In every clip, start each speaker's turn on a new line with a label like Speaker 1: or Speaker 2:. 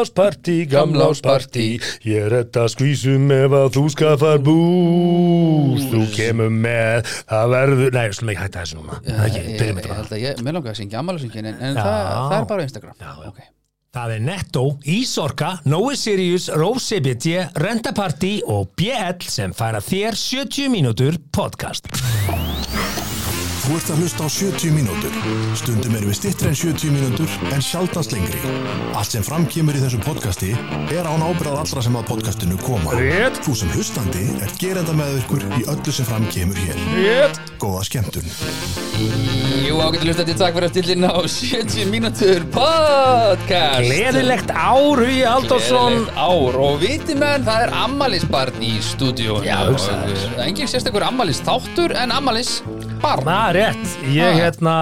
Speaker 1: Gamláspartí, gamláspartí, ég redda skvísum ef að þú skaffar bús, þú kemur með, það verður, nei, slum ekki hætta þessu núna, það er ekki, byrjum
Speaker 2: Ég
Speaker 1: þetta bara.
Speaker 2: Eh, held að ég, mér langar að syngja ammælisingin en, en
Speaker 1: Já.
Speaker 2: það, það er bara á Instagram
Speaker 1: Já, já.
Speaker 2: Ok.
Speaker 1: Það er Netto, Ísorka, Nói Sirius, Rósebiti, Rentaparty og BL sem færa þér 70 mínútur podcast.
Speaker 3: Þú ert að hlusta á 70 mínútur. Stundum erum við stittri en 70 mínútur en sjaldast lengri. Allt sem framkýmur í þessu podcasti er án ábyrðað allra sem að podcastinu koma.
Speaker 1: Rétt.
Speaker 3: Þú sem hlustandi er gerenda með ykkur í öllu sem framkýmur hér.
Speaker 1: Rétt.
Speaker 3: Góða skemmtun.
Speaker 2: Jú, ágættu hlustandi, takk fyrir að stillin á 70 mínútur podcast
Speaker 1: Gleðilegt ár, Hugi Halldórsson.
Speaker 2: Gleðilegt ár og viti menn, það er ammælisbarn í stúdíun
Speaker 1: Já, hugsaðu þér.
Speaker 2: Það er engin sérstakur ammælis þáttur en ammælis barn
Speaker 1: Na, rétt. Ég,
Speaker 2: Ah.
Speaker 1: hérna,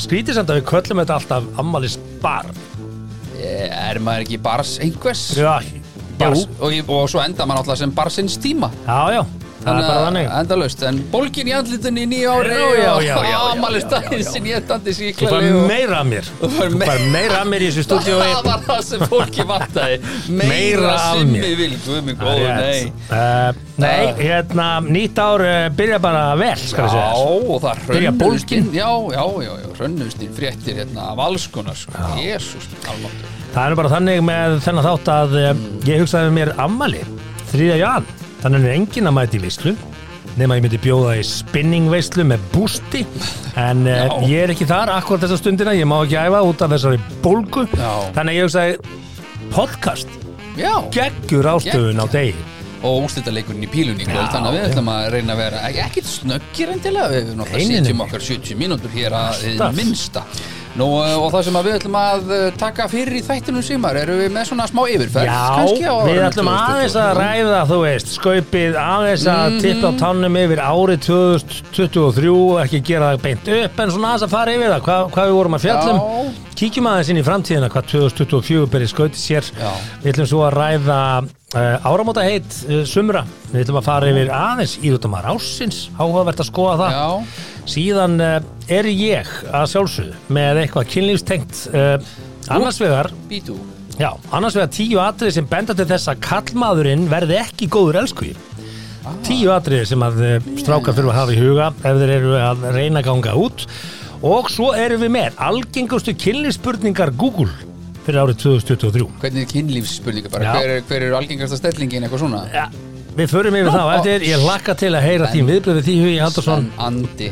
Speaker 1: skrítið samt að við köllum þetta alltaf ammalis bar.
Speaker 2: Er maður ekki bars einhvers?
Speaker 1: Já, bars.
Speaker 2: Bars, og, og svo enda maður alltaf sem barsins tíma
Speaker 1: Já, já, það er bara þannig.
Speaker 2: Endalaust, en bólgin í andlitun í nýja ári
Speaker 1: Já, já, já, já, já,
Speaker 2: og
Speaker 1: já, já,
Speaker 2: ammælistæðin
Speaker 1: já.
Speaker 2: sem ég dandi
Speaker 1: Þú fær
Speaker 2: síklali og
Speaker 1: meira af mér. Þú
Speaker 2: fær meira-
Speaker 1: fær meira af mér í þessu stúdíói.
Speaker 2: það var það sem fólki vantaði
Speaker 1: Meira
Speaker 2: meira
Speaker 1: af
Speaker 2: simmi
Speaker 1: mér.
Speaker 2: vil, guðmi góð, nei
Speaker 1: Uh, nei, hérna, nýtt ár uh, byrja bara vel, skal ég segja.
Speaker 2: Já, og það
Speaker 1: Byrja
Speaker 2: hrönnust
Speaker 1: bólgin.
Speaker 2: inn- Já, já, já, já, hrönnust inn fréttir hérna af alls konar, sko, jésús almáttur.
Speaker 1: Það er nú bara þannig með þennan þátt að mm. ég hugsaði með mér ammali, 3. jan. Þannig er enginn að mæta í veislu, nema ég myndi bjóða í spinning veislu með bústi, en uh,
Speaker 2: Já.
Speaker 1: ég er ekki þar akkurat þessa stundina, ég má ekki æfa út af þessari bólgu.
Speaker 2: Já.
Speaker 1: Þannig að ég hugsaði, podcast,
Speaker 2: Já,
Speaker 1: geggjur ástöðun á degi.
Speaker 2: og úrslitaleikurinn í pílunni í kvöld,
Speaker 1: Já,
Speaker 2: þannig að við
Speaker 1: já.
Speaker 2: ætlum að reyna að vera ek- ekkert snöggir endilega, við náttúrulega
Speaker 1: Nei, nei, nei.
Speaker 2: sitjum okkar 70 mínútur hér að hið
Speaker 1: Alltaf.
Speaker 2: minnsta. Nú, eh, og það sem að við ætlum að eh, taka fyrir í þættinum símar, eru við með svona smá yfirferð,
Speaker 1: Já,
Speaker 2: kannski á
Speaker 1: við
Speaker 2: árinu
Speaker 1: ætlum aðeins að
Speaker 2: 2023.
Speaker 1: ræða, þú veist, skaupið aðeins að
Speaker 2: Mhm.
Speaker 1: tippa á tannum yfir árið 2023 ekki gera það beint upp en svona aðeins að fara yfir það, hvað, hvað við vorum að fjallum
Speaker 2: Já.
Speaker 1: kíkjum aðeins inn í framtíðina hvað 2024 berið skautið sér
Speaker 2: Já.
Speaker 1: við ætlum svo að ræða uh, áramóta heitt uh, sumra við ætlum að fara yfir aðeins íðutamar ásins áhugavert að skoða það
Speaker 2: Já,
Speaker 1: síðan uh, er ég að sjálfsögðu með eitthvað kynlífstengt uh, annars vegar
Speaker 2: býtu.
Speaker 1: Já, annars vegar tíu atriði sem benda til þess að kallmaðurinn verði ekki góður elskuji. Tíu atriði sem að eh, strákar þurfa að hafa í huga ef þeir eru að reyna að ganga út. Og svo erum við með algengustu kynlífspurningar Google fyrir árið 2023.
Speaker 2: Hvernig er kynlífsspurninga bara?
Speaker 1: Já. Eh,
Speaker 2: Hver, er- hver eru algengasta stellingin, eitthvað svona?
Speaker 1: Ja, við förum yfir það á eftir. Ég hlakka til að heyra þín viðbröð við því Hugi Haldursson.
Speaker 2: Spennandi.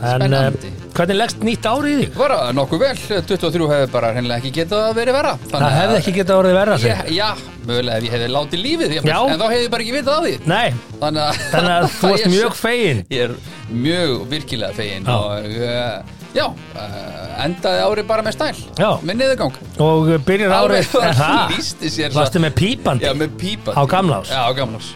Speaker 1: En eh,
Speaker 2: Spennandi.
Speaker 1: hvernig leggst nýtt árið í þig?
Speaker 2: Var það nokkuð vel, 23 hefði bara hennilega ekki getað að verið verra. Þannig
Speaker 1: Það hefði
Speaker 2: að-
Speaker 1: ekki getað orðið verra
Speaker 2: Já,
Speaker 1: sig.
Speaker 2: já, mögulega ef ég hefði látið lífið, ég,
Speaker 1: Já.
Speaker 2: en þá hefði ég bara ekki vitað á því.
Speaker 1: Nei,
Speaker 2: Þannig að,
Speaker 1: þannig að þú varst
Speaker 2: Ég-
Speaker 1: mjög fegin.
Speaker 2: Ég er mjög virkilega fegin
Speaker 1: Já.
Speaker 2: og uh, já, uh, endaði árið bara með stæl,
Speaker 1: Já.
Speaker 2: með niðurgang.
Speaker 1: Og byrjar árið,
Speaker 2: Alveg,
Speaker 1: er það?
Speaker 2: lýsti sér svo-
Speaker 1: Varstu með pípandi?
Speaker 2: Já, með pípa
Speaker 1: Á gamlás?
Speaker 2: Já, á gamlás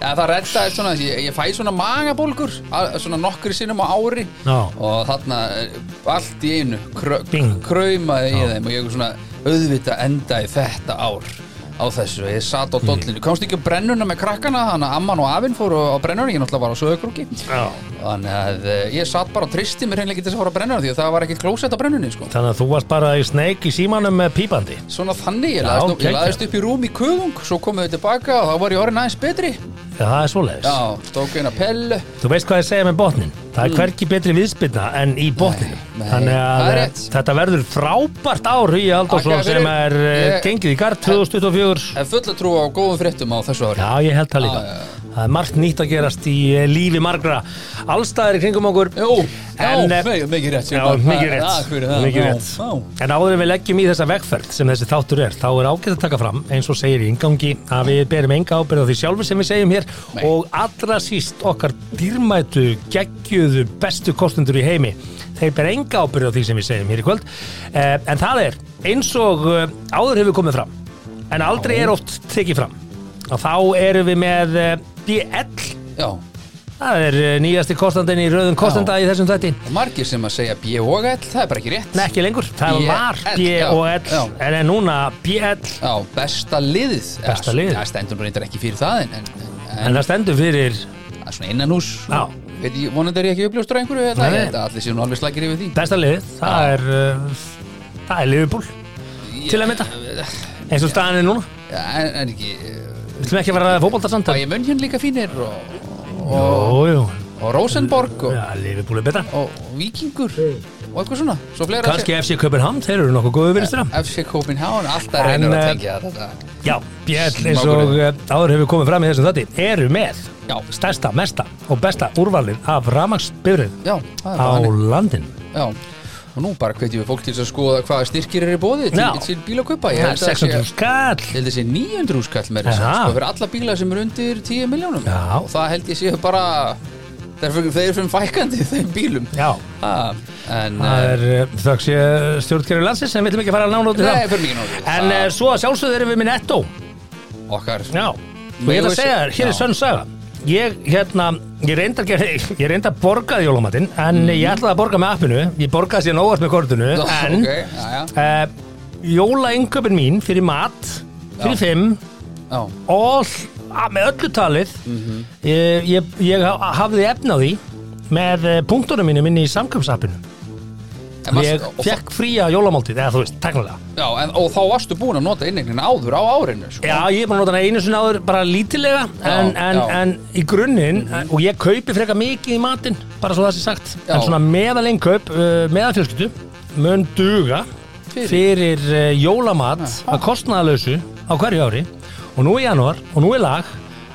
Speaker 2: Já, það reddaði svona, ég, ég fæ svona magabólgur a- svona nokkri sinnum á ári
Speaker 1: Já.
Speaker 2: og þarna eh, allt í einu krö,
Speaker 1: Bing.
Speaker 2: kraumaði í þeim og ég svona auðvitað endaði þetta ár á þessu, ég satt á
Speaker 1: Mm.
Speaker 2: dollinu komst ekki á brennuna með krakkana, þannig að amman og afinn fóru á brennuna, ég náttúrulega var á sögurkrúki
Speaker 1: Já.
Speaker 2: þannig að eh, ég satt bara og tristi mér hreinlega ekki til þess að fara á brennuna því að það var ekkert klósett á brennunni, sko
Speaker 1: Þannig að þú varst bara í sneik í símanum með pípandi
Speaker 2: Svona þannig, ég
Speaker 1: Já,
Speaker 2: laðist, upp, ég
Speaker 1: geggjað.
Speaker 2: laðist upp í rúm í kuðung svo komum við tilbaka og þá var ég orðin aðeins betri
Speaker 1: Já, það er svoleiðis
Speaker 2: Já, tók eina pellu
Speaker 1: Þú veist hvað ég segja með botnin Það er hvergi betri viðspilna en í botninu
Speaker 2: Mm.
Speaker 1: Þannig
Speaker 2: Nei, nei, það
Speaker 1: að
Speaker 2: er
Speaker 1: eh,
Speaker 2: rétt.
Speaker 1: þetta verður frábært ár í Aldarsson
Speaker 2: Þakka þér
Speaker 1: sem er
Speaker 2: fyrir.
Speaker 1: ég...
Speaker 2: Ég-
Speaker 1: gengið í garð 2024
Speaker 2: En fulla trú á góðum fréttum á þessu ári
Speaker 1: Já, ég held það líka
Speaker 2: Já, já,
Speaker 1: Það er margt nýtt að gerast í eh, lífi margra Allstaðir í kringum okkur
Speaker 2: Jú,
Speaker 1: En,
Speaker 2: já,
Speaker 1: eh,
Speaker 2: mikið, mikið rétt
Speaker 1: Já, mikið
Speaker 2: Það,
Speaker 1: rétt,
Speaker 2: fyrir það
Speaker 1: mikið
Speaker 2: já,
Speaker 1: rétt.
Speaker 2: já.
Speaker 1: En áður en við leggjum í þessa vegferð sem þessi þáttur er, þá er ágætt að taka fram eins og segir í ingangi að við berum enga ábyrð á því sjálfur sem við segjum hér
Speaker 2: Nei.
Speaker 1: og allra síst okkar dýrmætu geggjuðu bestu kostundur í heimi þeir ber enga ábyrð á því sem við segjum hér í kvöld eh, en það er eins og eh, áður hefur komið fram en aldrei er oft tekið fram og þá erum við með eh, BL
Speaker 2: já,
Speaker 1: það er eh, nýjasti kostandinn í röðum kostenda í þessum þætti
Speaker 2: og margir sem að segja B og L, það er bara ekki rétt
Speaker 1: Nei, ekki lengur. Það
Speaker 2: BL,
Speaker 1: var B
Speaker 2: já,
Speaker 1: og L,
Speaker 2: já.
Speaker 1: en er núna BL,
Speaker 2: Já, besta liðið
Speaker 1: Besta liðið.
Speaker 2: Það stendur nú reyndar ekki fyrir það en, en, en,
Speaker 1: en það stendur fyrir,
Speaker 2: en svona innan hús
Speaker 1: Já.
Speaker 2: Veit ég, vonandi er ég ekki uppljóstur einhverju
Speaker 1: Nei,
Speaker 2: þetta
Speaker 1: nei.
Speaker 2: Ég held að allir séu nú alveg slagir yfir því
Speaker 1: besta liðið, það er, uh, það er Liverpool, til að mynda. eins og staðan er núna
Speaker 2: Já, en, en ekki eh,
Speaker 1: Við ætlum ekki að vera að fótbolta samt
Speaker 2: Bæja munn hérna líka fínir og,
Speaker 1: Ójú,
Speaker 2: og Rosenborg og,
Speaker 1: já, Liverpool er betra
Speaker 2: og, og Víkingur og eitthvað svona Svo fleira
Speaker 1: Kanski FC Köpenhamn, þeir eru nokkuð góðu vinstra
Speaker 2: FC Copenhagen, alltaf
Speaker 1: En,
Speaker 2: reynir að
Speaker 1: eh,
Speaker 2: tengja þetta
Speaker 1: Já, Bjell eins og
Speaker 2: Smákurinn.
Speaker 1: eh, áður hefur komið fram í þessum þætti eru með
Speaker 2: Já.
Speaker 1: stærsta, mesta og besta úrvalið af ramagsbifrið
Speaker 2: Já, það
Speaker 1: á
Speaker 2: er bara hann
Speaker 1: landin
Speaker 2: Já, og nú bara hvetjum við fólk til þess að skoða hvaða styrkir eru í bóði til,
Speaker 1: Já.
Speaker 2: til bílakaupa Ég
Speaker 1: Það er
Speaker 2: held að það sé-
Speaker 1: 600 skall
Speaker 2: Ég held að sé 900 skall með þess að
Speaker 1: Aha.
Speaker 2: sko fyrir alla bíla sem eru undir 10 miljónum
Speaker 1: Já.
Speaker 2: og það held ég sé bara þeir eru fyrir- þeir eru fyrir fækandi þeim bílum
Speaker 1: Já,
Speaker 2: ha, en
Speaker 1: það er eh, þöggs ég stjórnkerfi landsins en við ætlum ekki að fara að nána út í
Speaker 2: Nei,
Speaker 1: það
Speaker 2: fyrir mikið nóg
Speaker 1: En uh, svo að sjálfsögðu erum við með netto
Speaker 2: okkar
Speaker 1: Já, og ég ætla
Speaker 2: Megum við
Speaker 1: að segja
Speaker 2: sjá-
Speaker 1: þér, hér er
Speaker 2: Já.
Speaker 1: sönn saga Ég, hérna, ég reynda að gera, ég reynda að borgaði jólumatinn en ég ætlaði að borga með appinu, ég borgaði síðan óvart með kortinu
Speaker 2: Nú,
Speaker 1: en
Speaker 2: ok, já, já.
Speaker 1: Eh, Jólaengöpin mín fyrir mat fyrir
Speaker 2: Já.
Speaker 1: fimm
Speaker 2: Já,
Speaker 1: all, að, með öllu talið ég, ég, ég ha- hafði efni á því með eh, punktunum mínum inn í samkjömsappinu
Speaker 2: en varstu-
Speaker 1: ég
Speaker 2: og-
Speaker 1: fekk fría jólamáltíð eða þú veist, teknilega
Speaker 2: já, en, og þá varstu búin að nota inneignina áður á árinu sko.
Speaker 1: Já, ég er bara að nota hana einu sinni áður bara lítilega
Speaker 2: Já,
Speaker 1: en, en,
Speaker 2: já.
Speaker 1: en í grunninn og ég kaupi frekar mikið í matinn bara svo það sé sagt
Speaker 2: Já.
Speaker 1: en svona meðalengaup, uh, meðalfjölskyldu mun duga
Speaker 2: Fyrir?
Speaker 1: fyrir, uh, jólamat að kostnaðalösu á hverju ári og nú í janúar og nú í lag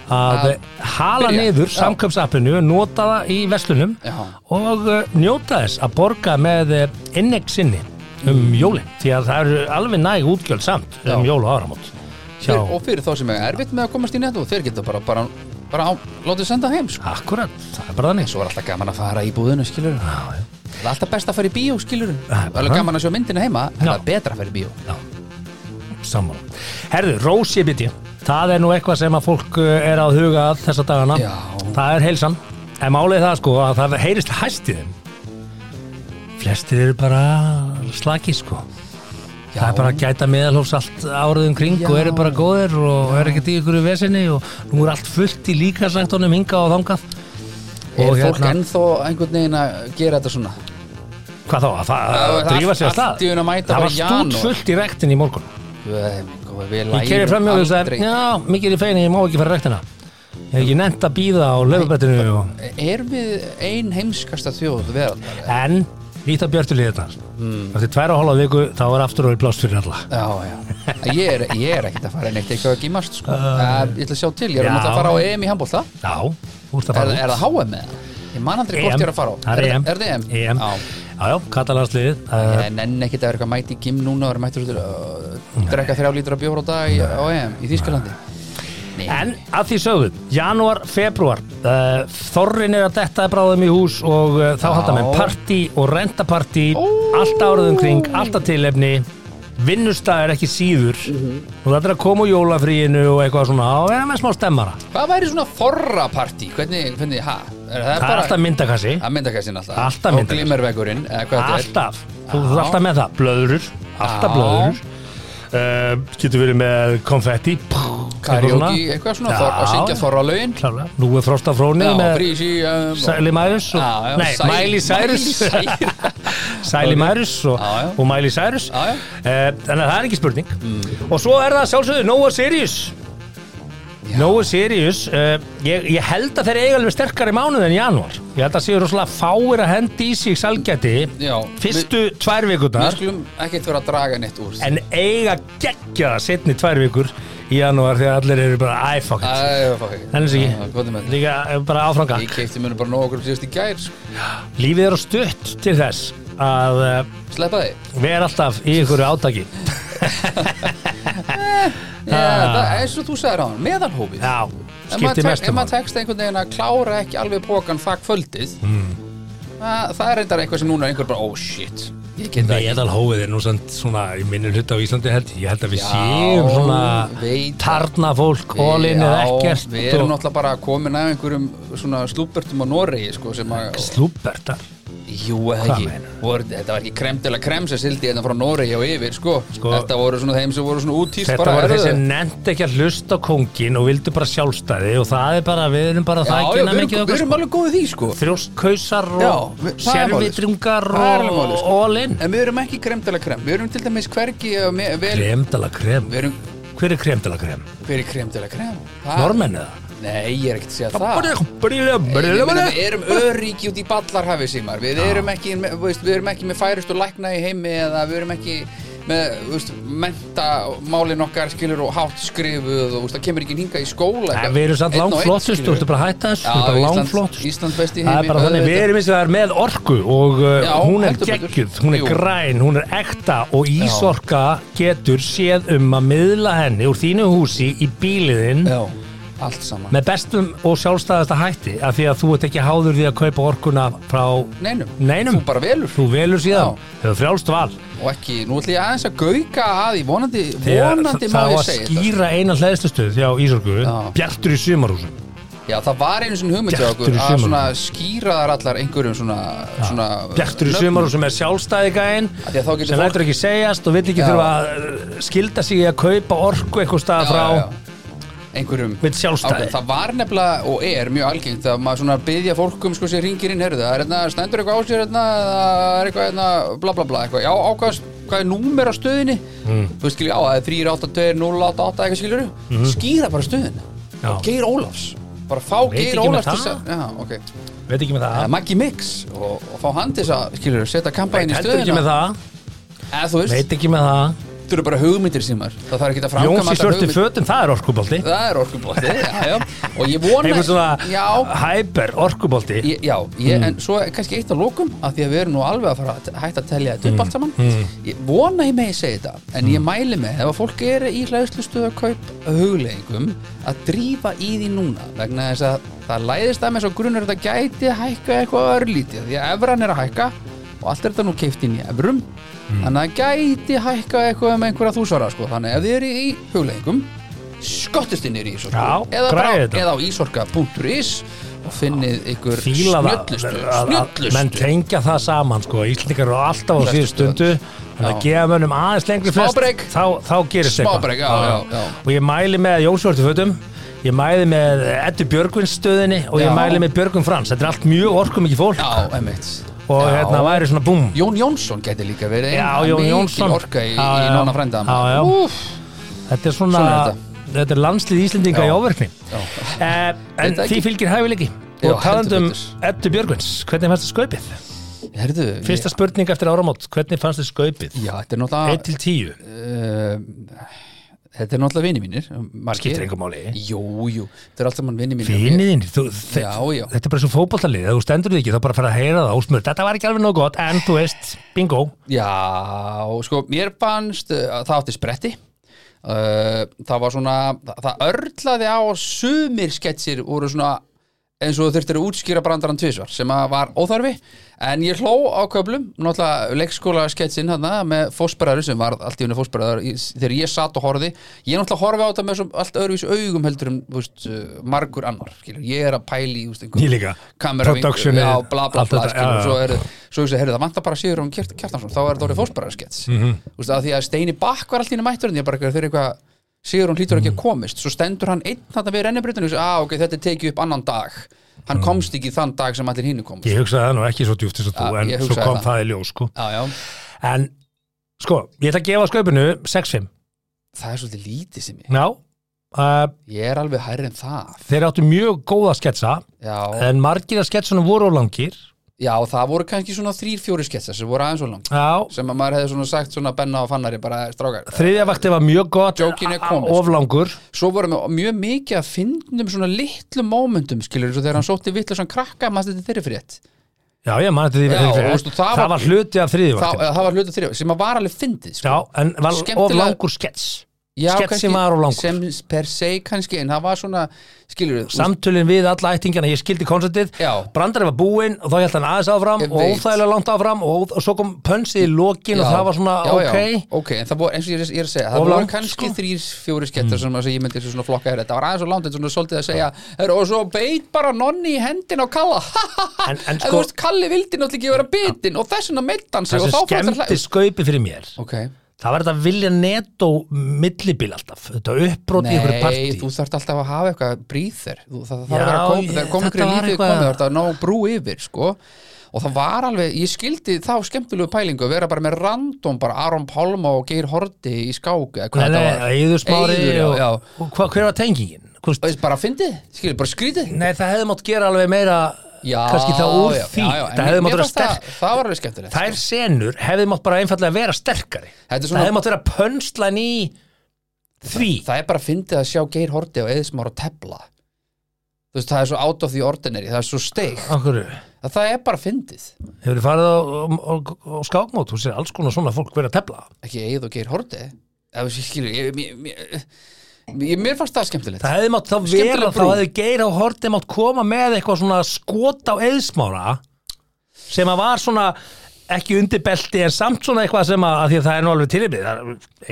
Speaker 1: að
Speaker 2: Að
Speaker 1: hala
Speaker 2: byrja,
Speaker 1: niður
Speaker 2: já.
Speaker 1: samköpsappinu, nota það í vestlunum
Speaker 2: Já.
Speaker 1: og uh, njóta þess að borga með uh, innegg sinni um jólin því að það eru alveg næg útgjöld samt um
Speaker 2: Mm. Já.
Speaker 1: jól og áramót
Speaker 2: Fyr,
Speaker 1: Já,
Speaker 2: og fyrir þá sem er erfitt með að komast í netto þeir geta bara, bara, bara á, látið senda heim sko.
Speaker 1: akkurat, það er bara þannig
Speaker 2: svo er alltaf gaman að fara í búðinu skilur
Speaker 1: Já, já.
Speaker 2: það er alltaf best að fara í bíó skilur
Speaker 1: Já,
Speaker 2: það er alveg
Speaker 1: já.
Speaker 2: gaman að sjá myndina heima en
Speaker 1: Já.
Speaker 2: það er betra að fara í bíó
Speaker 1: Sammála. Herðu, rósibiti, það er nú eitthvað sem að fólk uh, er að huga að þessa dagana.
Speaker 2: Já.
Speaker 1: Það er heilsan. En málið er það sko að það heyrist hæst í þeim. Flestir eru bara slakið sko. Það er bara að gæta meðalhófs allt árið um kring
Speaker 2: Já.
Speaker 1: og eru bara góðir og eru ekkert í ykkur vesinni og nú er allt fullt í líkasæktunum hinga og þangað.
Speaker 2: Er
Speaker 1: Og
Speaker 2: fólk
Speaker 1: hérna-
Speaker 2: ennþá einhvern veginn að gera þetta svona?
Speaker 1: Hvað þá? Að fa- að
Speaker 2: Það-
Speaker 1: drífa sig að
Speaker 2: allt-
Speaker 1: stað?
Speaker 2: allt í einu að mæta
Speaker 1: það
Speaker 2: bara
Speaker 1: var
Speaker 2: í
Speaker 1: stútt
Speaker 2: janúar.
Speaker 1: fullt í rektin í morgun. Ég keri fram með þess að, já, mikið er í feginni, ég má ekki fara í rektina. Ég hef ekki nefnt að býða á löfubrettinu og...
Speaker 2: Er við ein heimskasta þjóð verðar?
Speaker 1: En, lít á björtulíðirnar.
Speaker 2: Hmm.
Speaker 1: Eftir tværa og hálfa viku, þá er aftur og í plást fyrir alla.
Speaker 2: Já, já. Ég er, ég er ekkert að fara neitt eitthvað að gímast, sko. Uh, ég ætla að sjá til, ég er
Speaker 1: já.
Speaker 2: náttúrulega að fara á EM í handbólta.
Speaker 1: Já, þú ert að
Speaker 2: Er,
Speaker 1: fara E
Speaker 2: er það HM með það? Ég man aldrei hvort ég er að fara á.
Speaker 1: Það er EM.
Speaker 2: Er það EM?
Speaker 1: EM.
Speaker 2: Já.
Speaker 1: Já, já, katalansliðið. Uh,
Speaker 2: En enn ekkert að vera eitthvað mæti í gím núna og vera mættur út til að drekka þrjá lítra bjór á dag í, á EM í Þýskalandi. Nei.
Speaker 1: En að því sögðu, janúar, februar uh, Þorrin er að detta bráðum í hús og uh, þá halda með partí og rentapartí allt árið um kring, alltaf tilefni vinnustag er ekki síður
Speaker 2: Mhm.
Speaker 1: og þetta er að koma úr jólafríinu og eitthvað svona, á vera með smá stemmara
Speaker 2: Hvað væri svona forrapartí? Hvernig, hvernig, hæ? Það er
Speaker 1: Það er alltaf myndakassi,
Speaker 2: Að myndakassin alltaf
Speaker 1: Alltaf
Speaker 2: Og
Speaker 1: myndakassin.
Speaker 2: glimmerveggurinn eða hvað þetta
Speaker 1: alltaf þú þú ert alltaf með það, blöðurur alltaf
Speaker 2: Já.
Speaker 1: blöðurur uh, getur verið með konfetti
Speaker 2: er Karaoke, eitthvað svona þor, Að syngja þorralögin
Speaker 1: Klálega, nú er Frosta Fróni
Speaker 2: Já,
Speaker 1: með
Speaker 2: frísi
Speaker 1: Sæli Mærus og,
Speaker 2: Já, já,
Speaker 1: Nei,
Speaker 2: Sæl-
Speaker 1: Miley Cyrus
Speaker 2: Miley
Speaker 1: Sæli Mærus og,
Speaker 2: Já, já.
Speaker 1: og Miley Cyrus
Speaker 2: Já, Mm. já.
Speaker 1: Eh, Þannig að það er ekki spurning Og svo er það sjálfsögðu Noah Sirius
Speaker 2: Já.
Speaker 1: Noah Sirius eh, ég, ég held að þeir eiga alveg sterkari mánuð en janúar Ég held að séu rosalega fáir að hendi í sig salgjæti
Speaker 2: Já,
Speaker 1: Fyrstu tvær
Speaker 2: Við
Speaker 1: vikundar
Speaker 2: skulum ekkert vera að draga neitt úr því.
Speaker 1: En eiga geggjaða setni tvær vikur í janúar Þegar allir eru bara æ, fuck
Speaker 2: Æ,
Speaker 1: it
Speaker 2: það fá ekki.
Speaker 1: Þannig
Speaker 2: Já,
Speaker 1: sé
Speaker 2: hvað er
Speaker 1: ekki
Speaker 2: með þetta?
Speaker 1: Líka eh, bara áfranga
Speaker 2: Ég keipti mér nú bara nóg okkur síðust í gær sko.
Speaker 1: Lífið er á stutt til þess að eh,
Speaker 2: Sleppa þig
Speaker 1: vera alltaf í ykkur átaki
Speaker 2: Já, það er eins og þú sagðir á hann Meðalhófið
Speaker 1: Já,
Speaker 2: Ef maður
Speaker 1: skiptir mestu
Speaker 2: tek- Ef
Speaker 1: máli.
Speaker 2: maður tekst einhvern veginn að klára ekki alveg pókan það kvöldið
Speaker 1: Mm.
Speaker 2: það, það er reyndar eitthvað sem núna er einhver bara, oh shit Ég get það ekki
Speaker 1: Meðal hófið er nú samt svona í minnum hlut á Íslandi held ég, ég held að við
Speaker 2: Já,
Speaker 1: séum svona
Speaker 2: veit það.
Speaker 1: tarna fólk, hólinn
Speaker 2: Já,
Speaker 1: eða ekkert
Speaker 2: Við erum
Speaker 1: og
Speaker 2: náttúrulega bara komin af einhverjum svona slúbertum á Noregi sko, sem að
Speaker 1: slúbertar
Speaker 2: Jú, eða
Speaker 1: Hvað
Speaker 2: ekki,
Speaker 1: meinar?
Speaker 2: voru, þetta var ekki krem til að krem sem sildi hérna frá Noregi og yfir, sko.
Speaker 1: Sko-
Speaker 2: Þetta voru svona þeim sem voru svona útýst
Speaker 1: Þetta
Speaker 2: bara
Speaker 1: voru
Speaker 2: herðu.
Speaker 1: þeir sem nefndi ekki að hlusta á kongin og vildu bara sjálfstæði og það er bara, við erum bara
Speaker 2: Já,
Speaker 1: það
Speaker 2: já,
Speaker 1: ekki
Speaker 2: við erum,
Speaker 1: mikið
Speaker 2: við erum alveg góðið því, sko.
Speaker 1: þrjóstkausar
Speaker 2: Já,
Speaker 1: og
Speaker 2: við- það er málið, sko.
Speaker 1: sérvitringar
Speaker 2: Það er alveg
Speaker 1: og
Speaker 2: málið, sko.
Speaker 1: og all in
Speaker 2: En við erum ekki krem til að krem. Við erum til dæmis hvergi eh, me- vel...
Speaker 1: Kremdala krem,
Speaker 2: Við erum
Speaker 1: hver er kremdala krem?
Speaker 2: hver er krem til að krem. Það-
Speaker 1: Normenn eða?
Speaker 2: Nei, ég er ekkert að segja það.
Speaker 1: Brr, brr,
Speaker 2: Ég
Speaker 1: brr,
Speaker 2: meina,
Speaker 1: brr.
Speaker 2: Við erum öryggi út í ballarhafi símar Við erum ekki, með- veist, við erum ekki með færustu lækna í heimi eða við erum ekki með, veist, mentamálin okkar skilur og hátt skrifuð og veist, það kemur ekki hinga í skóla
Speaker 1: Nei,
Speaker 2: eitthvað.
Speaker 1: Við erum samt
Speaker 2: Einn og einn,
Speaker 1: langflottust, þú
Speaker 2: skilurðu.
Speaker 1: ertu bara að hætta þessu,
Speaker 2: Já,
Speaker 1: þú ertu bara
Speaker 2: Ísland-
Speaker 1: langflottust
Speaker 2: Ísland best í heimi
Speaker 1: Það er bara þannig, við
Speaker 2: auðvitað.
Speaker 1: erum eins og það er með orku og uh,
Speaker 2: Já,
Speaker 1: hún er
Speaker 2: heldur betur.
Speaker 1: geggjuð, hún er
Speaker 2: Jú.
Speaker 1: græn, hún er ekta og Ísorka getur séð um að miðla henni úr þínu húsi í bíliðinn
Speaker 2: Já, allt saman
Speaker 1: með bestum og sjálfstæðasta hætti af því að þú ert ekki háður því að kaupa orkuna frá
Speaker 2: Neinum,
Speaker 1: neinum.
Speaker 2: þú bara velur
Speaker 1: Þú velur síðan, hefur frjálst val
Speaker 2: og ekki, nú ætlum ég aðeins að gauka að því vonandi,
Speaker 1: Þegar
Speaker 2: vonandi má
Speaker 1: það
Speaker 2: ég
Speaker 1: var
Speaker 2: segja þetta sko.
Speaker 1: skýra eina hlæðslustöð hjá Ísorku,
Speaker 2: Já.
Speaker 1: bjartur í sumarhúsum
Speaker 2: Já, það var einu sinni hugmynd hjá okkur
Speaker 1: Bjartur í
Speaker 2: að svona
Speaker 1: sumarhúsum.
Speaker 2: skýra þar allar einhverjum svona, svona
Speaker 1: Bjartur í
Speaker 2: nöfnum.
Speaker 1: sumar og sem er sjálfstæðigæinn
Speaker 2: Af því að þá getur
Speaker 1: sem
Speaker 2: fólk-
Speaker 1: lætur ekki segjast og vill ekki
Speaker 2: Já.
Speaker 1: þurfa að uh, skilda sig í að kaupa orku eitthvað stað
Speaker 2: Já,
Speaker 1: frá
Speaker 2: já, já. einhverjum
Speaker 1: Vill sjálfstæði.
Speaker 2: Ákveð, það var nefnilega og er mjög algengt að maður svona byggja fólkum sko sem ringir inn herðu, það er hérna, stendur eitthvað á sér hérna, það er eitthvað hérna, bla bla bla eitthvað, já ákvæðast, hvað er númer á stöðinni
Speaker 1: Mm.
Speaker 2: þú veist skilur, já það er 382 eitthvað skilur, skýra bara stöðin
Speaker 1: Mhm. Já.
Speaker 2: og Geir Ólafs bara fá
Speaker 1: Veit
Speaker 2: Geir
Speaker 1: ekki með
Speaker 2: Ólafs
Speaker 1: það.
Speaker 2: til þess að, já ok,
Speaker 1: veit ekki með
Speaker 2: eða
Speaker 1: það
Speaker 2: Maggi Mix og, og fá hann til þess að skilur, setja kampaðin í
Speaker 1: heldur ekki
Speaker 2: stöðina
Speaker 1: með það,
Speaker 2: eða þú veist,
Speaker 1: veit ekki með það
Speaker 2: þú eru bara hugmyndir sem er það þarf ekki að framkvæma
Speaker 1: Jóns í
Speaker 2: allar
Speaker 1: svörtu
Speaker 2: hugmyndir.
Speaker 1: fötum, það er orkubolti
Speaker 2: Það er orkubótti, já, já Og ég vona
Speaker 1: einhvern
Speaker 2: Já,
Speaker 1: svona hæper orkubolti
Speaker 2: ég, já
Speaker 1: Mm.
Speaker 2: ég, en svo er kannski eitt að lokum að Því að við erum nú alveg að fara að t- hætta að telja
Speaker 1: Mm.
Speaker 2: þetta upp allt saman Ég vona ég megi segja þetta En ég mæli með ef að fólk er í hlæðslustu að kaup hugleggingum Að drífa í því núna Vegna þess að það læðist að með svo grunur að Þetta gæti hækka eitthvað örlítið Því að evran er að hækka Og allt er þetta nú keift inn í evrum
Speaker 1: Mm.
Speaker 2: Þannig að það gæti hækka eitthvað með einhverja þúsvara sko. Þannig að þið eru í hugleggingum skottist inn í Ísorku
Speaker 1: Já,
Speaker 2: eða, bara,
Speaker 1: græðið þetta.
Speaker 2: eða á ísorka.is og finnið ykkur
Speaker 1: fíla það
Speaker 2: snjöllustu
Speaker 1: að- að menn
Speaker 2: snjöllustu
Speaker 1: tengja það saman sko, Íslendingar eru alltaf á
Speaker 2: Flest
Speaker 1: síðu stundu en að
Speaker 2: Já.
Speaker 1: gefa mönnum aðeins lengri
Speaker 2: Smá
Speaker 1: frest,
Speaker 2: break.
Speaker 1: þá, þá gerist
Speaker 2: Smá
Speaker 1: eitthvað.
Speaker 2: break, já, já, já.
Speaker 1: og ég mæli með Jónsvörtu fötum ég mæli með Eddu Björgvins stöðinni og ég
Speaker 2: Já.
Speaker 1: mæli með Björgvin Frans þetta er allt mjög orkum ekki fólk
Speaker 2: Já, emmitt
Speaker 1: og hérna væri svona búm
Speaker 2: Jón Jónsson gæti líka verið
Speaker 1: Já,
Speaker 2: eina
Speaker 1: Jón
Speaker 2: mikil
Speaker 1: Jónsson.
Speaker 2: orka í,
Speaker 1: Já,
Speaker 2: í
Speaker 1: já.
Speaker 2: Nóna frænda
Speaker 1: Já, já.
Speaker 2: Úff,
Speaker 1: þetta er svona,
Speaker 2: Svona er þetta.
Speaker 1: þetta. er landslið Íslendinga
Speaker 2: Já.
Speaker 1: í áverkni eh, en
Speaker 2: Veit það
Speaker 1: því
Speaker 2: ekki.
Speaker 1: fylgir hæfileiki
Speaker 2: Já,
Speaker 1: og talandum
Speaker 2: heldur
Speaker 1: Eddu Björgvins hvernig fannst þið skaupið?
Speaker 2: Herðu,
Speaker 1: Fyrsta spurning eftir áramót, hvernig fannst þið skaupið?
Speaker 2: Já, þetta er
Speaker 1: 1
Speaker 2: náttúrulega
Speaker 1: til 10
Speaker 2: uh, Þetta er náttúrulega vini mínir margir.
Speaker 1: Skiptir engu máli.
Speaker 2: Jú, jú, þetta er alltaf mann vini mínir
Speaker 1: Viniðin, þú, þe-
Speaker 2: Já, já.
Speaker 1: þetta er bara svo fótballalið ef þú stendur þig ekki þá bara fyrir að heyra það ásmur þetta var ekki alveg nóg gott, en þú veist, bingo
Speaker 2: Já, sko, mér fannst uh, að það átti spretti uh, það var svona, það, það örlaði á að sumir sketsir voru svona eins og þú þurftir að útskýra brandarann tvisvar sem að var óþarfi en ég hló á köflum, náttúrulega leikskóla sketsin hana með fósbræður sem var allt í unni fósbræður þegar ég satt og horfði ég náttúrulega horfi á þetta með svo allt öðruvís augum heldur en þú veist, uh, margur annar skilur. ég er að pæli í úst,
Speaker 1: Ég líka. Productionið,
Speaker 2: já, bla bla
Speaker 1: allt
Speaker 2: bla
Speaker 1: þetta,
Speaker 2: skilur,
Speaker 1: já, já.
Speaker 2: svo er, svo hugsaði, heyrðu, það vantar bara sigur um Kjart, Kjartansson, þá er það orðið fósbræðarskets mm -hmm. að því að Steini Bakk var alltaf inn í mætturinn, ég bara eitthvað, þeir eru eitthvað sigur hún hlýtur ekki að komist, svo stendur hann einn þarna við rennibrytinu og hugsa, ah, ok, þetta er tekið upp annan dag, hann komst ekki þann dag sem allir hinn komst,
Speaker 1: Ég hugsaði það nú ekki svo djúft eins og þú
Speaker 2: Já,
Speaker 1: en
Speaker 2: ég
Speaker 1: svo
Speaker 2: hugsaði
Speaker 1: kom
Speaker 2: það.
Speaker 1: það í ljós sko.
Speaker 2: já, já
Speaker 1: en sko, ég ætla að gefa skaupinu 6-5
Speaker 2: það er svolítið lítið sem ég,
Speaker 1: Já, uh,
Speaker 2: ég er alveg hærri en það
Speaker 1: þeir áttu mjög góða sketsa
Speaker 2: já,
Speaker 1: en margir af sketsunum voru á langir
Speaker 2: já, það voru kannski svona þrír, fjóri sketsar sem voru aðeins og langt
Speaker 1: Já,
Speaker 2: sem að maður hefði svona sagt svona benna og fannari bara strákar,
Speaker 1: þriðja vakti var mjög gott
Speaker 2: Jokin er komið, sko.
Speaker 1: oflangur
Speaker 2: svo vorum við mjög mikið að finnum svona litlu mómentum skilur eins og þegar hann sótti vitlega svona krakka maður þetta þeirri frétt
Speaker 1: Já, ég man þetta því
Speaker 2: Já,
Speaker 1: því-
Speaker 2: og veistu, það
Speaker 1: Það
Speaker 2: var-
Speaker 1: var hluti af þriðja
Speaker 2: Þá,
Speaker 1: vakti
Speaker 2: eða, það var hlutu þrjá sem að var alveg fyndið sko.
Speaker 1: Já, en var
Speaker 2: Skemmtilega-
Speaker 1: oflangur skets
Speaker 2: Já,
Speaker 1: Sketch sem var of langur.
Speaker 2: sem per se kannski en það var svona, skilur við
Speaker 1: samtölin við alla ættingana, ég skildi koncertið
Speaker 2: Já.
Speaker 1: brandari var búinn og þá held hann aðeins áfram
Speaker 2: Ég
Speaker 1: og
Speaker 2: veit.
Speaker 1: óþægilega langt áfram og, og svo kom pönsið í lokin og það var svona
Speaker 2: já,
Speaker 1: ok
Speaker 2: já, ok, en það voru eins og ég er, ég er að segja það
Speaker 1: Of
Speaker 2: voru
Speaker 1: langt,
Speaker 2: kannski
Speaker 1: sko. Mm.
Speaker 2: þrýr, fjóri skettar sem að ég myndi þessu svona flokka hér þetta var aðeins og langt en svona svolítið að segja er, og svo beit bara nonni í hendin á Kalla
Speaker 1: En-
Speaker 2: en,
Speaker 1: en
Speaker 2: þú
Speaker 1: sko-
Speaker 2: veist, Kalli vildi náttúrulega ekki vera bitin og þess vegna meitt hann sig
Speaker 1: það
Speaker 2: og þá
Speaker 1: sem
Speaker 2: fór þetta
Speaker 1: skemmti skaupið fyrir mér
Speaker 2: ok,
Speaker 1: það var þetta vilja netó millibil alltaf, þetta uppbrot í einhverju
Speaker 2: nei,
Speaker 1: partí
Speaker 2: þú þarf alltaf að hafa eitthvað brýþir, það það þarf
Speaker 1: Já,
Speaker 2: að vera kom,
Speaker 1: ég-
Speaker 2: þegar kom
Speaker 1: þetta
Speaker 2: ykkur í
Speaker 1: var
Speaker 2: lífið
Speaker 1: eitthvað-
Speaker 2: komið, það að ná brú yfir sko Og það var alveg, ég skildi þá skemmtilegu pælingu að vera bara með random, bara Aron Pálma og Geir Horti í skák eða hvað
Speaker 1: Nei,
Speaker 2: þetta var.
Speaker 1: nei, Eiður Smári
Speaker 2: Eiður, já,
Speaker 1: og,
Speaker 2: já.
Speaker 1: og hva, hver var tengingin? Hvist,
Speaker 2: Og veist bara fyndið, skilur, bara skrítið
Speaker 1: nei, það hefði mátt gera alveg meira kannski það úr því
Speaker 2: en
Speaker 1: það
Speaker 2: mér-
Speaker 1: hefði mátt
Speaker 2: mér
Speaker 1: vera
Speaker 2: fannst það-
Speaker 1: sterk
Speaker 2: Það var alveg skemmtilegt
Speaker 1: þær senur hefði mátt bara einfallega vera sterkari
Speaker 2: Þetta er
Speaker 1: það
Speaker 2: svona-
Speaker 1: hefði mátt vera pönslan í því
Speaker 2: Það er bara fyndið að sjá Geir Horti og Eðismar og Tepla Þú veist, það er svo out of the ordinary Það er svo steik
Speaker 1: Akkur,
Speaker 2: að Það er bara fyndið
Speaker 1: hefur þið farið á, á, á skákmót þú sér alls konar svona fólk vera að tefla
Speaker 2: Ekki Eð og Geir Horti Ef þú skilur, ég, mér, mér, mér, mér fannst það skemmtilegt
Speaker 1: það hefði mátt þá vera,
Speaker 2: Skemmtileg
Speaker 1: þá
Speaker 2: brú.
Speaker 1: hefði Geir á Horti mátt koma með eitthvað svona skot á eðsmára sem að var svona ekki undirbelti en samt svona eitthvað sem að, að því að það er nú alveg tilibið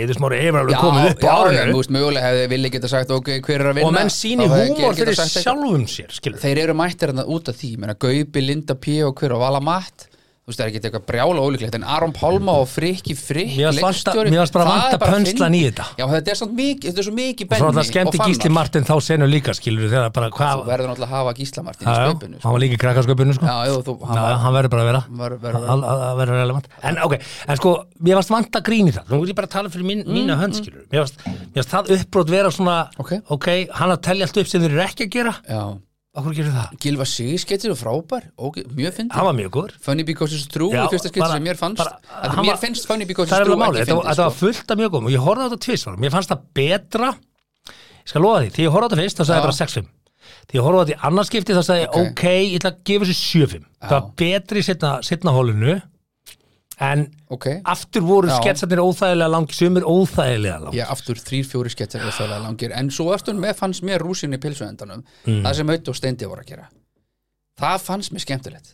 Speaker 1: eðismári hefur alveg komið upp á
Speaker 2: já, þú
Speaker 1: árinu
Speaker 2: veist, mögulega hefði villi geta sagt ok, hver er að vinna
Speaker 1: og menn síni
Speaker 2: Þá hefði Geir
Speaker 1: húmor
Speaker 2: getað
Speaker 1: fyrir
Speaker 2: sagt eitthvað.
Speaker 1: sjálfum sér skilur.
Speaker 2: þeir eru mættir hérna út af því ég meina Gaupi, Linda P. og hver og Vala Matt þú veist það er ekki eitthvað brjála ólíklegt en Aron Pálma og Frikki Frikk
Speaker 1: Mér varst vanta-
Speaker 2: leikstjóri,
Speaker 1: mér varst bara
Speaker 2: það
Speaker 1: vanta
Speaker 2: er bara
Speaker 1: pönslan
Speaker 2: fyndið.
Speaker 1: í þetta.
Speaker 2: já, þetta er samt mikið, þetta er svo mikið
Speaker 1: og
Speaker 2: benni
Speaker 1: svo alltaf skemmti Gísli Martin þá senu líka skilur þegar bara
Speaker 2: þú
Speaker 1: hvað
Speaker 2: verður náttúrulega að hafa Gísla Martin
Speaker 1: Já,
Speaker 2: í
Speaker 1: já,
Speaker 2: sköpunni sko.
Speaker 1: hann var líka í krakkasköpunni sko.
Speaker 2: já, jú, þú,
Speaker 1: Já,
Speaker 2: hann var,
Speaker 1: hann verður bara að vera
Speaker 2: Verður- verður-
Speaker 1: Hann- hann- hann verður relevant en ok, en sko, mér varst vant að grín í það nú er ég bara að tala fyrir mín, mína hönd skilur mér varst, mér varst það uppbrot vera svona
Speaker 2: Mm, Ok.
Speaker 1: hann að telja allt upp sem þeir eru ekki að gera
Speaker 2: já,
Speaker 1: okkur gerir það,
Speaker 2: Gilva Sigurskettir og frábær ok, mjög fyndið
Speaker 1: hann var mjög góður
Speaker 2: Funny Because It's True,
Speaker 1: Já,
Speaker 2: í fyrsta skipti
Speaker 1: bara-
Speaker 2: sem mér fannst
Speaker 1: bara-
Speaker 2: bara,
Speaker 1: hann
Speaker 2: mér
Speaker 1: var-
Speaker 2: finnst Funny Because
Speaker 1: það er
Speaker 2: It's
Speaker 1: alveg
Speaker 2: True
Speaker 1: málið,
Speaker 2: ekki
Speaker 1: þetta, þetta var
Speaker 2: fyndið sko.
Speaker 1: fullt af mjög góðum og ég horfði á þetta tvisvar, mér fannst það betra ég skal lofa því, því ég horfði á þetta fyrst þá sagði
Speaker 2: Já.
Speaker 1: ég bara 6-5 því ég horfði á þetta í annarskipti þá sagði ég
Speaker 2: Ok.
Speaker 1: ok, ég ætla að gefa þessu 7-5 það var betri í seinna, seinna hólinu en
Speaker 2: sko. ok,
Speaker 1: aftur voru
Speaker 2: Já.
Speaker 1: sketsarnir óþægilega langi sumir óþægilega langi
Speaker 2: Já, aftur þrýr, fjóri skettir og þjóðlega langir en svo eftir með fannst mér rúsin í pilsuendanum
Speaker 1: Mm.
Speaker 2: það sem Ötti og Steindi voru að gera það fannst mér skemmtilegt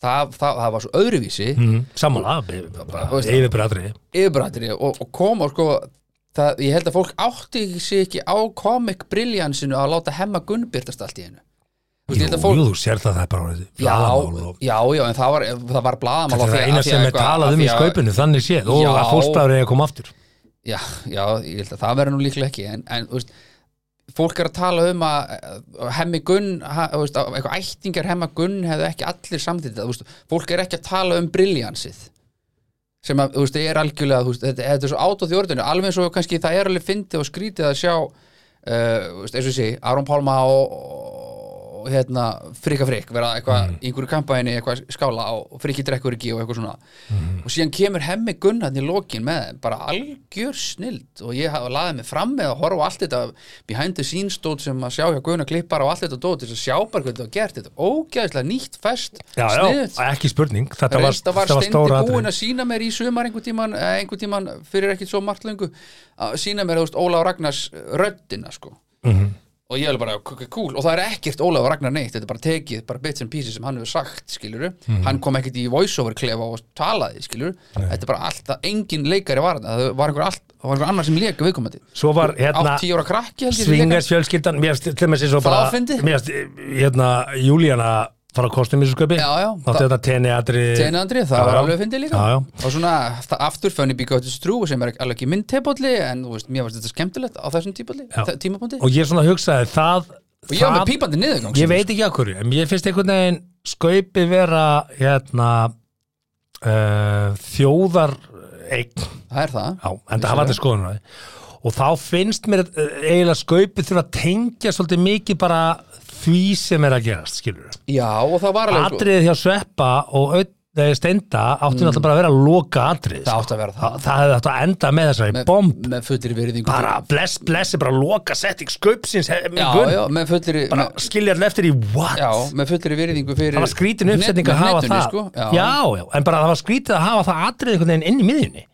Speaker 2: það, það, það var svo öðruvísi mm.
Speaker 1: mm, sammála,
Speaker 2: Þú veist-
Speaker 1: yfir bræðri
Speaker 2: yfirbrættri og, og kom og sko það, ég held að fólk átti sig ekki á comic briljansinu að láta hemma gunnbyrtast allt í einu Þú veist,
Speaker 1: Jú,
Speaker 2: ég held að fólk
Speaker 1: jú, þú sér það það er bara
Speaker 2: Já,
Speaker 1: blaðamál og-
Speaker 2: já, já, en það var, það var blaðamál
Speaker 1: Þetta er
Speaker 2: af því-
Speaker 1: það
Speaker 2: af
Speaker 1: eina
Speaker 2: því
Speaker 1: sem
Speaker 2: að
Speaker 1: er
Speaker 2: eitthvað-
Speaker 1: talað
Speaker 2: af
Speaker 1: um
Speaker 2: því
Speaker 1: í
Speaker 2: að-
Speaker 1: skaupinu, þannig séð
Speaker 2: Já.
Speaker 1: og að fóstbræður er að koma aftur
Speaker 2: Já, já, ég held að það verður nú líklega ekki en, en þú veist, fólk er að tala um að eh, hemmi gunn ha, þú veist, að eitthvað ættingar hemma gunn hefðu ekki allir samþýtt veist, fólk er ekki að tala um briljansið sem að, þú veist, er algjörlega þú veist, þetta, þetta er svo át og þjórðinu, alveg eins og kannski það er alveg fyndið og skrítið að sjá uh, veist, eins og sé, Aron Pálma og, og hérna frika frik, vera
Speaker 1: Mhm.
Speaker 2: eitthvað, mm. einhverju kampæni eitthvað skála og friki drekkur ekki og eitthvað svona,
Speaker 1: Mhm.
Speaker 2: og síðan kemur hemmi Gunnarn í lokin með þeim, bara algjör snild og ég hafa laðið mig fram með að horfa á allt þetta behind the scenes dót sem að sjá hjá Gunnar klippar og allt þetta dót til þess að sjá bara hvernig það var gert þetta, er ógæðislega nýtt fest
Speaker 1: já,
Speaker 2: sniðugt.
Speaker 1: já, ekki spurning, þetta var,
Speaker 2: Reynda var
Speaker 1: þetta var
Speaker 2: steindi
Speaker 1: stóra atriði.
Speaker 2: búin að sína mér í sumar einhvern tíman, einhvern tíman fyrir ekkit svo margt lengu að sína mér, þú veist, Ólaf Ragnars röddina, sko
Speaker 1: Mhm.
Speaker 2: og ég er bara, ok, cool, og það er ekkert Ólaf Ragnar neitt, þetta er bara tekið, bara bits and pieces sem hann hefur sagt, skilur
Speaker 1: Mhm.
Speaker 2: hann kom ekkit í voiceover klefa og talaði, skilur þetta er bara allt, það engin leikari var þarna, það var einhver, allt, það var einhver annar sem leika viðkomandi,
Speaker 1: svo var hérna
Speaker 2: átt tíu ára krakki held ég sem lék hann.
Speaker 1: Svingars fjölskyldan, mér finnst til með sér svo
Speaker 2: Það
Speaker 1: bara
Speaker 2: var fyndið.
Speaker 1: mér finnst, hérna, Júlíana fara á kostum í þessu sköpi
Speaker 2: Já, já,
Speaker 1: Átti
Speaker 2: það-
Speaker 1: þetta tenni aðri
Speaker 2: Tjena Andri, það
Speaker 1: Já,
Speaker 2: var
Speaker 1: já.
Speaker 2: alveg fyndið líka
Speaker 1: Já, já.
Speaker 2: og svona það aftur Funny Because It's True sem er alveg ekki minn tepalli en þú veist, mér varst þetta skemmtilegt á þessum típalli,
Speaker 1: Já.
Speaker 2: þe- tímapunkti og,
Speaker 1: og ég svona hugsaði það
Speaker 2: ég var
Speaker 1: það-
Speaker 2: með pípandi niðurgang
Speaker 1: ég veit ekki af hverju, en ég finnst einhvern veginn skaupi vera hérna uh, þjóðar eign,
Speaker 2: það er það,
Speaker 1: já, en það hafa allir skoðun á því. og þá finnst mér eh, eiginlega skaupi þurfa að tengja svolítið mikið bara því sem er að gerast skilur við.
Speaker 2: já sko. og það var alveg
Speaker 1: Atriðið hjá Sveppa og Öd- eh, Steinda
Speaker 2: Mm.
Speaker 1: áttu náttúrulega bara að vera að loka atrið
Speaker 2: Það átti að vera það.
Speaker 1: það hefði átt að enda með þessari
Speaker 2: með,
Speaker 1: bomb
Speaker 2: með fullir virðingu
Speaker 1: bara bless bless er bara að loka setting skaupsins hef-
Speaker 2: já,
Speaker 1: Gunn,
Speaker 2: já, með fullir
Speaker 1: bara
Speaker 2: með,
Speaker 1: skilja allir eftir í what
Speaker 2: já, með fullir virðingu fyrir
Speaker 1: það var skrítin uppsetning
Speaker 2: net-
Speaker 1: að hafa
Speaker 2: netinu,
Speaker 1: það
Speaker 2: sko,
Speaker 1: já.
Speaker 2: já,
Speaker 1: já, en bara það var skrítið að hafa það atrið einhvern veginn inn í miðjunni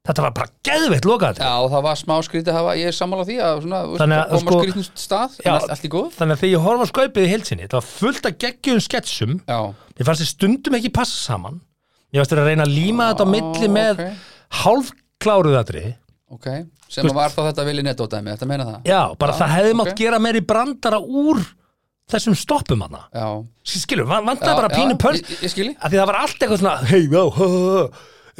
Speaker 1: Þetta var bara geðveitt lokað
Speaker 2: Já, það var smá skrítið að hafa, ég er sammála því að svona,
Speaker 1: Þannig
Speaker 2: Þannig
Speaker 1: að,
Speaker 2: að koma
Speaker 1: sko-
Speaker 2: sko, skrítið stað,
Speaker 1: Já.
Speaker 2: en allt, allt í góð
Speaker 1: Þannig að þegar ég horfa á skaupið í heilsinni Þetta var fullt að geggjum sketsum
Speaker 2: Já,
Speaker 1: Ég fannst þið stundum ekki passa saman Ég varst þér að reyna að líma þetta á milli
Speaker 2: Ó,
Speaker 1: með
Speaker 2: ókei.
Speaker 1: hálfkláruð atri
Speaker 2: ok, sem að var þá þetta vilja nettódæmi, þetta meina það
Speaker 1: Já, bara það hefði mátt
Speaker 2: ókei.
Speaker 1: gera meiri brandara úr þessum stoppum hana
Speaker 2: Já,
Speaker 1: Skilur, vantaði
Speaker 2: já,
Speaker 1: bara pínu
Speaker 2: já,
Speaker 1: pöls
Speaker 2: ég, ég skili
Speaker 1: að því það var allt eitthvað svona hei, já, hö, hö, hö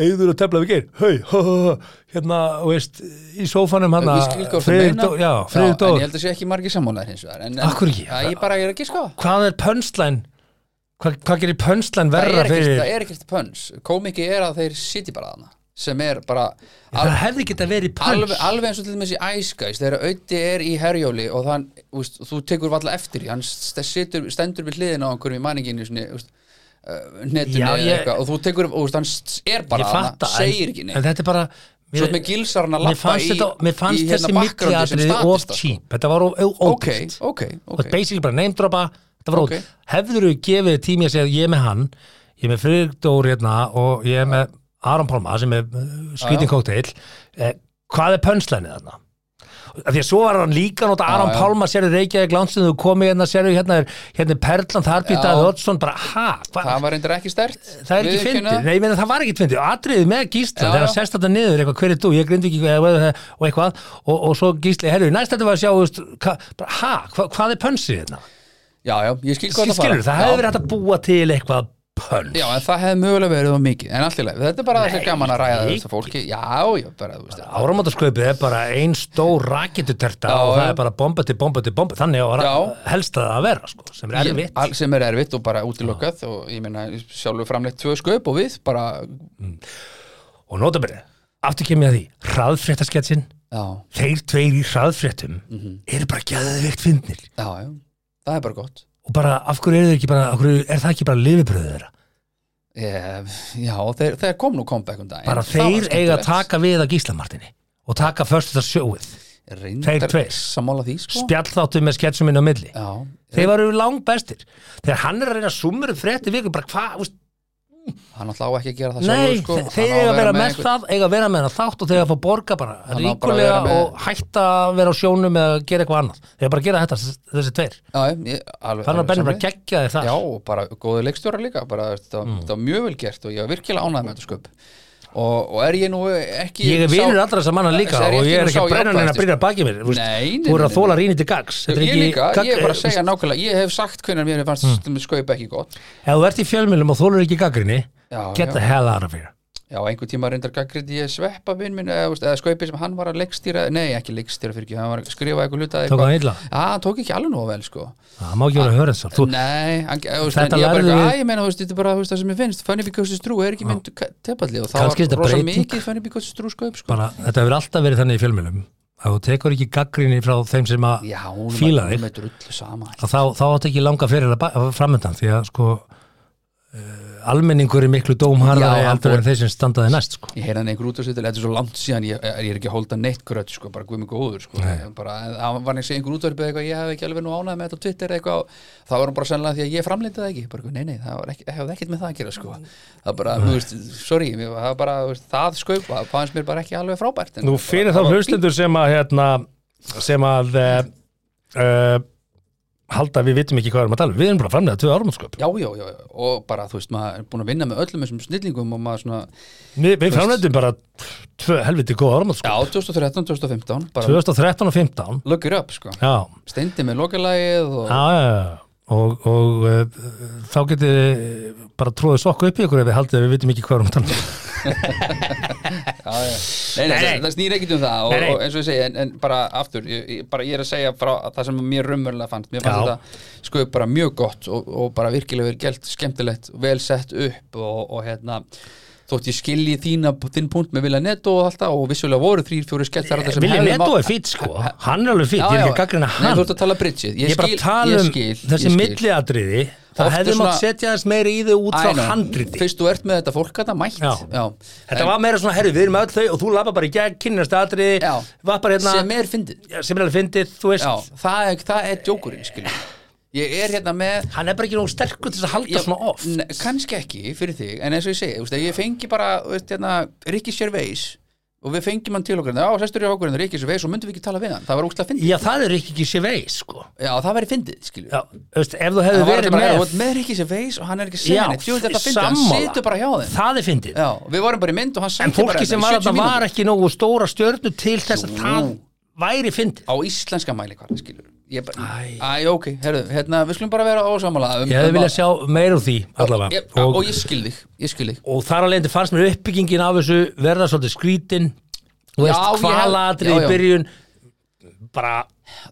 Speaker 1: Eður að tefla við geir, hei, hö, hö, hö hérna, þú veist, í sófanum hana
Speaker 2: Ég skil hvað
Speaker 1: Hérna,
Speaker 2: þú
Speaker 1: Friðrik
Speaker 2: meina.
Speaker 1: Dó- já,
Speaker 2: en
Speaker 1: Friðrik
Speaker 2: ég
Speaker 1: Dór
Speaker 2: held að sé ekki margir sammálaðir hins vegar en, en,
Speaker 1: Af hverju ekki?
Speaker 2: Já, ég bara ég er ekki sko
Speaker 1: Hvað er pönslæn? Hvað, hvað gerir pönslæn
Speaker 2: það
Speaker 1: verra
Speaker 2: er ekkert,
Speaker 1: fyrir
Speaker 2: það er ekkert pöns komiki er að þeir sitji bara þarna sem er bara al,
Speaker 1: Það hefði geta verið pöns
Speaker 2: alveg, alveg eins og til dæmis í Ice Guys þegar Ötti er í herjóli og þann, úst, þú tekur valla eftir í, hann st- situr, stendur við hliðin á einhverjum í manninginu sinni, úst, uh, netinu
Speaker 1: Já,
Speaker 2: eða
Speaker 1: ég-
Speaker 2: eitthvað og þú tekur, úst, hann s- er bara
Speaker 1: Ég
Speaker 2: þarna,
Speaker 1: fatta,
Speaker 2: segir ekki
Speaker 1: en,
Speaker 2: neitt
Speaker 1: en þetta er bara
Speaker 2: Svo með gilsarna
Speaker 1: Mér
Speaker 2: lappa
Speaker 1: fannst,
Speaker 2: í,
Speaker 1: þetta, mér fannst
Speaker 2: í
Speaker 1: þessi
Speaker 2: backgroundi sem
Speaker 1: mikliatriði of
Speaker 2: statista, sko.
Speaker 1: cheap Þetta var of
Speaker 2: Ok,
Speaker 1: ódýrt
Speaker 2: ok,
Speaker 1: og
Speaker 2: ok
Speaker 1: basically bara name dropa þetta var
Speaker 2: Ok.
Speaker 1: okay. ótt hefður þú gefið tími að segja ég er með hann ég er með Friðrik Dór hérna og ég er með Aron Pálma sem er
Speaker 2: Já,
Speaker 1: skýting kókteil eh, hvað er pönslænið þarna? Af því að svo var hann líka að nota Aron
Speaker 2: já.
Speaker 1: Pálma sérðu Reykjavík Lánsson þú komið hérna sérðu hérna er hérna er Perlan þar
Speaker 2: Já.
Speaker 1: býtaði Oddsson bara ha hva,
Speaker 2: Það var reyndar ekki stert
Speaker 1: það er ekki fyndið, nei, ég meina það var ekki fyndið atriðið með Gísla,
Speaker 2: Já,
Speaker 1: þegar hann
Speaker 2: já.
Speaker 1: sest þetta niður eitthvað, hver er þú, ég grind ekki og eitthvað, og, og svo Gísli, herru, næst þetta var að sjá, þú veist, hva, bara, ha, hva, hvað er pönsið hérna?
Speaker 2: Já, já, ég skil hvað Sko, það
Speaker 1: skilur, það hefði verið hægt að búa til eitthvað pönn
Speaker 2: Já, en það hefði mögulega verið það mikið En allt í leið, þetta er bara þess að gaman að ræða
Speaker 1: ekki.
Speaker 2: þessu fólki Já, já, bara, þú veist
Speaker 1: áramótasköpið er bara ein stór rakituterta
Speaker 2: Já,
Speaker 1: og það
Speaker 2: já.
Speaker 1: er bara bomba til bomba til bomba þannig á
Speaker 2: Já.
Speaker 1: helst að það að vera sko, sem er
Speaker 2: Ég-
Speaker 1: erfitt
Speaker 2: all- Sem er erfitt og bara útilokkað Og ég meina, sjálfur framleitt tvö sköp og við Bara,
Speaker 1: og notabæri, aftur kem ég að því hraðfréttasketsin,
Speaker 2: já,
Speaker 1: þeir tveir í hraðfréttum
Speaker 2: Mhm.
Speaker 1: eru bara gæðveikt fyndnir
Speaker 2: já, já Það er bara gott
Speaker 1: og bara af hverju er, þeir ekki bara, af hverju, er það ekki bara lifibröðu þeirra
Speaker 2: ég, Já, þeir, þeir kom nú comeback um daginn
Speaker 1: bara
Speaker 2: Það var
Speaker 1: þeir eiga að
Speaker 2: skemmtilegt.
Speaker 1: taka við að Gíslamartinni og taka förstu það sjóið
Speaker 2: Reyndar
Speaker 1: þeir tveir.
Speaker 2: Sammála því, sko
Speaker 1: spjallþáttu með sketsuminn á milli
Speaker 2: Já,
Speaker 1: þeir varu lang bestir þegar hann er að reyna að sumur um frétti viku bara hvað, þú veist,
Speaker 2: hann alltaf á ekki að gera það
Speaker 1: nei,
Speaker 2: sjálfur, sko
Speaker 1: þe-
Speaker 2: Hann
Speaker 1: þeir
Speaker 2: á
Speaker 1: eiga að vera
Speaker 2: með
Speaker 1: með
Speaker 2: einhvern-
Speaker 1: það eiga að vera með það þátt og þeir eiga að fá borga bara
Speaker 2: Hann á bara að
Speaker 1: ríkulega
Speaker 2: vera með-
Speaker 1: og hætta að vera á sjónum eða gera eitthvað annað, þeir eiga bara að gera þetta þessi- þessi tveir,
Speaker 2: Já, ég,
Speaker 1: þannig
Speaker 2: alveg, alveg
Speaker 1: að Benni
Speaker 2: sammála
Speaker 1: bara
Speaker 2: því.
Speaker 1: geggja þeir það
Speaker 2: Já, og bara góðu leikstjóra líka bara, það, mm. það var mjög vel gert og ég var virkilega ánægð með þetta sköp og, og er ég nú ekki
Speaker 1: ég er
Speaker 2: sá-
Speaker 1: vinur allra sem manna líka
Speaker 2: Þessi
Speaker 1: og ég
Speaker 2: nú
Speaker 1: er ekki
Speaker 2: sá
Speaker 1: að brenna neina
Speaker 2: jákvæðasti,
Speaker 1: að byrja baki mér þú veist,
Speaker 2: Nei, nei,
Speaker 1: þú er
Speaker 2: nei,
Speaker 1: að þóla rýni til gags
Speaker 2: sko.
Speaker 1: Þetta er
Speaker 2: Ég
Speaker 1: ekki
Speaker 2: líka, ég er bara að
Speaker 1: gag-
Speaker 2: segja nákvæmlega ég hef sagt hvernig mér fannst mm. sköp ekki gott
Speaker 1: ef þú ert í fjölmjölum og þólar ekki gaggrinni
Speaker 2: Já,
Speaker 1: get
Speaker 2: já.
Speaker 1: the hell out of here
Speaker 2: Já, einhver tíma reyndar gaggrið ég sveppa vinn minn eða, þú veist, eða sköpi sem hann var að leikstýra nei, ekki leikstýra fyrir ekki, hann var að skrifa eitthvað hluta
Speaker 1: Tók hann illa?
Speaker 2: Já, hann tók ekki alveg nú vel sko
Speaker 1: það má ekki vera að höra þess þú
Speaker 2: Nei, hann, eða, þú veist,
Speaker 1: Þetta
Speaker 2: en ég bara
Speaker 1: lærðu
Speaker 2: eitthvað,
Speaker 1: við-
Speaker 2: að ég meina, þú veist, þetta er bara þú veist, það sem ég finnst, Funny Because It's True er ekki mynd tepalli og það
Speaker 1: Kannski er
Speaker 2: var
Speaker 1: þetta
Speaker 2: rosa
Speaker 1: breyting.
Speaker 2: mikið Funny Because It's True sköp, sko.
Speaker 1: bara, þetta hefur alltaf verið þannig í fjölmjölum að þú tekur ekki gaggrinni frá þeim sem að
Speaker 2: Já, hún er
Speaker 1: fíla
Speaker 2: bara-
Speaker 1: þig
Speaker 2: hún er drullu sama.
Speaker 1: að þá, þá átt ekki langa fyrir að framöndan því að sko uh, almenningur er miklu dómharðari
Speaker 2: Já, hann
Speaker 1: aldrei
Speaker 2: fór-
Speaker 1: en þeir sem standaði næst sko.
Speaker 2: Ég heyrði hann einhver út af þetta er svo langt síðan, ég, ég er ekki að holda neitt gröð, sko, bara guð mig góður, sko. Bara, en það var neitt einhver út af eitthvað, ég hef ekki alveg nú ánægð með þetta á Twitter eitthvað, þá var hann bara sennilega því að ég framleitaði það ekki, bara, eitthvað, nei, nei, það var ekki, hefði ekkert með það að gera, sko. Það bara, þú veist, sorry, mér, það var bara, þú veist, það skaupa, fannst mér bara ekki alveg frábært. en
Speaker 1: Nú
Speaker 2: bara-
Speaker 1: fyrir þá
Speaker 2: það var fínt.
Speaker 1: hlustendur sem að hérna, sem að uh, uh, halda að við vitum ekki hvað við erum að tala um. við erum bara framlega tvö árumótsköp
Speaker 2: Já, já, já, já, og bara, þú veist, maður er búin að vinna með öllum þessum snillingum og maður svona,
Speaker 1: við, við framlegum bara tvö helviti góð
Speaker 2: já,
Speaker 1: árumótsköp
Speaker 2: 2013, 2015, bara
Speaker 1: 2013 og 15
Speaker 2: look it up, sko.
Speaker 1: já,
Speaker 2: Steindi með lokalagið og,
Speaker 1: já, já, já. og, og uh, þá getið þið bara tróðið sokku upp í ykkur ef við haldið að við vitum ekki hvað við erum að tala um.
Speaker 2: já, já,
Speaker 1: Nei,
Speaker 2: nei, nei,
Speaker 1: nei.
Speaker 2: það- það snýr ekkit um það og,
Speaker 1: Nei, nei.
Speaker 2: og eins og ég segi, en, en bara aftur, ég, ég, bara ég er að segja frá það sem mér raunverulega fannst, mér
Speaker 1: Já.
Speaker 2: fannst þetta sko bara mjög gott og, og bara virkilega verið gælt skemmtilegt, vel sett upp og, og hérna, þótt ég skilji þína, þinn punkt með Vilja Netto og alltaf og vissulega voru þrír, fjóri skelltar þarna sem
Speaker 1: Vilja
Speaker 2: hefðu
Speaker 1: Netto
Speaker 2: mátt-
Speaker 1: er fýtt sko, hann er alveg fýtt, ég er ekki að gaggrina
Speaker 2: Nei,
Speaker 1: hann
Speaker 2: þú ert að tala Bridget Ég,
Speaker 1: Ég er bara
Speaker 2: skil,
Speaker 1: að tala
Speaker 2: ég
Speaker 1: um
Speaker 2: skil,
Speaker 1: þessi
Speaker 2: ég skil.
Speaker 1: milliatriði Það
Speaker 2: Oft er
Speaker 1: hefði mátt
Speaker 2: svona-
Speaker 1: setja þess meiri í þau út
Speaker 2: I
Speaker 1: frá
Speaker 2: know.
Speaker 1: handriti
Speaker 2: Fyrst þú ert með þetta fólk að það mætt
Speaker 1: Já. Þetta var meira svona, herri, við erum öll þau og þú lappa bara í gegn, kynnast atriði
Speaker 2: Já.
Speaker 1: Vappar hérna,
Speaker 2: sem er fyndið
Speaker 1: Já, sem er alveg fyndið, þú veist
Speaker 2: Já, það er, það er djókurinn skil Ég er hérna með
Speaker 1: Hann er bara ekki nóg sterkur til þess að halda
Speaker 2: ég-
Speaker 1: svona off
Speaker 2: ne- Kannski ekki fyrir þig En eins og ég segi, þú veist, ef ég fengi bara þú veist, hérna, Ricky Gervais og við fengjum hann til okkar já, sestur í okkur hérna, en það er ekki svo veið, svo myndum við ekki tala við hann það var ógstlega fyndið,
Speaker 1: Já, það er ekki ekki sé vei, sko
Speaker 2: já það væri fyndið skilju,
Speaker 1: Já, veist, ef þú hefði
Speaker 2: það var
Speaker 1: verið
Speaker 2: alltaf bara,
Speaker 1: með
Speaker 2: með, með Rikki sem veis og hann er ekki að segja
Speaker 1: Já,
Speaker 2: neitt, jú þetta fyndið, hann
Speaker 1: sammála.
Speaker 2: situr bara hjá þeim
Speaker 1: Það er fyndið
Speaker 2: já, við vorum bara í mynd og hann
Speaker 1: En
Speaker 2: sækir bara
Speaker 1: fólki sem var að það var ekki nógu stóra stjörnu til þess að
Speaker 2: Jú.
Speaker 1: það væri fyndið
Speaker 2: á íslenska mæli hvað skilur ég bara,
Speaker 1: Æ.
Speaker 2: æ, ok, herðu, hérna, við skulum bara vera ósamála um,
Speaker 1: Ég hefði
Speaker 2: um
Speaker 1: viljað
Speaker 2: að-
Speaker 1: sjá meir úr því allavega
Speaker 2: ég, og, ég skil þig, ég skil þig
Speaker 1: og þar alveg fannst mér uppbyggingin af þessu verða svolítið skrítin þú
Speaker 2: Já,
Speaker 1: veist,
Speaker 2: ég hef-
Speaker 1: hvalaðri
Speaker 2: já,
Speaker 1: í
Speaker 2: já.
Speaker 1: byrjun bara,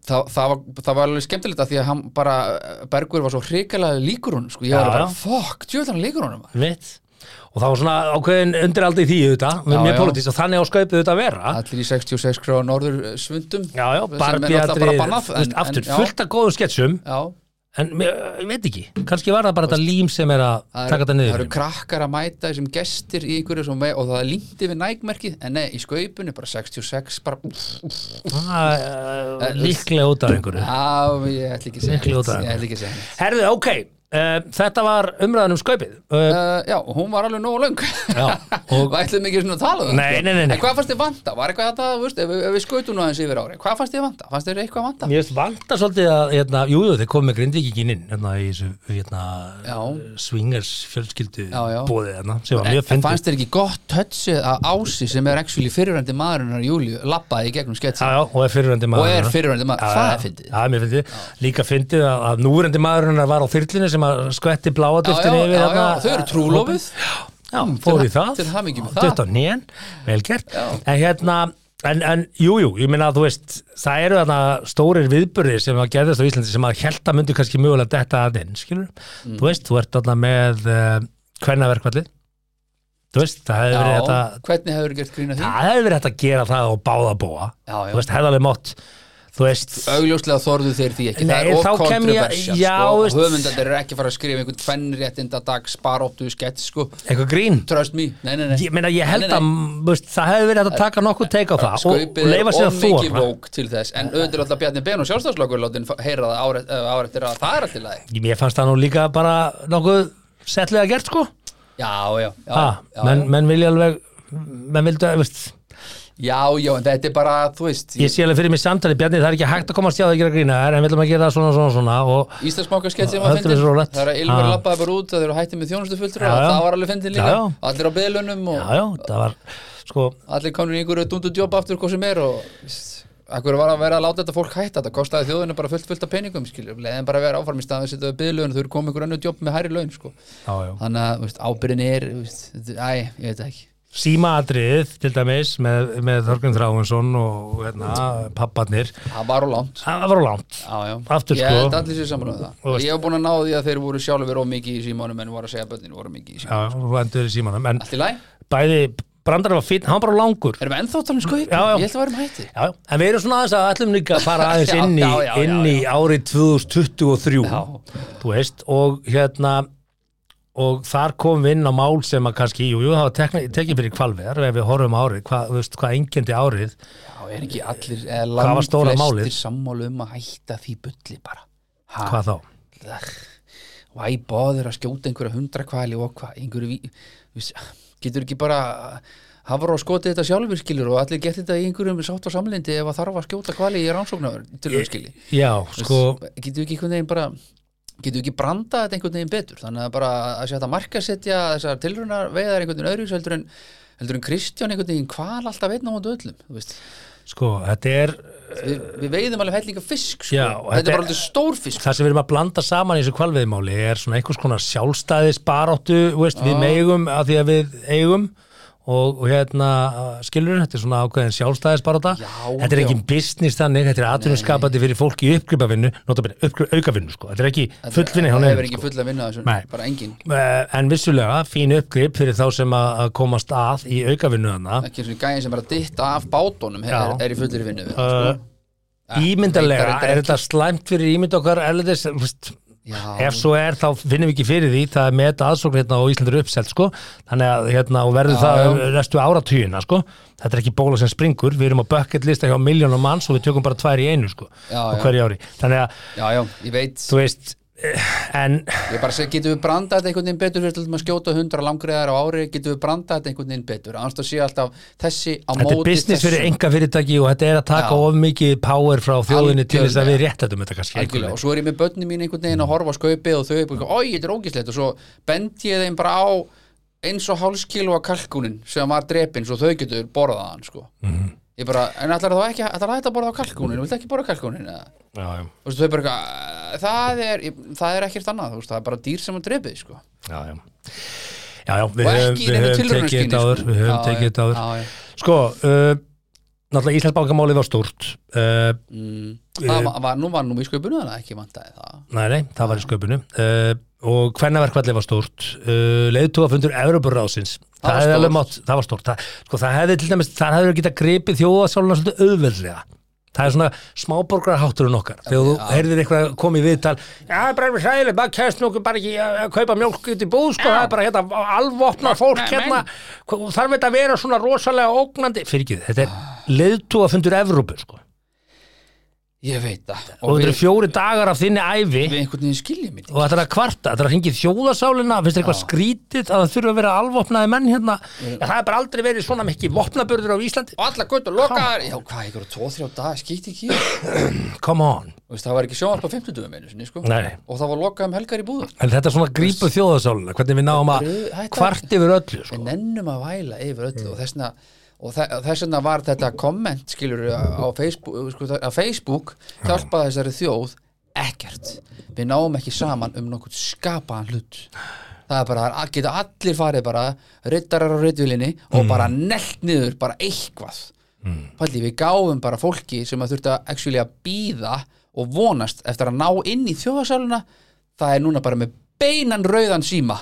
Speaker 2: Þa, það, var, það var alveg skemmtilegt að því að hann bara eh, Bergur var svo hrikalega líkur honum sko. ég
Speaker 1: Já,
Speaker 2: var bara,
Speaker 1: já.
Speaker 2: fuck, djöðan hann líkur honum
Speaker 1: mitt og það var svona ákveðin undiraldi í því auðvitað,
Speaker 2: Já,
Speaker 1: með mér
Speaker 2: já.
Speaker 1: politist og þannig á skaupið auðvitað að vera
Speaker 2: allir í 66 gráða norður eh, svundum
Speaker 1: já, já,
Speaker 2: sem er náttúrulega
Speaker 1: barbiatri,
Speaker 2: bara bannað, en- en-
Speaker 1: aftur
Speaker 2: já,
Speaker 1: fullt af góðum sketsum
Speaker 2: já,
Speaker 1: en mér- ég veit ekki, kannski var það bara þetta lím sem er að
Speaker 2: það,
Speaker 1: taka
Speaker 2: eru,
Speaker 1: þetta
Speaker 2: það
Speaker 1: niður
Speaker 2: eru krakkar að mæta þessum gestir í einhverju sem, og það er líntið við nægmerkið en nei, í skaupunni bara 66 bara, úff, úff, úff.
Speaker 1: Það, eh, líklega út af einhverju
Speaker 2: já, ég ætla ekki að segja
Speaker 1: Miklu
Speaker 2: neitt,
Speaker 1: ódæðan.
Speaker 2: ég ætla ekki að segja neitt.
Speaker 1: herðu, ok, uh, þetta var umræðan um skaupið uh,
Speaker 2: Uh, já, og hún var alveg nógu löng
Speaker 1: Já, og-
Speaker 2: og ætlum ekki svona að tala um það,
Speaker 1: Nei,
Speaker 2: sko.
Speaker 1: nei, nei, nei.
Speaker 2: En hvað fannst þið vanta? Var eitthvað þetta, þú veist, ef, við- ef við skautum nú aðeins yfir ári Hvað fannst þið vanta? Fannst þið eitthvað vanta?
Speaker 1: Mér finnst vanta svolítið að, hérna, jú, jú, þeir komið með grindvíkingin inn, hérna, í þessu, hérna,
Speaker 2: Já.
Speaker 1: swingers fjölskyldu
Speaker 2: Já, já.
Speaker 1: bóðið, hérna, sem var
Speaker 2: En,
Speaker 1: mjög
Speaker 2: en
Speaker 1: fyndið.
Speaker 2: fannst þið ekki gott tötsið að Ási sem er actually fyrirrandi maðurinnar Júlíu labbaði í gegnum
Speaker 1: Já,
Speaker 2: sketsin
Speaker 1: já, og er fyrirrendi
Speaker 2: og
Speaker 1: maður.
Speaker 2: er fyrirrandi maður, það er fyndið
Speaker 1: Já, mér fyndið. Líka fyndið að, að núrendi maðurinn var á þyrlinu sem að skvetti bláa
Speaker 2: Já, já,
Speaker 1: duftinu yfir,
Speaker 2: já, já,
Speaker 1: hérna,
Speaker 2: þau eru trúlofuð
Speaker 1: Já, Mm, fór í
Speaker 2: til-
Speaker 1: það.
Speaker 2: til hamingju með
Speaker 1: Dutt á
Speaker 2: það.
Speaker 1: nén, vel gert. En hérna, en, en jú, jú, ég meina að þú veist, það eru þarna stórir viðburðir sem að gerðast á Íslandi sem að held að myndi kannski mögulega detta að inn, skilur.
Speaker 2: Mm.
Speaker 1: Þú veist, þú ert þarna með uh, kvennaverkvallið. Þú veist, það hefði verið þetta,
Speaker 2: Já, hvernig hefur þið gert grína því?
Speaker 1: það hefði verið þetta að gera það og báða búa.
Speaker 2: Já, já.
Speaker 1: Þú veist, hefðarlega mótt, þú veist,
Speaker 2: Augljóslega þorðu þeir því ekki, það
Speaker 1: Nei,
Speaker 2: er of
Speaker 1: þá kem ég-
Speaker 2: kontroversial
Speaker 1: já,
Speaker 2: sko.
Speaker 1: veist-
Speaker 2: höfundandir eru ekki að fara að skrifa einhvern fennréttinda dag sparóttu skett sko.
Speaker 1: eitthvað grín.
Speaker 2: trust me, nei, nei, nei
Speaker 1: Ég meina, ég held
Speaker 2: Nei,
Speaker 1: að,
Speaker 2: nei,
Speaker 1: þú veist, það hefði verið hægt að taka nokkuð teik á það og, og
Speaker 2: skaupið er
Speaker 1: leifa sér
Speaker 2: of
Speaker 1: að
Speaker 2: mikið
Speaker 1: þóra.
Speaker 2: vók til þess en auðvitað er alltaf Bjarni Ben og sjálfstafslokkur látin heyra það árið ár eftir að það er alltaf lagi
Speaker 1: Ég- Mér fannst það nú líka bara nokkuð settlega gert sko
Speaker 2: já, já, já,
Speaker 1: ha,
Speaker 2: já,
Speaker 1: menn,
Speaker 2: já.
Speaker 1: menn vilja alveg menn vildu, að, veist,
Speaker 2: já, já, en þetta er bara, þú veist
Speaker 1: ég sé alveg fyrir mig samtali Bjarni, það er ekki hægt að komast hjá það að gera grína en við viljum að gera það svona, svona, svona og,
Speaker 2: Íslandsbanka skett sem
Speaker 1: Þetta
Speaker 2: var
Speaker 1: er
Speaker 2: fyndin
Speaker 1: svo rólegt.
Speaker 2: það er að Ylvar
Speaker 1: Ha.
Speaker 2: lappaði bara út það eru hætti með þjónustu fulltrú
Speaker 1: Já, já.
Speaker 2: það var alveg fyndin líka,
Speaker 1: Já, já.
Speaker 2: allir á beðlunum
Speaker 1: já,
Speaker 2: og
Speaker 1: já, það var sko,
Speaker 2: allir konur í einhverju dundu djópa aftur hvað sem er og akkur var að vera að láta þetta fólk hætta þetta kostaði þjóðinu bara fullt fullt af peningum skiljum, leiðin bara að vera áfram í staðan að setja byðlaun þau eru komið einhver önnu djópa með hærri laun sko.
Speaker 1: já, já
Speaker 2: þannig að þú veist, ábyrðin er þú veist, þetta- æ, ég veit það ekki
Speaker 1: símaadrið til dæmis með, með Þorgrinn Þráinsson og hérna, papparnir
Speaker 2: það var á langt
Speaker 1: það var á langt
Speaker 2: já, já.
Speaker 1: Aftur,
Speaker 2: ég
Speaker 1: sko.
Speaker 2: held allir sér saman um
Speaker 1: Þú
Speaker 2: það
Speaker 1: veist.
Speaker 2: ég hef búin að ná því að þeir voru sjálfur of mikið í símanum en voru að segja að börnin voru mikið í símanum
Speaker 1: já, og endur í símanum en
Speaker 2: allt í læg,
Speaker 1: bæði, Brandar var fín, hann var bara langur
Speaker 2: erum við ennþá talað um skoði
Speaker 1: Já, já.
Speaker 2: ég held að værum hætti
Speaker 1: Já, já, en við erum svona aðeins að ætlum líka að fara aðeins
Speaker 2: Já,
Speaker 1: inn í,
Speaker 2: já, já, já,
Speaker 1: inn í árið 2023
Speaker 2: Já.
Speaker 1: þú veist, og hérna og þar kom við inn á mál sem að kannski, jú, jú, það var tekna, tekið fyrir kvalveðar ef við horfum á árið, hvað, þú veist, hvað engendi árið
Speaker 2: já, er ekki allir, eh,
Speaker 1: Hvað var stóra málið?
Speaker 2: langflestir sammálu um að hætta því bulli bara ha,
Speaker 1: hvað þá?
Speaker 2: Why bother að skjóta einhverja hundra kvali og hvað, einhverju ví- viss- getur ekki bara hafa á skotið þetta sjálfur skilur og allir gett þetta í einhverjum sátt og samlindi ef að þarf að skjóta kvali í rannsóknar til þau skili
Speaker 1: Já, sko,
Speaker 2: getur ekki einhvern veginn bara getur ekki brandað þetta einhvern veginn betur þannig að bara að sé þetta markasetja þessar tilrunar veiðar einhvern veginn öðru heldur en, heldur en Kristján einhvern veginn kval alltaf veitna á móti öllum þú veist.
Speaker 1: sko, þetta er
Speaker 2: við, við veiðum alveg hellinga fisk sko.
Speaker 1: Já, og
Speaker 2: þetta,
Speaker 1: þetta
Speaker 2: er
Speaker 1: er-
Speaker 2: bara alveg stór fisk
Speaker 1: það sem við erum að blanda saman í þessu kvalveðmáli er svona einhvers konar sjálfstæðis baráttu, veist, við megum að því að við eigum og, og hérna skilur þetta er svona ákveðin sjálfstæðis barátta
Speaker 2: Já,
Speaker 1: þetta er
Speaker 2: já.
Speaker 1: engin business þannig, þetta er atvinnuskapandi fyrir fólk í uppgripavinnu, notabene aukavinnu sko, þetta er ekki fullvinni hjá
Speaker 2: það
Speaker 1: nefnum
Speaker 2: hefur ekki
Speaker 1: sko.
Speaker 2: full að vinna þessu
Speaker 1: Nei.
Speaker 2: bara engin
Speaker 1: Eh, en vissulega fín uppgrip fyrir þá sem að að komast að í aukavinnu þarna
Speaker 2: ekki eins og gæðin sem er að ditta af bátunum er,
Speaker 1: Já.
Speaker 2: er í fullri vinnu við það,
Speaker 1: uh,
Speaker 2: veit
Speaker 1: ímyndarlega,
Speaker 2: það Sko. Ah, reyndar
Speaker 1: er þetta slæmt fyrir ímynd okkar erlendis, þú veist,
Speaker 2: Já.
Speaker 1: ef svo er þá finnum við ekki fyrir því það er með aðsókn hérna og Íslandur uppselt sko. þannig að hérna og verður
Speaker 2: Já,
Speaker 1: það
Speaker 2: já.
Speaker 1: restu áratugina sko. þetta er ekki bóla sem springur, við erum á bucket lista hjá miljónum manns og við tökum bara tvær í einu sko, á
Speaker 2: Já, já.
Speaker 1: hverju ári þannig að
Speaker 2: já, já, ég veit
Speaker 1: þú veist eh, en
Speaker 2: Ég bara segi, getum við brandað þetta einhvern veginn betur við ætlum að skjóta 100 langriðar á ári getum við brandað þetta einhvern veginn betur annars það sé alltaf þessi á
Speaker 1: þetta er
Speaker 2: móti
Speaker 1: business fyrir
Speaker 2: þessu.
Speaker 1: enga fyrirtæki og þetta er að taka
Speaker 2: Já.
Speaker 1: of mikið power frá þjóðinni til þess að
Speaker 2: Algjörlega.
Speaker 1: við réttatum þetta kannski einhver
Speaker 2: Algjörlega,
Speaker 1: leið.
Speaker 2: og svo er ég með börnum mín einhvern veginn að horfa á skaupið og þau er bara, oi, þetta er ógislegt og svo bend ég þeim bara á eins og hálfs kíló af kalkunin sem var drepin svo þau getur borðað hann sko.
Speaker 1: Mhm.
Speaker 2: ég bara, en ætlar það ekki ætlar þetta að borða á kalkunin, vilt ekki borða kalkunin eða?
Speaker 1: Já, já,
Speaker 2: Þú veist, þau bara, eitthvað, það er það er ekkert annað, þú veist, það er bara dýr sem að drepið sko.
Speaker 1: já, já. Já, já, við
Speaker 2: Og ekki
Speaker 1: höfum,
Speaker 2: í
Speaker 1: við
Speaker 2: neinu
Speaker 1: höfum tekið
Speaker 2: tilraunaskyni,
Speaker 1: þetta áður,
Speaker 2: sko.
Speaker 1: við höfum
Speaker 2: Já,
Speaker 1: tekið
Speaker 2: já,
Speaker 1: þetta áður.
Speaker 2: já, já.
Speaker 1: Sko, uh, náttúrulega Íslandsbankamálið var stórt, uh,
Speaker 2: Það var- var, nú var nú í sköpunum þannig að ekki vantaði það
Speaker 1: nei, nei, það var í sköpunum, uh, og hvennaverkvallið var stórt, uh, leiðtúafundur Evroparáðsins, það
Speaker 2: Það var
Speaker 1: hefði
Speaker 2: stórt.
Speaker 1: alveg mátt, það var stórt, það, sko, það hefði til dæmis, það hefði getað gripið þjóðasáluna svolítið auðveldlega. Það er svona smáborgarhátturinn okkar þegar þú heyrðir eitthvað komið viðtal Já, það er bara einhver sæðileg, maður kæst nokkuð bara ekki að að kaupa mjólk út í búð sko, það er bara hérna alvopna fólk hérna Hvað- og þarf þetta að vera svona rosalega ógnandi fyrir ekki, þetta er
Speaker 2: Ah.
Speaker 1: leiðtúafundur Evrópu sko,
Speaker 2: Ég veit það
Speaker 1: og þetta eru fjóri dagar af þinni ævi
Speaker 2: við einhvern veginn skiljum þetta
Speaker 1: og þetta er að kvarta, þetta er að hringi þjóðasálina finnst þér eitthvað skrítið að það þurfa að vera alvopnaði menn hérna, ja, það er bara aldrei verið svona mikið vopnaburður á Íslandi
Speaker 2: og alla göttur lokaðar já hvað, ég voru 2-3 dag, skýtti ekki í það.
Speaker 1: come on,
Speaker 2: Þú veist, það var ekki sjónvarp á 50 dögum einu sinni sko.
Speaker 1: Nei.
Speaker 2: og það var lokað um helgar í búðum
Speaker 1: en þetta er svona grípu þjóðasálina hvernig við náum að
Speaker 2: Þetta er-
Speaker 1: kvart yfir öllu sko.
Speaker 2: við nennum að væla yfir öllu og þessna og þe- og þess vegna var þetta komment skilur á Facebook, sko, að Facebook hjálpa þessari þjóð ekkert, við náum ekki saman um nokkuð skapaðan hlut það er bara, að geta allir farið bara rittarar á rittvilinni og bara nellt niður bara eitthvað mm. Paldi, við gáfum bara fólki sem að þurfti að actually að býða og vonast eftir að ná inn í þjóðasáluna það er núna bara með beinan rauðan síma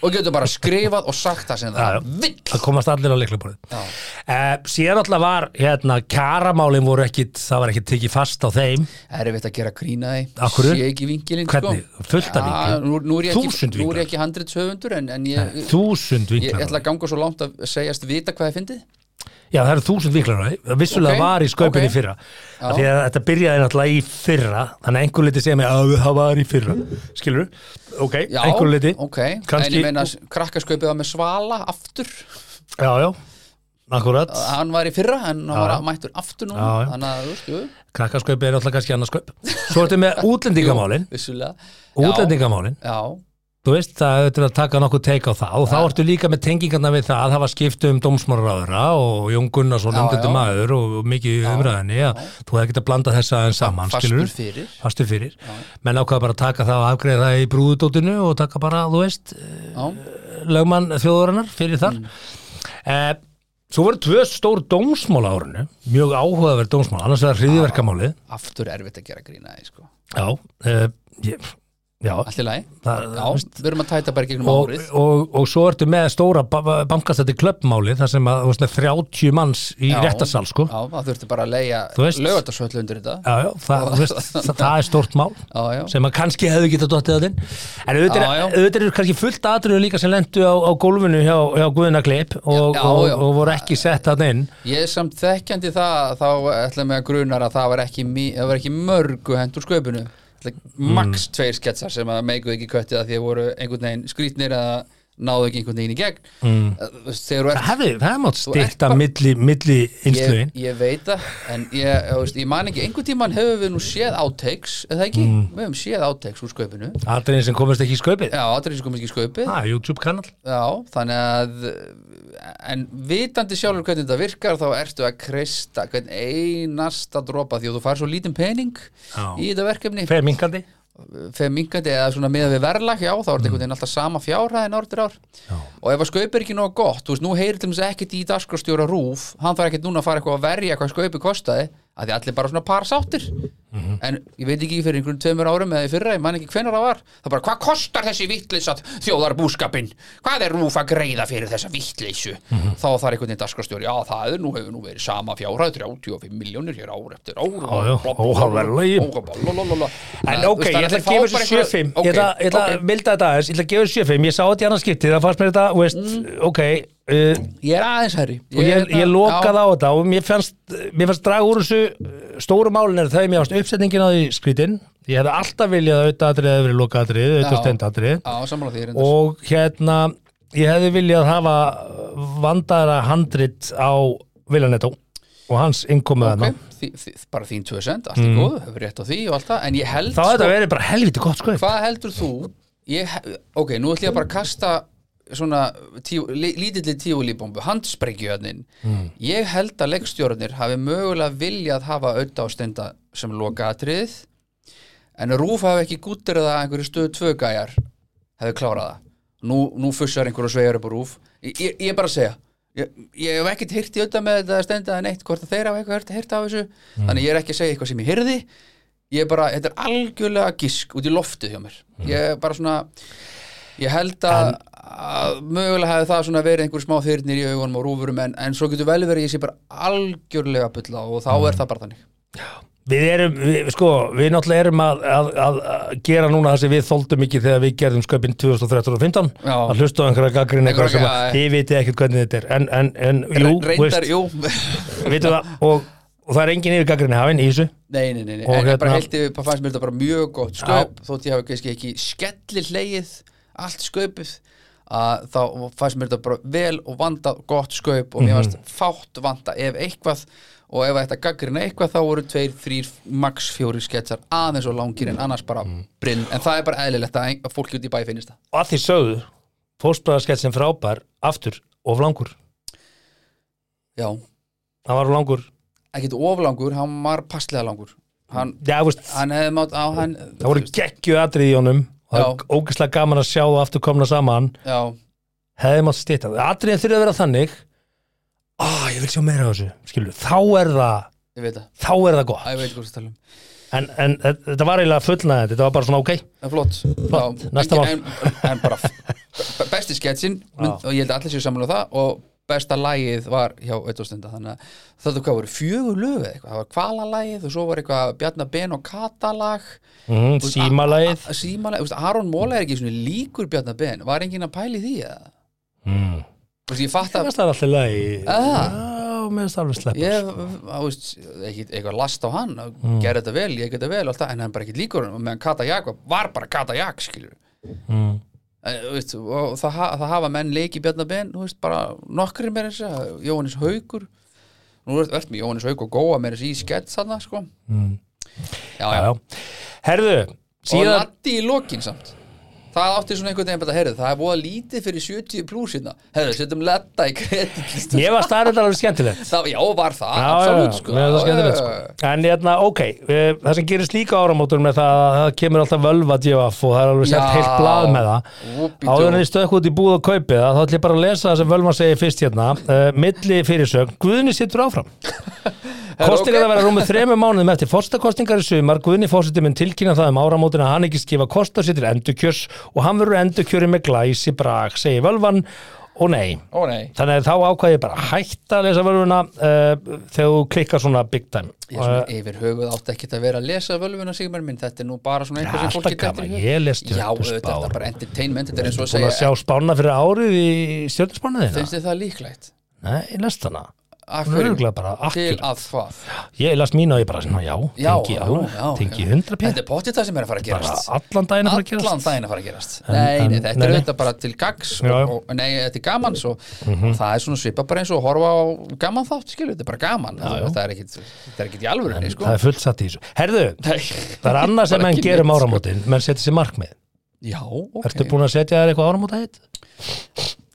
Speaker 2: og getur bara skrifað og sagt það sem
Speaker 1: Já, já.
Speaker 2: það vill
Speaker 1: að komast allir á leiklaborðið
Speaker 2: Já.
Speaker 1: eh, síðan alltaf var hérna, kjaramálin voru ekkit, það var ekkit tekið fast á þeim
Speaker 2: erfitt að gera grína
Speaker 1: Af
Speaker 2: því
Speaker 1: hverju?
Speaker 2: sé ekki vinkilinn
Speaker 1: Hvernig? Fullt af vinklum?
Speaker 2: ja, Sko, nú, nú, er ég ekki,
Speaker 1: Þúsund
Speaker 2: nú er
Speaker 1: vinklar?
Speaker 2: ég ekki handrits höfundur en, en ég, ég,
Speaker 1: þúsund
Speaker 2: ég
Speaker 1: vinklar á
Speaker 2: ætla að ganga svo langt að segjast vita hvað ég fyndið
Speaker 1: Já, það eru þúsund viklar á því, vissulega
Speaker 2: Ok,
Speaker 1: var í sköpunni
Speaker 2: ok.
Speaker 1: okay. fyrra af því að þetta byrjaði náttúrulega í fyrra þannig að einhver liti segja mig að það var í fyrra skilur, ok,
Speaker 2: Já,
Speaker 1: einhver liti
Speaker 2: ok, en
Speaker 1: kannski,
Speaker 2: ég meina krakkaskaupið var með Svala aftur
Speaker 1: já, já akkurat,
Speaker 2: hann var í fyrra, en hann var mættur aftur núna
Speaker 1: Já, já.
Speaker 2: þannig að, þú veist, jú,
Speaker 1: krakkasköpi er náttúrulega kannski annars sköp svo ertu með útlendingamálin
Speaker 2: vissulega Já,
Speaker 1: útlendingamálin,
Speaker 2: Já,
Speaker 1: þú veist, það ertu að taka nokkuð teik á það og þá ertu líka með tengingarna við það það var skipt um dómsmálaráðura og Jón Gunnarsson
Speaker 2: Já,
Speaker 1: umdöndum
Speaker 2: já.
Speaker 1: maður og, og mikið í umræðinni að þú hefði getað blandað þessa en saman, skilur
Speaker 2: fastur fyrir
Speaker 1: fastur fyrir, menn ákvaða bara að taka það og afgreða það í brúðudótinu og taka bara, þú veist,
Speaker 2: Já,
Speaker 1: lögmann þjóðurinnar fyrir þar mm. Svo voru tvö stór dómsmál á árinu, mjög áhugaverð dómsmál, annars vegar hriðiverkamálið
Speaker 2: aftur erfitt að gera grína því, sko
Speaker 1: Já, uh, ég, já
Speaker 2: Allt í lagi,
Speaker 1: Það-
Speaker 2: já, við erum að tæta bara í gegnum
Speaker 1: og,
Speaker 2: árið
Speaker 1: og, og svo ertu með stóra bankastætti klöppmáli þar sem að þú veist, með 30 manns í
Speaker 2: Já.
Speaker 1: réttarsal sko.
Speaker 2: Já, það þurfti bara að leia
Speaker 1: Þú veist-
Speaker 2: lögatarsvöldu undir þetta
Speaker 1: Já, já, það, þú veist, það, það er stórt mál
Speaker 2: Já, já.
Speaker 1: sem að kannski hefðu getað dottið að þinn en auðvitað
Speaker 2: Já, já.
Speaker 1: er- auðvitað eru kannski fullt atriðu líka sem lendu á, á gólfinu hjá, hjá Guðna Gleip og,
Speaker 2: Já, já,
Speaker 1: og,
Speaker 2: já.
Speaker 1: og voru ekki sett að inn
Speaker 2: Ég er samt þekkjandi það þá ætla mig að grunar að það var ekki, mi- það var ekki mörgu hend úr sköpunu Max
Speaker 1: Mm.
Speaker 2: tveir sketsar sem að meikuð ekki köttið að því að voru einhvern veginn skrýtnir að náðu ekki einhvern veginn í gegn mm. Þegar þú
Speaker 1: það
Speaker 2: ert
Speaker 1: hefði, það hefði mátt
Speaker 2: Þú ert
Speaker 1: styrta
Speaker 2: bara-
Speaker 1: milli, milli
Speaker 2: ég,
Speaker 1: innslögin
Speaker 2: ég veit það, en ég, ég, veist, ég man ekki einhvern tímann höfum við nú séð átteiks eða ekki, við höfum séð átteiks úr sköpunu
Speaker 1: atriðin sem komast ekki í sköpið
Speaker 2: Já, aðrið sem kom ekki í sköpið
Speaker 1: ah, YouTube kanal
Speaker 2: Já, þannig að en vitandi sjálfur hvernig þetta virkar þá ertu að kreista hvern einasta dropa því að þú fær svo lítinn pening
Speaker 1: Já.
Speaker 2: í þetta verkefni
Speaker 1: fer minkandi
Speaker 2: fyrir mingandi eða svona meða við verðlag já, þá er þetta
Speaker 1: Mm.
Speaker 2: einhvern veginn alltaf sama fjárhæðin ártir ár já. og ef að skaup er ekki nóg gott þú veist, nú heyrir til þess ekkit í dagskrastjóra rúf hann þarf ekkit núna að fara eitthvað að verja hvað skaupi kostaði, að því allir bara svona par sáttir
Speaker 1: Mhm.
Speaker 2: en ég veit ekki fyrir einhvern tveimur árum eða í fyrra, ég man ekki hvenær það var það bara, hvað kostar þessi vittlisat þjóðarbúskapin, hvað er rúf að greiða fyrir þessa vittlisu,
Speaker 1: Mhm.
Speaker 2: þá þarf einhvern veginn dagskrastjóri, já það er nú hefur nú verið sama fjárhæð 35 miljónir hér ár eftir
Speaker 1: Já, já, óháverðlagi. En ok, ég ætla að gefa þessu 7-5 Ég ætla ég ætla að milda þetta aðeins, ég ætla að gefa þessu 7-5 Ég sá þetta í annars skiptið, það fannst mér þetta, þú veist, ok uh,
Speaker 2: Ég er aðeins herri
Speaker 1: og ég, ég lokaði á þetta eh, og mér fannst, mér fannst draga úr þessu uh, stóru málin er þau, mér fannst uppsetningin á því skrítin Ég hefði alltaf viljað að auðvitaðatrið hefði verið lokaatrið,
Speaker 2: Já.
Speaker 1: auðvitað stendatrið
Speaker 2: á sammála því reyndar.
Speaker 1: og hérna ég hefði viljað hafa vandara handrit á Viljanetó og hans innkomuð
Speaker 2: Ok,
Speaker 1: okay.
Speaker 2: þi- þi- bara þín 2 cent, allt í góðu, hefur rétt á því og allt það, en ég held
Speaker 1: Mm. Þá hefði þetta verið bara helviti gott sko
Speaker 2: hvað heldur þú ég, he- ok, nú ætlum ég að bara kasta svona tíu, li, lítilli tíulíbombu handsprengjuðnin ég held að leikstjórnir hafi mögulega viljað hafa auðvitað á stenda sem loka atrið en Rúf hafi ekki gúttir að einhverju stöðu tvö gæjar hefði klárað það nú, nú fussar einhverju sveigar upp á Rúf ég, ég, ég er bara að segja ég, ég hef ekkert hýrt í auðvitað með þetta stenda en eitt hvort að þeir hafa eitthvað hýrt af þessu þannig ég er ekki að segja eitthvað sem ég hyrði ég er bara, þetta er algjörlega gisk út í loftið hjá mér
Speaker 1: Mhm.
Speaker 2: ég er bara svona ég held að, að mögulega hefði það svona verið einhver smá þyrnir í augunum og rúfurum en, en svo getur vel verið ég sé bara algjörlega bulla og þá
Speaker 1: Mhm.
Speaker 2: er það bara þannig
Speaker 1: Við erum, við, sko, við náttúrulega erum að, að, að að gera núna það sem við þóldum ekki þegar við gerðum sköpinn 2013 og 15
Speaker 2: Já.
Speaker 1: að hlusta á einhverja gaggrinni eitthvað
Speaker 2: Einhverja
Speaker 1: sem að
Speaker 2: gaggrinni,
Speaker 1: þið vitið ekkert hvernig þetta er en, en, en jú,
Speaker 2: reyndar,
Speaker 1: veist,
Speaker 2: jú
Speaker 1: vitum það og, og það er engin yfir gaggrinni hafinn í þessu
Speaker 2: nei, nei, nei, nei.
Speaker 1: Og
Speaker 2: en ég bara
Speaker 1: hérna-
Speaker 2: held ég bara fannst mér þetta bara mjög gott sköp þótt ég hafi kannski ekki skellir leið allt sköpuð að þá fannst mér þetta bara vel og vandað gott sköp
Speaker 1: Mhm.
Speaker 2: og mér fannst fátt vanda ef eitthvað og ef þetta gaggrina eitthvað þá voru tveir, þrýr, max fjóri sketsar aðeins og langir en annars bara
Speaker 1: Mhm.
Speaker 2: brinn, en það er bara eðlilegt að ein- að fólki út í bæ finnist það
Speaker 1: og að því sögðu fóstbræðarsketsin frábær aftur of langur
Speaker 2: já,
Speaker 1: hann var of langur
Speaker 2: ekkit oflangur, hann var passlega langur hann,
Speaker 1: Já, veist,
Speaker 2: hann hefði mátt á hann
Speaker 1: það voru geggju atrið í honum og það er ógeðslega gaman að sjá það aftur komna saman
Speaker 2: já,
Speaker 1: hefði mátt stýta atrið þurfi að vera þannig á, ég vil sjá meira á þessu skilur, þá er það
Speaker 2: ég veit það,
Speaker 1: þá er það gott
Speaker 2: Æ, ég veit hvað það tala um
Speaker 1: en, en þetta var eiginlega fullnaðið þetta var bara svona ok
Speaker 2: En flott, flott. Já,
Speaker 1: Næsta
Speaker 2: en, en, en bara b- besti sketsin mynd, og ég held að allir séu saman á það og besta lagið var hjá Ötostenda þannig að þetta hvað voru fjögur lög eða eitthvað, það var kvalalagið og svo var eitthvað Bjarnar Ben og Katalag
Speaker 1: mm, símalæð
Speaker 2: Símalagið, þú veist, Aron Móla er ekki svona líkur Bjarnar Ben, var enginn að pæli því eða?
Speaker 1: mm.
Speaker 2: Þú veist, ég fatt
Speaker 1: það
Speaker 2: að
Speaker 1: er alltaf lagi já, með starfum slepp
Speaker 2: ég, á, veist, ekki, eitthvað last á hann og mm. gerði þetta vel, ég gerði þetta vel og allt það, en hann bara ekki líkur honum, og meðan Katajak var, var bara Katajak skilur
Speaker 1: mm.
Speaker 2: En, þú veist, og það, ha- það hafa menn leiki Bjarnabenn, þú veist, bara nokkri meira þess að segja, Jóhannes Haugur nú ert, ert með Jóhannes Haug og Góa meira þess í skets þarna, sko já, já.
Speaker 1: Mm. já, já. herðu
Speaker 2: og
Speaker 1: síðan
Speaker 2: Latti í lokin samt það átti svona einhvern veginn bara að herðu það er búið lítið fyrir 70 plus hérna herðu, setjum Latta í kreditlist
Speaker 1: ég var starfendar alveg skemmtilegt
Speaker 2: það, já, var það,
Speaker 1: Já, já,
Speaker 2: absolutt,
Speaker 1: já,
Speaker 2: sko,
Speaker 1: mér finnst það
Speaker 2: Já,
Speaker 1: skemmtilegt,
Speaker 2: já,
Speaker 1: sko.
Speaker 2: já.
Speaker 1: En hérna, ok, eh, það sem gerist líka áramótur með það að það kemur alltaf völva djöfaf og það er alveg
Speaker 2: Já.
Speaker 1: sett heilt blað með það
Speaker 2: Whoopidoo.
Speaker 1: Áður en ég stökk út í búð og kaupið það þá ætlum ég bara að lesa það sem völva segir fyrst hérna uh, milli fyrirsögn, Guðni situr áfram Kostir
Speaker 2: ok.
Speaker 1: er að vera rúmið þremur mánuðum eftir fórstakostingar í sumar Guðni fórseti minn tilkynna það um áramótin að hann ekki skifa kostar sér til endurkjörs og hann verður endurkjöri með glæsi brag, segir völvan og nei
Speaker 2: ó nei,
Speaker 1: Þannig að þá ákvað ég bara að hætta að lesa völvuna uh, þegar þú klikkar svona big time.
Speaker 2: ég er svona yfir höfuð átti ekkert að vera að lesa völvuna Sigmar minn, þetta er nú bara svona
Speaker 1: Já,
Speaker 2: eitthvað sem
Speaker 1: alltaf
Speaker 2: fólki dettur
Speaker 1: gaman,
Speaker 2: í hug.
Speaker 1: ég lest
Speaker 2: já,
Speaker 1: upp
Speaker 2: auðvitað, þetta er
Speaker 1: spár.
Speaker 2: bara entertainment þetta er eins og að
Speaker 1: Búin að sjá
Speaker 2: segja,
Speaker 1: spána fyrir árið í stjórnarspánaðina?
Speaker 2: finnst þið það líklegt?
Speaker 1: Nei, ég lest hana.
Speaker 2: Af
Speaker 1: Hún er
Speaker 2: hverju?
Speaker 1: örugglega bara
Speaker 2: til
Speaker 1: akkur.
Speaker 2: að hvað
Speaker 1: Ég lest mín og ég bara, svona, já,
Speaker 2: Já,
Speaker 1: tengi,
Speaker 2: já,
Speaker 1: já,
Speaker 2: já,
Speaker 1: tengi
Speaker 2: já.
Speaker 1: 100
Speaker 2: þetta
Speaker 1: pjör.
Speaker 2: er potið það sem er að fara að
Speaker 1: Bara
Speaker 2: gerast
Speaker 1: allan daginn að fara að
Speaker 2: allan
Speaker 1: gerast.
Speaker 2: daginn að fara að gerast nei, nei,
Speaker 1: en-
Speaker 2: þetta
Speaker 1: nei,
Speaker 2: er
Speaker 1: nei.
Speaker 2: auðvitað bara til gags
Speaker 1: Já,
Speaker 2: og,
Speaker 1: já. Mhm.
Speaker 2: og nei, þetta er gaman svo, það er svona svipað bara eins og að horfa á gaman þátt, skilur, þetta er bara gaman já, það er ekkit, þetta er ekkit í alvörunni, sko
Speaker 1: Það er fullt satt í þessu. Herðu, það er annað sem
Speaker 2: Bara
Speaker 1: menn
Speaker 2: ekki
Speaker 1: gerum
Speaker 2: neitt, sko.
Speaker 1: áramótin, menn setja sér markmið.
Speaker 2: já, ok
Speaker 1: Ertu búin að setja þér eitthvað áramóta hitt?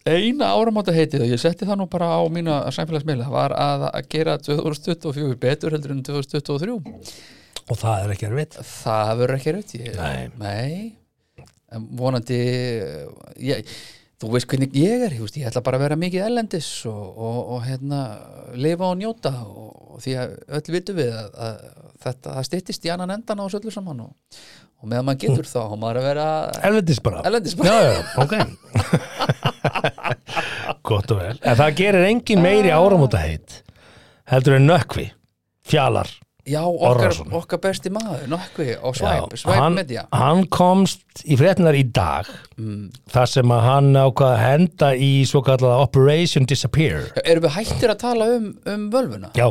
Speaker 2: eina áramóta heitið og ég setti það nú bara á mína samfélagsmiðla var að, að gera 2024 betur heldur en 2023
Speaker 1: Og það er ekki erfitt.
Speaker 2: Það verður ekki raut ég,
Speaker 1: Nei.
Speaker 2: En vonandi ég, Þú veist hvernig ég er ég, veist, ég ætla bara að vera mikið ellendis og, og, og hérna, lifa og njóta og, og því að öll vitum við að, að þetta, það styttist í annan endan á þessu öllu saman og, og meðan maður getur þá á maður að vera
Speaker 1: Elvendis bara.
Speaker 2: ellendis
Speaker 1: Já, já, ok Gott og vel En það gerir engin meiri áramóta heit heldur en nökkvi fjalar
Speaker 2: Já, okkar,
Speaker 1: Orrason.
Speaker 2: okkar besti maður, nokkvi og svæp, svæp
Speaker 1: hann,
Speaker 2: media
Speaker 1: hann komst í fréttinar í dag
Speaker 2: Mm.
Speaker 1: þar sem að hann ákvað að henda í svo kallaða Operation Disappear
Speaker 2: Erum við hættir að tala um, um völvuna?
Speaker 1: Já,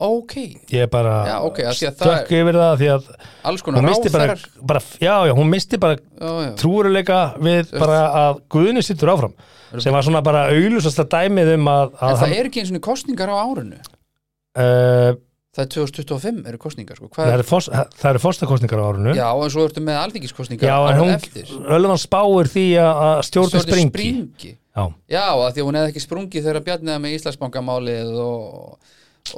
Speaker 2: ok,
Speaker 1: ég bara
Speaker 2: Já, ok, af því að það
Speaker 1: stökk yfir það því að
Speaker 2: alls konar
Speaker 1: hún misti bara,
Speaker 2: ráðherrar.
Speaker 1: bara já, já, hún misti bara
Speaker 2: já, já.
Speaker 1: trúuruleika við bara að Guðni sittur áfram sem var svona bara auðlusasta dæmið um að,
Speaker 2: en
Speaker 1: að
Speaker 2: það er ekki eins og kostningar á árinu
Speaker 1: uh,
Speaker 2: það er 2025 eru kostningar sko.
Speaker 1: það
Speaker 2: Hvað,
Speaker 1: eru fos- það eru fórstakostningar á árinu
Speaker 2: já, en svo ertu með alþingiskostningar
Speaker 1: en
Speaker 2: árið eftir
Speaker 1: hún, Ölvan spáir því að að stjórnin
Speaker 2: Stjórnin
Speaker 1: springi
Speaker 2: springi.
Speaker 1: Já,
Speaker 2: Já, að því að hún hefði ekki sprungið þegar Bjarniða með Íslandsbankamálið og,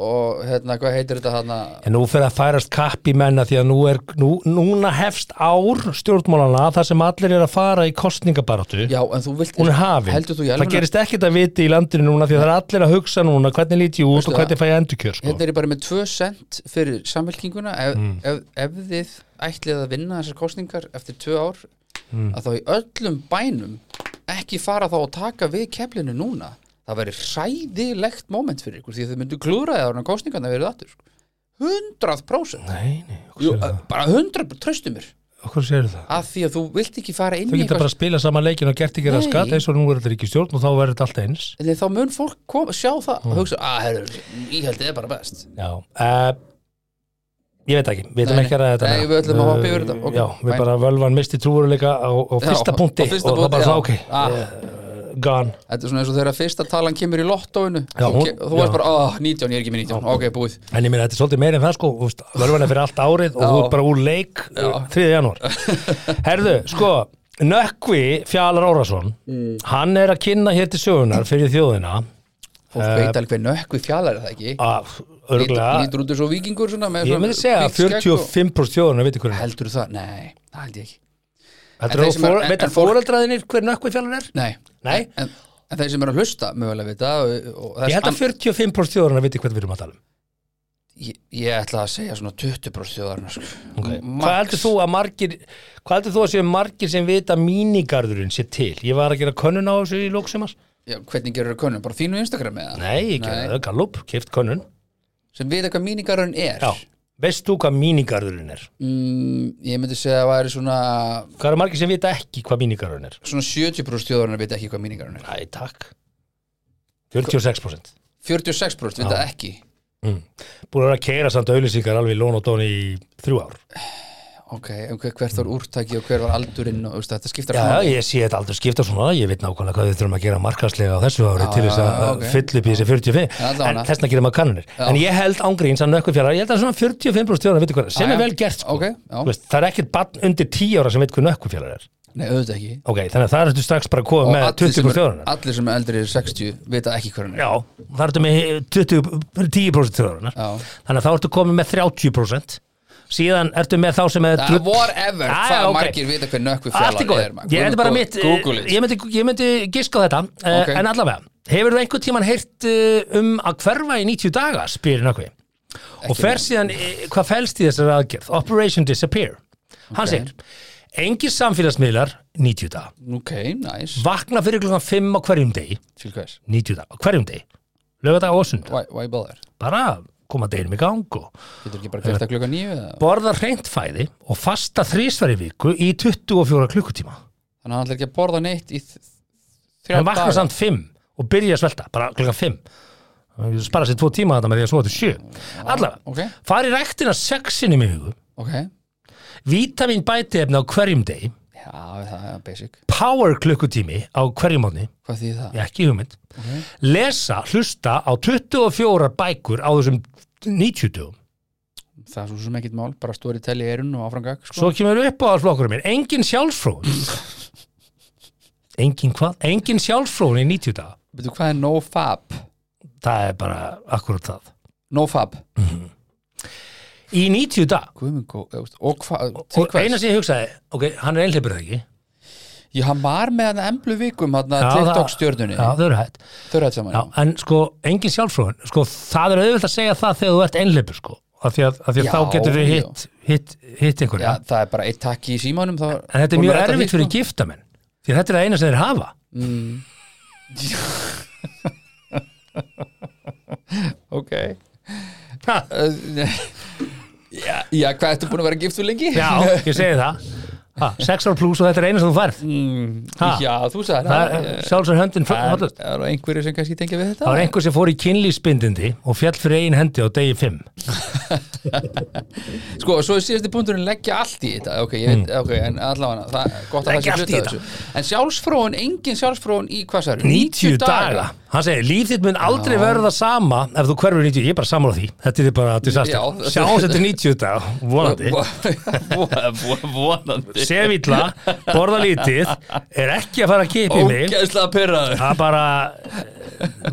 Speaker 2: og hérna, hvað heitir þetta þarna
Speaker 1: en nú fyrir að færast kapp í menna því að nú er, nú, núna hefst ár stjórnmálana þar sem allir er að fara í kostningabaratu
Speaker 2: Já, en þú vilt
Speaker 1: hún er hafin,
Speaker 2: Heldur þú í
Speaker 1: það
Speaker 2: alveg
Speaker 1: gerist ekkert að viti í landinu núna því að það er allir að hugsa núna hvernig líti ég út
Speaker 2: Veistu
Speaker 1: og hvernig fæ ég endurkjör sko.
Speaker 2: Hérna er ég bara með 2 cent fyrir samfélkinguna ef,
Speaker 1: Mm.
Speaker 2: ef, ef þið ætlið að vinna þessar kostningar eftir 2 ár
Speaker 1: Mm.
Speaker 2: að þá í öllum bænum ekki fara þá að taka við keflinu núna það væri hræðilegt moment fyrir ykkur því að þið myndu klúra það á kostningarna verið aftur sko. 100%
Speaker 1: Nei, nei, okkur
Speaker 2: Jú,
Speaker 1: sér það,
Speaker 2: að- bara 100% tröstu mér
Speaker 1: okkur sér það.
Speaker 2: að því að þú vilt ekki fara inn
Speaker 1: Þau
Speaker 2: í
Speaker 1: geta bara að spila sama leikin og gert ekki
Speaker 2: Nei.
Speaker 1: raskat eins og nú er þetta ríkistjórn og þá verður þetta allt eins
Speaker 2: en þá mun fólk kom, sjá það
Speaker 1: Mm.
Speaker 2: og hugsa að herru, íhaldið er bara best
Speaker 1: Já uh, Ég veit ekki, við ætlum
Speaker 2: Nei,
Speaker 1: ekki að ræða þetta
Speaker 2: nei,
Speaker 1: meira.
Speaker 2: við ætlum að hoppa yfir
Speaker 1: Eh,
Speaker 2: þetta, ok,
Speaker 1: Já, við
Speaker 2: fine.
Speaker 1: bara völvan misti trúveruleika á, á
Speaker 2: Já,
Speaker 1: fyrsta
Speaker 2: á
Speaker 1: punkti
Speaker 2: fyrsta
Speaker 1: og það bara
Speaker 2: punkti,
Speaker 1: það ok
Speaker 2: já. Ah.
Speaker 1: eh, Gone
Speaker 2: Þetta er svona eins og þegar fyrsta talan kemur í lottóinu
Speaker 1: Já,
Speaker 2: þú,
Speaker 1: hún-
Speaker 2: ke- þú varst
Speaker 1: já.
Speaker 2: bara, ah, 19, ég er ekki með 19 ok, búið,
Speaker 1: En ég meina, þetta er svolítið meira en það sko þú veist, Völvan er fyrir allt árið og þú
Speaker 2: Já.
Speaker 1: er bara úr leik já. 3. janúar Herðu, sko Nökkvi Fjalar Órason
Speaker 2: Mm.
Speaker 1: Hann er að kynna hér til sögunar fyrir þjóðina
Speaker 2: fólk
Speaker 1: Eh,
Speaker 2: veit alveg hver nökkvi fjallar er það ekki
Speaker 1: að
Speaker 2: Lítur-
Speaker 1: örgulega
Speaker 2: lítur út eins og vikingur svona með
Speaker 1: Ég
Speaker 2: svona
Speaker 1: myndi segja að
Speaker 2: hvítt skegg og-
Speaker 1: 45% þjóðunar veit hvernig
Speaker 2: heldur það, nei, það held ég ekki
Speaker 1: Heldur
Speaker 2: En
Speaker 1: þú
Speaker 2: þeir
Speaker 1: að
Speaker 2: sem er-
Speaker 1: fór-
Speaker 2: en-
Speaker 1: veit
Speaker 2: en
Speaker 1: að
Speaker 2: fólk-
Speaker 1: fóreldraðinir hver nökkvi fjallar er?
Speaker 2: nei,
Speaker 1: Nei.
Speaker 2: En, en þeir sem eru að hlusta mögulega vita og, og
Speaker 1: Ég held að
Speaker 2: an-
Speaker 1: 45% þjóðunar veit hvað við erum að tala um
Speaker 2: ég, ég ætla að segja svona 20% þjóðarna sko.
Speaker 1: okay.
Speaker 2: Max.
Speaker 1: Hvað heldur þú að margir Hvað heldur þú að séu margir sem vita mínigarðurinn sér til? Ég var að gera könnun á þessu í lóksumars
Speaker 2: Já, hvernig gerur það könnum, bara þínu Instagram eða
Speaker 1: Nei, ég
Speaker 2: Nei.
Speaker 1: gerði það, Gallup, kift könnun
Speaker 2: sem vita hvað mínigarun er
Speaker 1: Já, veist þú hvað mínigarðurinn er?
Speaker 2: mm, ég myndi segja að það væri svona
Speaker 1: Hvað eru margir sem vita ekki hvað mínigarðurinn er?
Speaker 2: svona 70% þjóðarna vita ekki hvað mínigarun er
Speaker 1: Æ, takk 46%
Speaker 2: 46% vita ekki
Speaker 1: Búin að vera að keira samt auðlýsingar alveg í lón og dón í þrjú ár
Speaker 2: ok, um hver, hvert var úrtaki og hver var aldurinn og veist, þetta skiptar
Speaker 1: Já,
Speaker 2: máli.
Speaker 1: ég sé þetta aldrei skipta svona ég veit nákvæmlega hvað við þurfum að gera markaslega á þessu ári til þess
Speaker 2: já,
Speaker 1: að
Speaker 2: já,
Speaker 1: okay.
Speaker 2: ok.
Speaker 1: fylla upp í þessi 45
Speaker 2: Já, allavega.
Speaker 1: en þess að gera maður kannanir en ég held ángríns að nökkur fjara ég held að svona 45 stjóra veitir hvað er, sem
Speaker 2: Já,
Speaker 1: er
Speaker 2: já.
Speaker 1: vel gert sko.
Speaker 2: Ok, já.
Speaker 1: Þú veist, það er ekkert barn undir 10 ára sem veit hvað nökkur fjara er
Speaker 2: nei, auðvitað ekki
Speaker 1: ok, þannig að það ertu strax bara að koma með
Speaker 2: allir
Speaker 1: 20
Speaker 2: sem, er,
Speaker 1: stjóra
Speaker 2: allir sem er eldri er 60 vita ekki hver hann er
Speaker 1: já, það ertu með 20, 10 stjóra
Speaker 2: Já.
Speaker 1: þannig að þá ertu komið með 30 síðan ertu með þá sem er
Speaker 2: Uh,
Speaker 1: drull-
Speaker 2: whatever,
Speaker 1: Já, já,
Speaker 2: hvað
Speaker 1: ok.
Speaker 2: margir vita hver nökkvi
Speaker 1: Allt í
Speaker 2: fjallar
Speaker 1: góð,
Speaker 2: er
Speaker 1: ég
Speaker 2: maður. Guð
Speaker 1: hefði
Speaker 2: minn
Speaker 1: bara
Speaker 2: góður.
Speaker 1: mitt eh,
Speaker 2: Google it.
Speaker 1: Ég myndi, ég myndi giska á þetta okay.
Speaker 2: Ok.
Speaker 1: En allavega, hefur þú einhvern tíman heyrt eh, um að hverfa í 90 daga spyrir nökkvi Og fer síðan, eh, hvað fælst í þessari aðgerð? Operation Disappear Hann segir, engir samfélagsmiðlar 90 daga
Speaker 2: ok, nice,
Speaker 1: Vakna fyrir klukkan 5 á hverjum degi
Speaker 2: til hvers
Speaker 1: 90 daga, á hverjum degi Laugardag og sund,
Speaker 2: why, why bother,
Speaker 1: bara koma deginum í gang og
Speaker 2: getur ekki bara gert að klukka nýju eða?
Speaker 1: borða reynt fæði og fasta þrísvar í viku í 24 klukkutíma
Speaker 2: þannig að hann ætlar ekki að borða neitt í þ- þrjá
Speaker 1: en vakna
Speaker 2: daga
Speaker 1: samt 5 og byrja að svelta bara klukkan 5 Ég spara sér tvo tíma þetta með því að svo til 7 allavega,
Speaker 2: ok,
Speaker 1: fari ræktina sexinni með hugu,
Speaker 2: ok,
Speaker 1: vítamin bæti efna á hverjum deg,
Speaker 2: já, það er basic
Speaker 1: power klukkutími á hverjum átni,
Speaker 2: hvað þýð það,
Speaker 1: ekki hugmynd lesa, hlusta á 24 bækur á þessum 90 dögum,
Speaker 2: það er svo sem ekkit mál bara stóri telli erun og áframgag sko.
Speaker 1: svo kemur upp á allflokkurum minn, engin sjálfsfrón engin hvað? engin sjálfsfrón í 90 daga
Speaker 2: veitu hvað er nofab
Speaker 1: það er bara akkurat það
Speaker 2: nofab,
Speaker 1: í 90 daga
Speaker 2: guðmengó og hvað, til
Speaker 1: og
Speaker 2: hvers
Speaker 1: eina sem ég hugsaði, ok, hann er einhleipur ekki
Speaker 2: Já, hann var með hann emblu vikum hann að
Speaker 1: Já,
Speaker 2: TikTok
Speaker 1: það-
Speaker 2: stjörnunni
Speaker 1: já, þau eru hætt
Speaker 2: Þau eru þetta saman
Speaker 1: já, en sko, engin sjálfsfróðun sko, það er auðvitað að segja það þegar þú ert einhleipur sko, af því að, af því að
Speaker 2: Já,
Speaker 1: þá getur þau
Speaker 2: já.
Speaker 1: hitt, hitt, hitt
Speaker 2: já,
Speaker 1: einhverja
Speaker 2: Það er bara eitt takki í símanum þá,
Speaker 1: en þetta er mjög erfitt fyrir giftamenn því að þetta er það eina sem þeir hafa
Speaker 2: Ok
Speaker 1: Ha,
Speaker 2: já, já, hvað ertu búin að vera gift fyrir lengi?
Speaker 1: já, ég segi það Ha, sex ár pluss og þetta er eina sem þú færð Ha?
Speaker 2: Já, þú sagði
Speaker 1: það er sjálfsögur höndin
Speaker 2: Það
Speaker 1: hollast.
Speaker 2: er- það eru einhverju sem kannski tengja við þetta
Speaker 1: það var einhver sem fór í kynlífsbindindi og fjall fyrir ein hendi á degi 5
Speaker 2: Sko, svo er síðasti punkturinn leggja allt í þetta Ok, ég veit, ok, en allavega það er gott að
Speaker 1: Mm. Leggja
Speaker 2: það
Speaker 1: allt í
Speaker 2: sé hluta af
Speaker 1: þetta.
Speaker 2: þessu En sjálfsfróun, engin sjálfsfróun í hvað sær
Speaker 1: 90 daga, hann segir, líf þitt mun aldrei verða sama ef þú hverfur í 90, ég er bara sammála því þetta er bara
Speaker 2: Já,
Speaker 1: disaster,
Speaker 2: þetta-
Speaker 1: sjáum þetta er 90 daga vonandi,
Speaker 2: Vonandi
Speaker 1: sef illa borða lítið, er ekki að fara að kipa í mig,
Speaker 2: Ógæðslega pyrraður
Speaker 1: það bara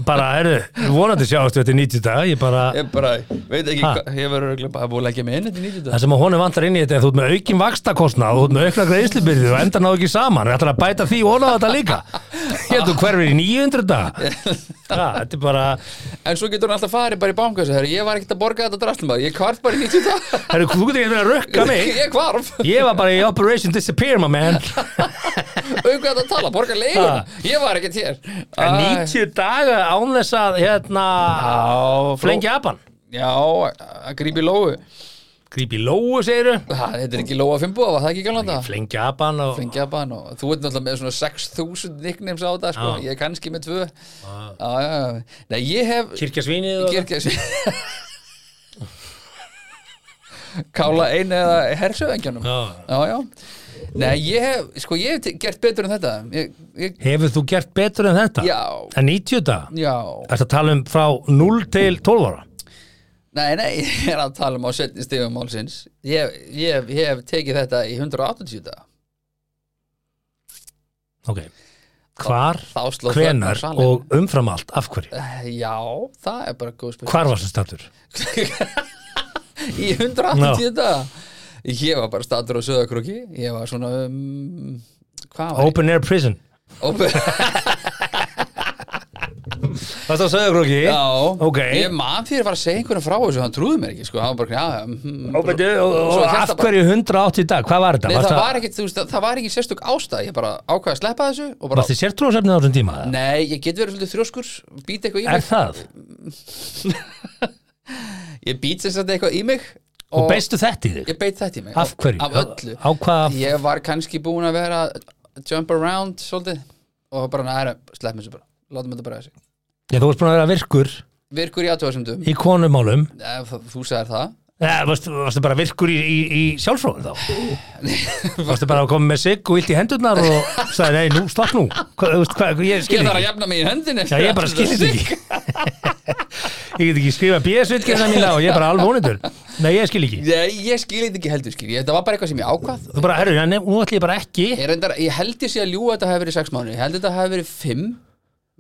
Speaker 1: bara, herru, vonandi sjáumstu þetta er 90 daga, ég bara
Speaker 2: Ég bara, veit ekki,
Speaker 1: Ha?
Speaker 2: hva, ég verður örugglega bara búið að leggja mig inn þetta í 90 daga
Speaker 1: Það sem að honum vantar inn í þetta er að þú ert með aukin vakstakostnað og þú ert með aukna greiðslubyrði og endar náðu ekki saman við ætlar að bæta því og náðu þetta líka getur hverfir í 900 dag þetta er bara
Speaker 2: En svo getur hann alltaf farið bara í banka þessu, herri, ég var ekkert að borga þetta drastlum bara, ég kvarf bara í 90 dag
Speaker 1: herru, þú getur ekki verið að rökka mig
Speaker 2: Ég kvarf,
Speaker 1: ég var bara í Operation Disappear my man
Speaker 2: auðvitað að tala, borga leiguna
Speaker 1: Ha?
Speaker 2: Ég var ekkert hér
Speaker 1: en
Speaker 2: Æ.
Speaker 1: 90 daga án þess að hérna
Speaker 2: Já, fró-
Speaker 1: flengja apan
Speaker 2: Já, að grípi lóu
Speaker 1: gríp í lóu segiru
Speaker 2: Það þetta er ekki lóa fimmboða, var það ekki gjálanda
Speaker 1: flengja apan og
Speaker 2: Fengja bara nú, þú ert náttúrulega með svona 6000 nicknames á þetta, sko,
Speaker 1: Já.
Speaker 2: ég er kannski með tvö Já, já, já, nei, ég hef
Speaker 1: kirkjasvínið og
Speaker 2: Kirkja Kála einu eða hersöfengjanum
Speaker 1: Já.
Speaker 2: já, já Nei, ég hef, sko, ég hef te- gert betur en þetta Ég, ég
Speaker 1: hefur þú gert betur en þetta
Speaker 2: Já.
Speaker 1: en 90 daga
Speaker 2: já
Speaker 1: Þetta tala um frá 0 til 12 ára
Speaker 2: Nei, nei, ég er að tala um á setni stegum málsins Ég, ég, ég hef tekið þetta í 180 dag
Speaker 1: Ok, hvar,
Speaker 2: þá sló
Speaker 1: hvenar
Speaker 2: þögn á salinn.
Speaker 1: og umfram allt, af hverju?
Speaker 2: Já, það er bara góð spurning
Speaker 1: Hvar varstu stattur?
Speaker 2: Í 180 dag Ég var bara statur á söðakrúki Ég var svona um, Hvað var
Speaker 1: Open Air Prison
Speaker 2: ég? Open
Speaker 1: Varstu á Söðurkróki?
Speaker 2: Já,
Speaker 1: Ok.
Speaker 2: ég man fyrir að fara að segja einhverjum frá þessu, hann trúði mér ekki, sko, hann var bara, já, mm,
Speaker 1: Og, byrju, og,
Speaker 2: Svo
Speaker 1: og
Speaker 2: hélt
Speaker 1: af
Speaker 2: það bara-
Speaker 1: hverju 180 í dag? Hvað var þetta?
Speaker 2: nei,
Speaker 1: varstu
Speaker 2: það var ekki, þú veist, það var ekki sérstök ástæð, ég bara ákvaði að sleppa þessu og bara,
Speaker 1: Varstu sértrúasefnið á þessum tíma? eða?
Speaker 2: nei, ég get verið svolítið þrjóskur, být eitthvað í
Speaker 1: Er
Speaker 2: mig,
Speaker 1: það?
Speaker 2: ég být sem sagt eitthvað í mig
Speaker 1: Og beistu þetta í þig?
Speaker 2: ég beit þetta í mig,
Speaker 1: Af hverju?
Speaker 2: af öllu,
Speaker 1: Á hvað?
Speaker 2: ég var kannski búin að vera að jump around svolítið og bara næra, slepp mér svo bara látum þetta bara þessi,
Speaker 1: Já, þú varst búin að vera virkur
Speaker 2: virkur í aðtöðasöndum
Speaker 1: í konumálum
Speaker 2: þú sagðir það
Speaker 1: Eða, varstu, varstu bara virkur í, í, í sjálfsfróðum þá? varstu bara að koma með sig og illt í hendurnar og sagði, nei, nú, slapp nú Hva, þú veist, hvað, ég skil
Speaker 2: ég þarf
Speaker 1: ekki
Speaker 2: að jafna mig í höndin
Speaker 1: Já, ég bara skil þetta ekki Ég get ekki skrifa BS-vitgerna mína og ég er bara alveg ónendur Nei, ég skil ekki
Speaker 2: Nei, ég skil þetta ekki heldur skil, ég, þetta var bara eitthvað sem ég ákvað
Speaker 1: Þú bara, herru, nefn, nú ætlum ég bara ekki
Speaker 2: Ég, reyndar, ég held ég sé að ljúga að þetta hafi verið 6 mánuðir Ég held þetta hafi verið 5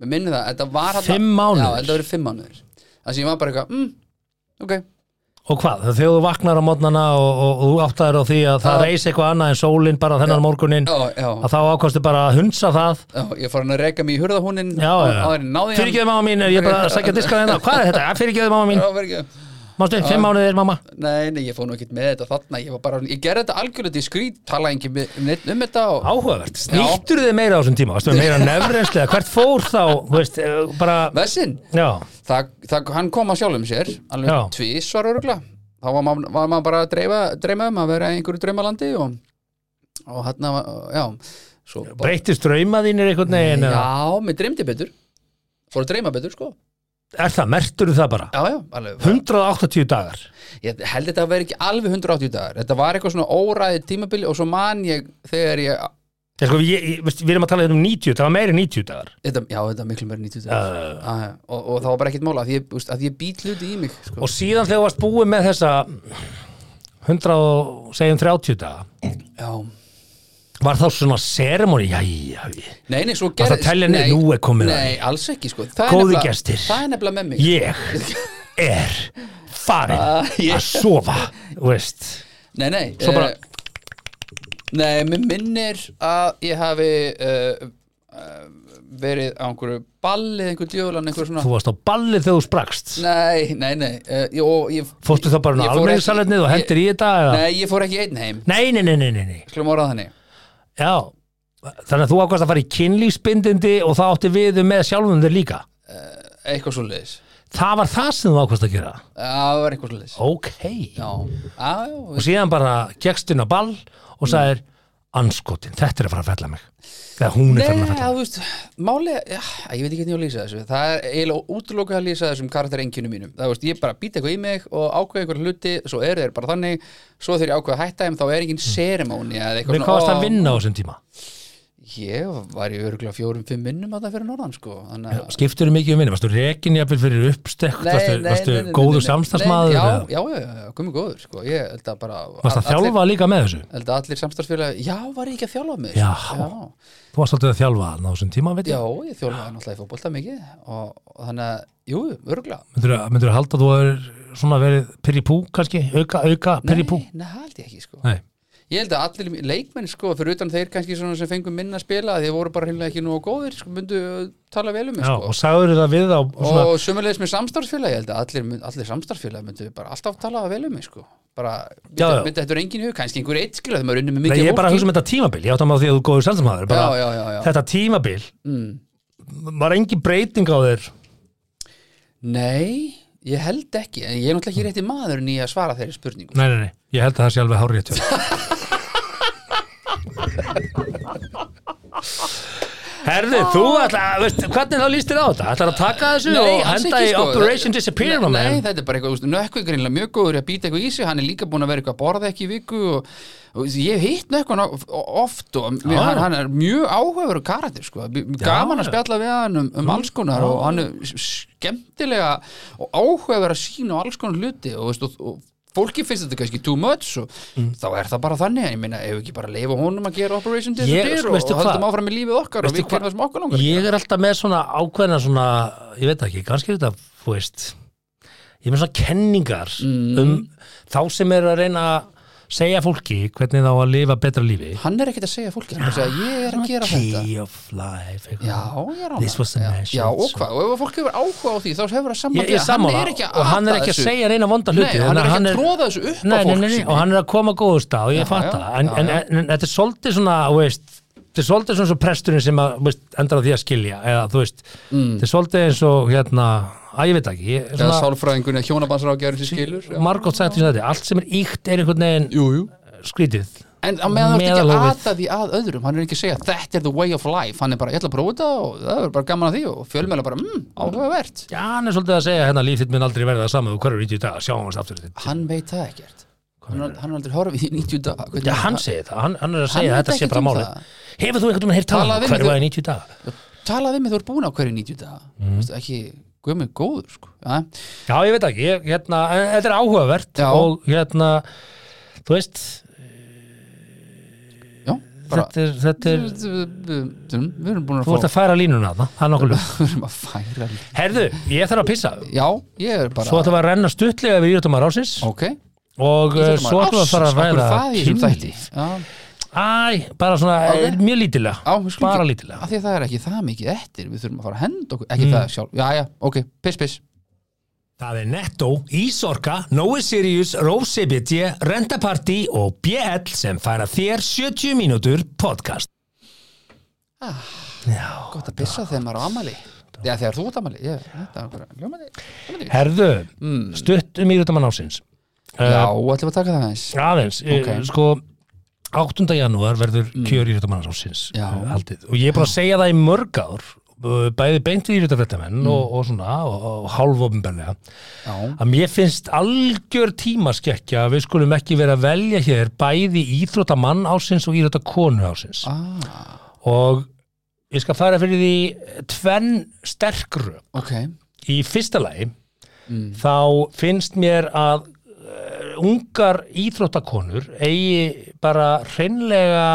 Speaker 2: Mér minni það, þetta var þarna-
Speaker 1: Fimm mánuðir?
Speaker 2: Já, þetta hafi verið 5 mánuðir Þannig að ég var bara eitthvað, mm, ok
Speaker 1: Og hvað, þegar þú vaknar á mótnana og, og, og þú áttaður á því að það reys eitthvað annað en sólin bara þennan morgunin
Speaker 2: Já, já,
Speaker 1: að þá ákvastu bara að hunsa það
Speaker 2: já, ég fór hann að reyka mig í hurðahúnin
Speaker 1: Já, já,
Speaker 2: náði hann
Speaker 1: fyrirgeðu mamma mín, er ég bara að sækja diskar hérna Hvað er þetta? Ja, Fyrirgeðu mamma mín,
Speaker 2: Já, fyrir ekki
Speaker 1: mástu, fimm mánuðir mamma
Speaker 2: Nei, nei, ég fór nú ekkert með þetta þarna Ég, var bara, ég gerði þetta algjörlega diskrít Talaði ekki með, um neitt um þetta og...
Speaker 1: Áhugavert, snýttur þið meira á þessum tíma Varstu með meira nefrenslega, hvert fór þá Þú veist, eh, bara,
Speaker 2: Vessin,
Speaker 1: já,
Speaker 2: það, það, hann kom að sjálfum sér alveg
Speaker 1: Já.
Speaker 2: tvísvar örugla þá var maður, var maður bara að dreifa, dreima um að vera í einhverju draumalandi og, og hann var, já svo bara,
Speaker 1: breytist draumaðínir einhvern veginn eða?
Speaker 2: já, mér dreymdi betur fór að dreyma betur, sko
Speaker 1: Er það, mertur það bara?
Speaker 2: já, já, alveg,
Speaker 1: 180 dagar
Speaker 2: ég held þetta að vera ekki alveg 180 dagar, þetta var eitthvað svona óræði tímabili og svo man ég þegar ég
Speaker 1: ég, sko, ég, ég, veist, Við erum að tala hérna um 90, það var meiri en 90 dagar
Speaker 2: þetta, já, þetta er miklu meira en 90 dagar
Speaker 1: uh,
Speaker 2: uh, og, og það var bara ekkert mála, að ég, úst, að ég být hluti í mig sko.
Speaker 1: Og síðan þegar þú varst búið með þessa 100 og segjum 30 daga
Speaker 2: já,
Speaker 1: Var þá svona seremoni Jæja, ég-
Speaker 2: nei, nei, svo
Speaker 1: Varstu að telja niður? Nú er komið að
Speaker 2: nei, alls ekki, sko Það er
Speaker 1: Góðir
Speaker 2: nefnilega-
Speaker 1: gestir.
Speaker 2: það er nefnilega með mig
Speaker 1: ég er farin
Speaker 2: Ah, ég-
Speaker 1: að sofa þú veist.
Speaker 2: Nei, nei
Speaker 1: Svo bara-
Speaker 2: eh, Nei, mér minnir að ég hafi uh, uh, verið á einhverju ballið, einhverju djöfulan, einhverju svona
Speaker 1: Þú varst á ballið þegar þú sprakst
Speaker 2: Nei, nei, nei uh, ég, og, ég,
Speaker 1: Fórstu þá bara á
Speaker 2: Ég fór ekki-
Speaker 1: almenningssalernnið og
Speaker 2: ég-
Speaker 1: hendir í þetta eða?
Speaker 2: Nei, ég fór ekki einn heim
Speaker 1: Nei, nei, nei, nei, nei, nei.
Speaker 2: Skulum orða þannig
Speaker 1: Já, þannig að þú ákvæmst að fara í kynlífsbindindi og það átti við um með sjálfum þér líka
Speaker 2: Eitthvað svo leiðis
Speaker 1: Það var það sem þú ákvæmst að gera
Speaker 2: Það var eitthvað svo leiðis
Speaker 1: Ok
Speaker 2: Já, á,
Speaker 1: Og síðan bara gekkst inn á ball og sagðir anskotin, þetta er að fara að fella mig eða hún er
Speaker 2: Nei,
Speaker 1: farin að fella
Speaker 2: þú veist, máli, já, ég veit ekki hvernig ég á að lýsa þessu Það er eiginlega útlokað að lýsa þessum karakterengjunum mínum Það veist, ég bara býta eitthvað í mig og ákveða eitthvað hluti, svo eru þeir bara þannig Svo þegar ég ákveða að hætta þeim, þá er engin ceremóni eða
Speaker 1: mig
Speaker 2: eitthvað
Speaker 1: við hvað varst að
Speaker 2: ó,
Speaker 1: vinna á þessum tíma
Speaker 2: Ég var í örgulega fjórum, fimm minnum að það fyrir norðan, sko Þannig að
Speaker 1: skiptur þú mikið um vinnu, varstu rekin jafnvel fyrir uppstekt, varstu, varstu góður samstagsmaður
Speaker 2: Já,
Speaker 1: eða?
Speaker 2: já, já, já, komið góður, sko Ég held að bara
Speaker 1: varstu að
Speaker 2: allir-
Speaker 1: þjálfa líka með þessu
Speaker 2: held að allir samstarfsfélagi, já, var ég ekki að þjálfa mig
Speaker 1: Já.
Speaker 2: já,
Speaker 1: þú varst alltaf að þjálfa þarna á þessum tíma veit
Speaker 2: já,
Speaker 1: ég.
Speaker 2: ég þjálfaði náttúrulega í fótbolta mikið og, og þannig að, jú, örgla
Speaker 1: myndirðu myndir halda að þú er svona verið pyrri pú kannski, auka, auka pyrri pú
Speaker 2: nei, held ég ekki, sko
Speaker 1: nei,
Speaker 2: ég held að allir leikmenn, sko, fyrir utan þeir kannski svona sem fengum minna að spila, þeir voru bara hinnlega ekki nógu góðir, sko, myndu uh, tala vel um mig,
Speaker 1: já,
Speaker 2: sko
Speaker 1: og sagður það við á og svona,
Speaker 2: og sömulegis með samstarfsfélagi, ég held að allir, mun- allir samstarfsfélagi myndu bara alltaf tala vel um mig, sko bara,
Speaker 1: Já, já.
Speaker 2: myndi, myndi þetta er engin í hug, kannski einhver eitt skilja þegar maður er unni með
Speaker 1: nei,
Speaker 2: mikið
Speaker 1: ég er bara að
Speaker 2: fólki.
Speaker 1: hugsa um þetta tímabil ég átt að maður því að þú er góður samstagsmaður bara,
Speaker 2: já, já, já, já.
Speaker 1: þetta tímabil
Speaker 2: Mm.
Speaker 1: var engin breyting á þér
Speaker 2: Nei, ég held ekki en ég er náttúrulega ekki rétti maðurinn í að svara þeirri spurningu
Speaker 1: nei, nei, nei, ég held að það sé alveg hárið Herðu, þú ætla, veist, hvernig þá líst þér á þetta? Ætlar að taka þessu og
Speaker 2: alls
Speaker 1: henda
Speaker 2: ekki,
Speaker 1: í
Speaker 2: sko.
Speaker 1: Operation Disappear
Speaker 2: Nei,
Speaker 1: no man?
Speaker 2: nei, þetta er bara eitthvað, úst, nökkvi er greinilega mjög góður í að býta eitthvað í sig, hann er líka búin að vera eitthvað að borða ekki í viku og, og ég hef hitt nökkvan oft og mér,
Speaker 1: Já.
Speaker 2: hann, hann er mjög áhugaveru karakter sko, B- gaman að
Speaker 1: Já.
Speaker 2: spjalla við hann um, um alls konar og hann er s- skemmtilega og áhugaveru að sína og alls konar hluti og, veist, og, og fólki finnst þetta kannski too much og
Speaker 1: Mm.
Speaker 2: þá er það bara þannig, en ég meina, ef við ekki bara leifa honum að gera Operation Disappear
Speaker 1: sko,
Speaker 2: og,
Speaker 1: veistu
Speaker 2: og höldum
Speaker 1: hvað?
Speaker 2: áfram í lífið okkar
Speaker 1: Veistu
Speaker 2: og við gerum það sem okkur langar
Speaker 1: Ég er alltaf með svona ákveðna svona, ég veit ekki, kannski er þetta, þú veist, ég er með svona kenningar um þá sem eru að reyna að segja fólki hvernig þá að lifa betra lífi.
Speaker 2: hann er ekkert að segja fólki, hann er að segja ég er að gera þetta
Speaker 1: Key of life, eitthvað.
Speaker 2: Já, ég er á
Speaker 1: Ah, This was the message.
Speaker 2: Já, og hvað, og ef fólk hefur áhuga á því þá hefur það
Speaker 1: Ég,
Speaker 2: sambandi
Speaker 1: ég sammála, og hann er
Speaker 2: ata
Speaker 1: ekki að
Speaker 2: þessu.
Speaker 1: segja reyna vonda
Speaker 2: Nei,
Speaker 1: hluti.
Speaker 2: hann er
Speaker 1: þannig að
Speaker 2: ekki að tróða þessu upp
Speaker 1: nei,
Speaker 2: á
Speaker 1: nei,
Speaker 2: fólk
Speaker 1: nei, nei,
Speaker 2: sín.
Speaker 1: og hann er að koma á góðu stað og ég
Speaker 2: Já,
Speaker 1: fatta
Speaker 2: já,
Speaker 1: en,
Speaker 2: já,
Speaker 1: en,
Speaker 2: já.
Speaker 1: en, en þetta er svolítið svona þú veist, þetta er svolítið svona svo presturinn sem að, þú veist, endar á því að skilja eða þú veist,
Speaker 2: Mm.
Speaker 1: þetta er svolítið eins og hérna, að ég veit ekki ég,
Speaker 2: Eða
Speaker 1: svona,
Speaker 2: sálfræðingunni að hjónabandsrákjæður sem skilur já.
Speaker 1: margótt sagt því að þetta, allt sem er íkt er einhvern veginn
Speaker 2: Jú, jú
Speaker 1: skrítið
Speaker 2: En á meðan þú ert ekki að
Speaker 1: Meðalhófið.
Speaker 2: ata því að öðrum hann er ekki að segja þetta er the way of life hann er bara, ég ætla að prófa þetta og það er bara gaman að því og fjölmjöla bara, mmm, áhugavert
Speaker 1: já, hann er svolítið að segja hérna líf þitt mun aldrei verða það sama þú hverjur í dag, sjáum hans aftur þitt
Speaker 2: Hann veit það ekkert Hann er hann er aldrei horfið í 90 dag Hvernig-
Speaker 1: já, hann segir það, hann, hann er að segja
Speaker 2: veit
Speaker 1: að þetta sé
Speaker 2: ekkert
Speaker 1: bara
Speaker 2: um
Speaker 1: málið
Speaker 2: það.
Speaker 1: hefur þú einhvern veginn heyrt um tala
Speaker 2: Talaðu við mig,
Speaker 1: hverju var
Speaker 2: þú-
Speaker 1: í 90 dag
Speaker 2: Talaði við mig þú ert búin á hverju 90 dag mm. ekki, guð mig góður sko. ja?
Speaker 1: Já, ég veit ekki, ég, hérna, en þetta er áhugavert
Speaker 2: Já.
Speaker 1: og hérna, þú veist,
Speaker 2: Já, bara Mm.
Speaker 1: þetta er, þetta er,
Speaker 2: Við erum búin að
Speaker 1: þú ert
Speaker 2: fá
Speaker 1: að færa línuna þarna, það er nokkuð ljóst.
Speaker 2: Við erum að færa lí-
Speaker 1: Herðu, ég þarf að pissa,
Speaker 2: Já, ég er bara
Speaker 1: svo ætlum við að renna stuttlega yfir íþjóttumar ásins
Speaker 2: Ok
Speaker 1: og eh, svo ætlum við að fara að ræða
Speaker 2: það í þessum þætti
Speaker 1: kynlíf.
Speaker 2: Já,
Speaker 1: Æ, bara svona,
Speaker 2: Ok.
Speaker 1: okay. mjög lítilega,
Speaker 2: á, við skulum
Speaker 1: bara
Speaker 2: ekki-
Speaker 1: lítilega.
Speaker 2: Af því að það er ekki það mikið eftir Við þurfum að fara að henda okkur
Speaker 1: Mm.
Speaker 2: Ekki það sjálf Já, já, ok, piss, piss
Speaker 1: Það er Netto, Ísorka, Nói Sirius, Rove CBT, Rentaparty og BL sem færa þér 70 mínútur podcast.
Speaker 2: Ah,
Speaker 1: Já.
Speaker 2: Gott að pissa þegar maður á amali Já, þegar þú ert amali Ég, þetta er bara ljómandi ljómandi.
Speaker 1: Herðu, stutt um íþjóttumar ásins.
Speaker 2: Mm.
Speaker 1: Eh.
Speaker 2: Já, ætlum við að taka það aðeins
Speaker 1: aðeins,
Speaker 2: Ok. Mm.
Speaker 1: okay. sko 8. janúar verður kjör í rítumannarsásins
Speaker 2: Já.
Speaker 1: haldið og ég er bara að segja það í mörg ár uh, bæði beint í rítumfréttamenn
Speaker 2: Mm.
Speaker 1: og, og svona og, og hálfofnbenlega
Speaker 2: Já,
Speaker 1: að mér finnst algjör tímaskekkja að við skulum ekki vera að velja hér bæði íþróttamann ásins og íþróttakonu ásins
Speaker 2: ah,
Speaker 1: og ég skal fara fyrir því tvenn sterkru
Speaker 2: ok
Speaker 1: í fyrsta lagi
Speaker 2: Mm.
Speaker 1: þá finnst mér að uh, ungar íþróttakonur eigi bara hreinlega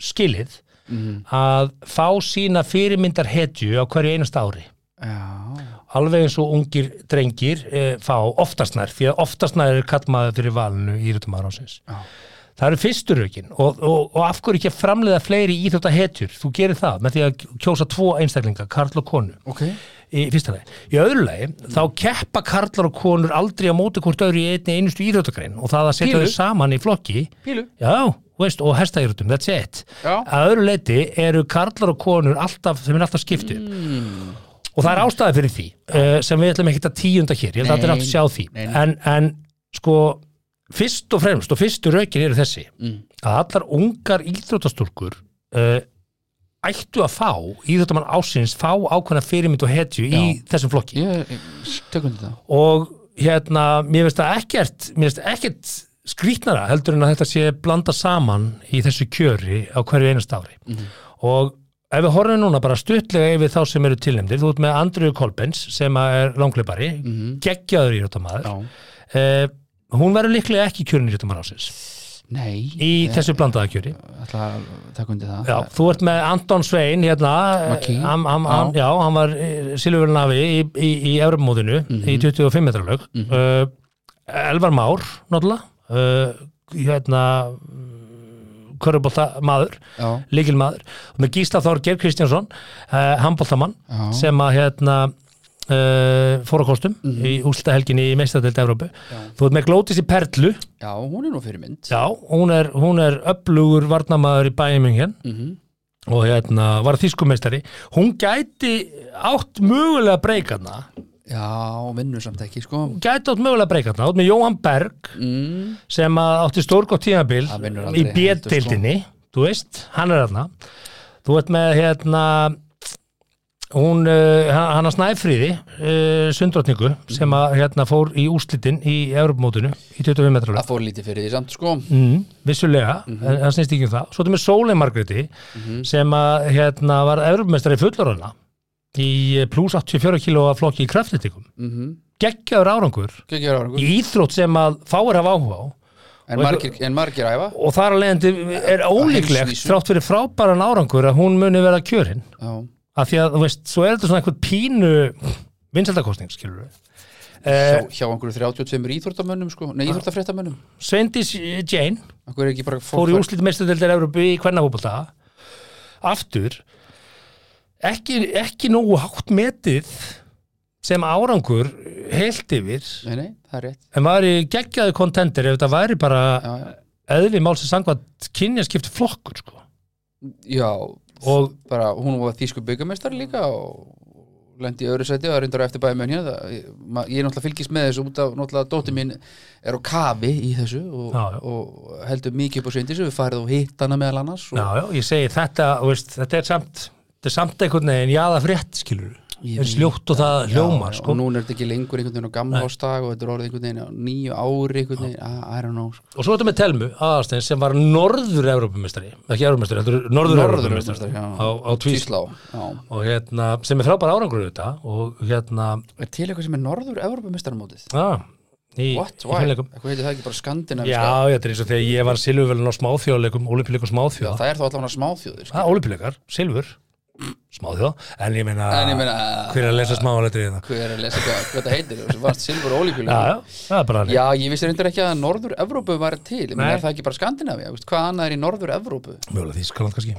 Speaker 1: skilið
Speaker 2: mm.
Speaker 1: að fá sína fyrirmyndar hetju á hverju einast ári
Speaker 2: Já,
Speaker 1: alveg eins og ungir drengir e, fá oftasnær, því að oftasnær er kallmaður fyrir valinu í íþróttum árásins
Speaker 2: Já.
Speaker 1: það eru fyrstur aukin og, og, og af hverju ekki að framleiða fleiri íþróttahetjur þú gerir það með því að kjósa tvo einstaklinga, karl og konu
Speaker 2: ok
Speaker 1: í fyrsta lagi. Í öðru lagi, þá keppa karlar og konur aldrei á móti hvort öðru í einni einustu íþróttagrein og það að setja
Speaker 2: Pílu.
Speaker 1: þau saman í flokki
Speaker 2: Pílu
Speaker 1: Já, þú veist, og hestaýrtum, that's it
Speaker 2: Já.
Speaker 1: Að öðru leiti eru karlar og konur alltaf, þeim er alltaf skiptu mm. og það er ástæði fyrir eh, því uh, sem við ætlum ekki að tíunda hér, ég held að
Speaker 2: Nei.
Speaker 1: þetta er alltaf sjá því
Speaker 2: Nei, nei.
Speaker 1: en, en sko fyrst og fremst og fyrstu rökin eru þessi
Speaker 2: Mm.
Speaker 1: að allar ungar íþróttastúlkur uh, ættu að fá íþróttamann ásins fá ákveðna fyrirmynd og hetju í þessum flokki
Speaker 2: Ég, ég tökum þetta
Speaker 1: og hérna, mér finnst það ekkert mér finnst ekkert skrýtnara heldur en að þetta sé blanda saman í þessu kjöri á hverju einast ári og ef við horfum núna bara stuttlega yfir þá sem eru tilnefndir, þú ert með Andriu Kolbens sem að er langleipari geggjaður í rjóttamaður
Speaker 2: Já.
Speaker 1: eh, hún verður líklega ekki kjörin í rjóttamaður ásins
Speaker 2: Nei,
Speaker 1: í
Speaker 2: ég
Speaker 1: þessu blandaða kjöri
Speaker 2: ætla að taka undir það
Speaker 1: Já, þú ert með Anton Svein hérna,
Speaker 2: Maggi.
Speaker 1: hann, hann, hann, já, hann var Silvurnafi í, í, í Evropamótinu í 25 metra lög uh, Elvar Már, náttúrulega uh, hérna Körubólta maður,
Speaker 2: Já,
Speaker 1: líkil maður með Gísla Þorger Kristjánsson uh, handbóltamann
Speaker 2: Já.
Speaker 1: sem að hérna Uh, fór á kostum í úlstahelginni í meistadelt Evrópu. Þú ert með Glótis í Perlu
Speaker 2: já, hún er nú fyrir mynd
Speaker 1: Já, hún er, hún er öflugur varnamaður í bæjumingin
Speaker 2: Mhm.
Speaker 1: og hérna var þýskumeistari hún gæti átt mögulega breykarna
Speaker 2: Já, hún vinnur samt ekki, sko
Speaker 1: gæti átt mögulega breykarna, átt með Jóhann Berg
Speaker 2: mm.
Speaker 1: sem að átti stórgótt tímabil
Speaker 2: Hann vinnur
Speaker 1: í
Speaker 2: aldrei heldur, sko.
Speaker 1: B-deildinni þú veist, hann er hérna þú ert með hérna hún, uh, hann að Snæfríði uh, sundrótningu sem að hérna fór í úrslitin í Evropamótinu í 25 metra
Speaker 2: Það fór lítið fyrir því samt, sko
Speaker 1: mm, vissulega, mm -hmm. það snýst ekki um það svo þetta með Sóley Margréti sem að hérna var Evropamestari fullorðana í pluss 84 kílóa flokki í kraftlýtingum
Speaker 2: mm -hmm.
Speaker 1: geggjaður árangur
Speaker 2: Gekki ára,
Speaker 1: í íþrótt sem að fáir hafa áhuga á
Speaker 2: en margir, en margir æfa
Speaker 1: og þar að leiðandi er ólíklegt
Speaker 2: heimsvísu.
Speaker 1: þrátt fyrir frábæran árangur að hún muni vera kjörinn
Speaker 2: Já,
Speaker 1: af því að þú veist, svo er þetta svona einhvern pínu vinsaldakostning, skilur við
Speaker 2: hjá,
Speaker 1: eh, Ah.
Speaker 2: hjá einhverju 32 íþórtamönnum, sko Nei, íþórtafréttamönnum
Speaker 1: Sveindís Jane
Speaker 2: Akkur er ekki bara fólk
Speaker 1: fór í úrslit meistadildar Evrópu í kvennafóbalta aftur ekki, ekki nógu hátt metið sem árangur heilt yfir
Speaker 2: Nei, nei, það er rétt
Speaker 1: en var í geggjaði kontender ef þetta væri bara
Speaker 2: Já, já,
Speaker 1: eðli málsins sangvað kynjaskipti flokkur sko.
Speaker 2: já
Speaker 1: og
Speaker 2: bara, hún var þýsku byggamestari líka og lendi í öðru sæti og er reyndar á eftir bæði menn hérna Það- ég, ma- ég er náttúrulega fylgist með þessu út af náttúrulega dóttir mín er á kafi í þessu og,
Speaker 1: Já, já.
Speaker 2: og heldur mikið upp á sveindis við farið og hitt hana meðal annars og,
Speaker 1: já, já, ég segi þetta þú veist, þetta er samt, þetta er samt einhvern veginn jáða frétt skilur
Speaker 2: Ég
Speaker 1: eins ljótt og það hljómar
Speaker 2: og
Speaker 1: sko.
Speaker 2: núna er þetta ekki lengur einhvern veginn á gamla ástag og þetta er orðið einhvern veginn á nýju ári einhvern veginn, ah, I don't know sko.
Speaker 1: og svo þetta með Telmu aðarstein sem var norður Evrópumestari ekki Evrópumestari, heldur norður Evrópumestari
Speaker 2: já.
Speaker 1: á, á Tvísla
Speaker 2: Tvíslá, já.
Speaker 1: og hérna, sem er frábæra árangur þetta og hérna
Speaker 2: er til eitthvað sem er norður Evrópumistarmótið
Speaker 1: á, í,
Speaker 2: what,
Speaker 1: í
Speaker 2: why,
Speaker 1: fimleikum.
Speaker 2: eitthvað heitir það ekki bara
Speaker 1: já,
Speaker 2: skandinaviska
Speaker 1: þetta er eins og þegar ég var silfurvelin á smáþjóðleikum, olimpíuleikum smáþjóða
Speaker 2: það er þá allavega smáþjóður sko.
Speaker 1: það, olimpíuleikar, silfur smáþjóða, en ég meina
Speaker 2: en ég meina,
Speaker 1: hver er að lesa smáletri hérna
Speaker 2: hver er að lesa hvað, hvað það heitir og varst silfur
Speaker 1: já,
Speaker 2: ólíkulega
Speaker 1: já, það er bara þannig.
Speaker 2: Já, ég vissi reyndar ekki að Norður-Evrópu var til, menn
Speaker 1: Nei.
Speaker 2: er það ekki bara Skandinavi hvað annað er í Norður-Evrópu?
Speaker 1: mögulega Þískaland kannski,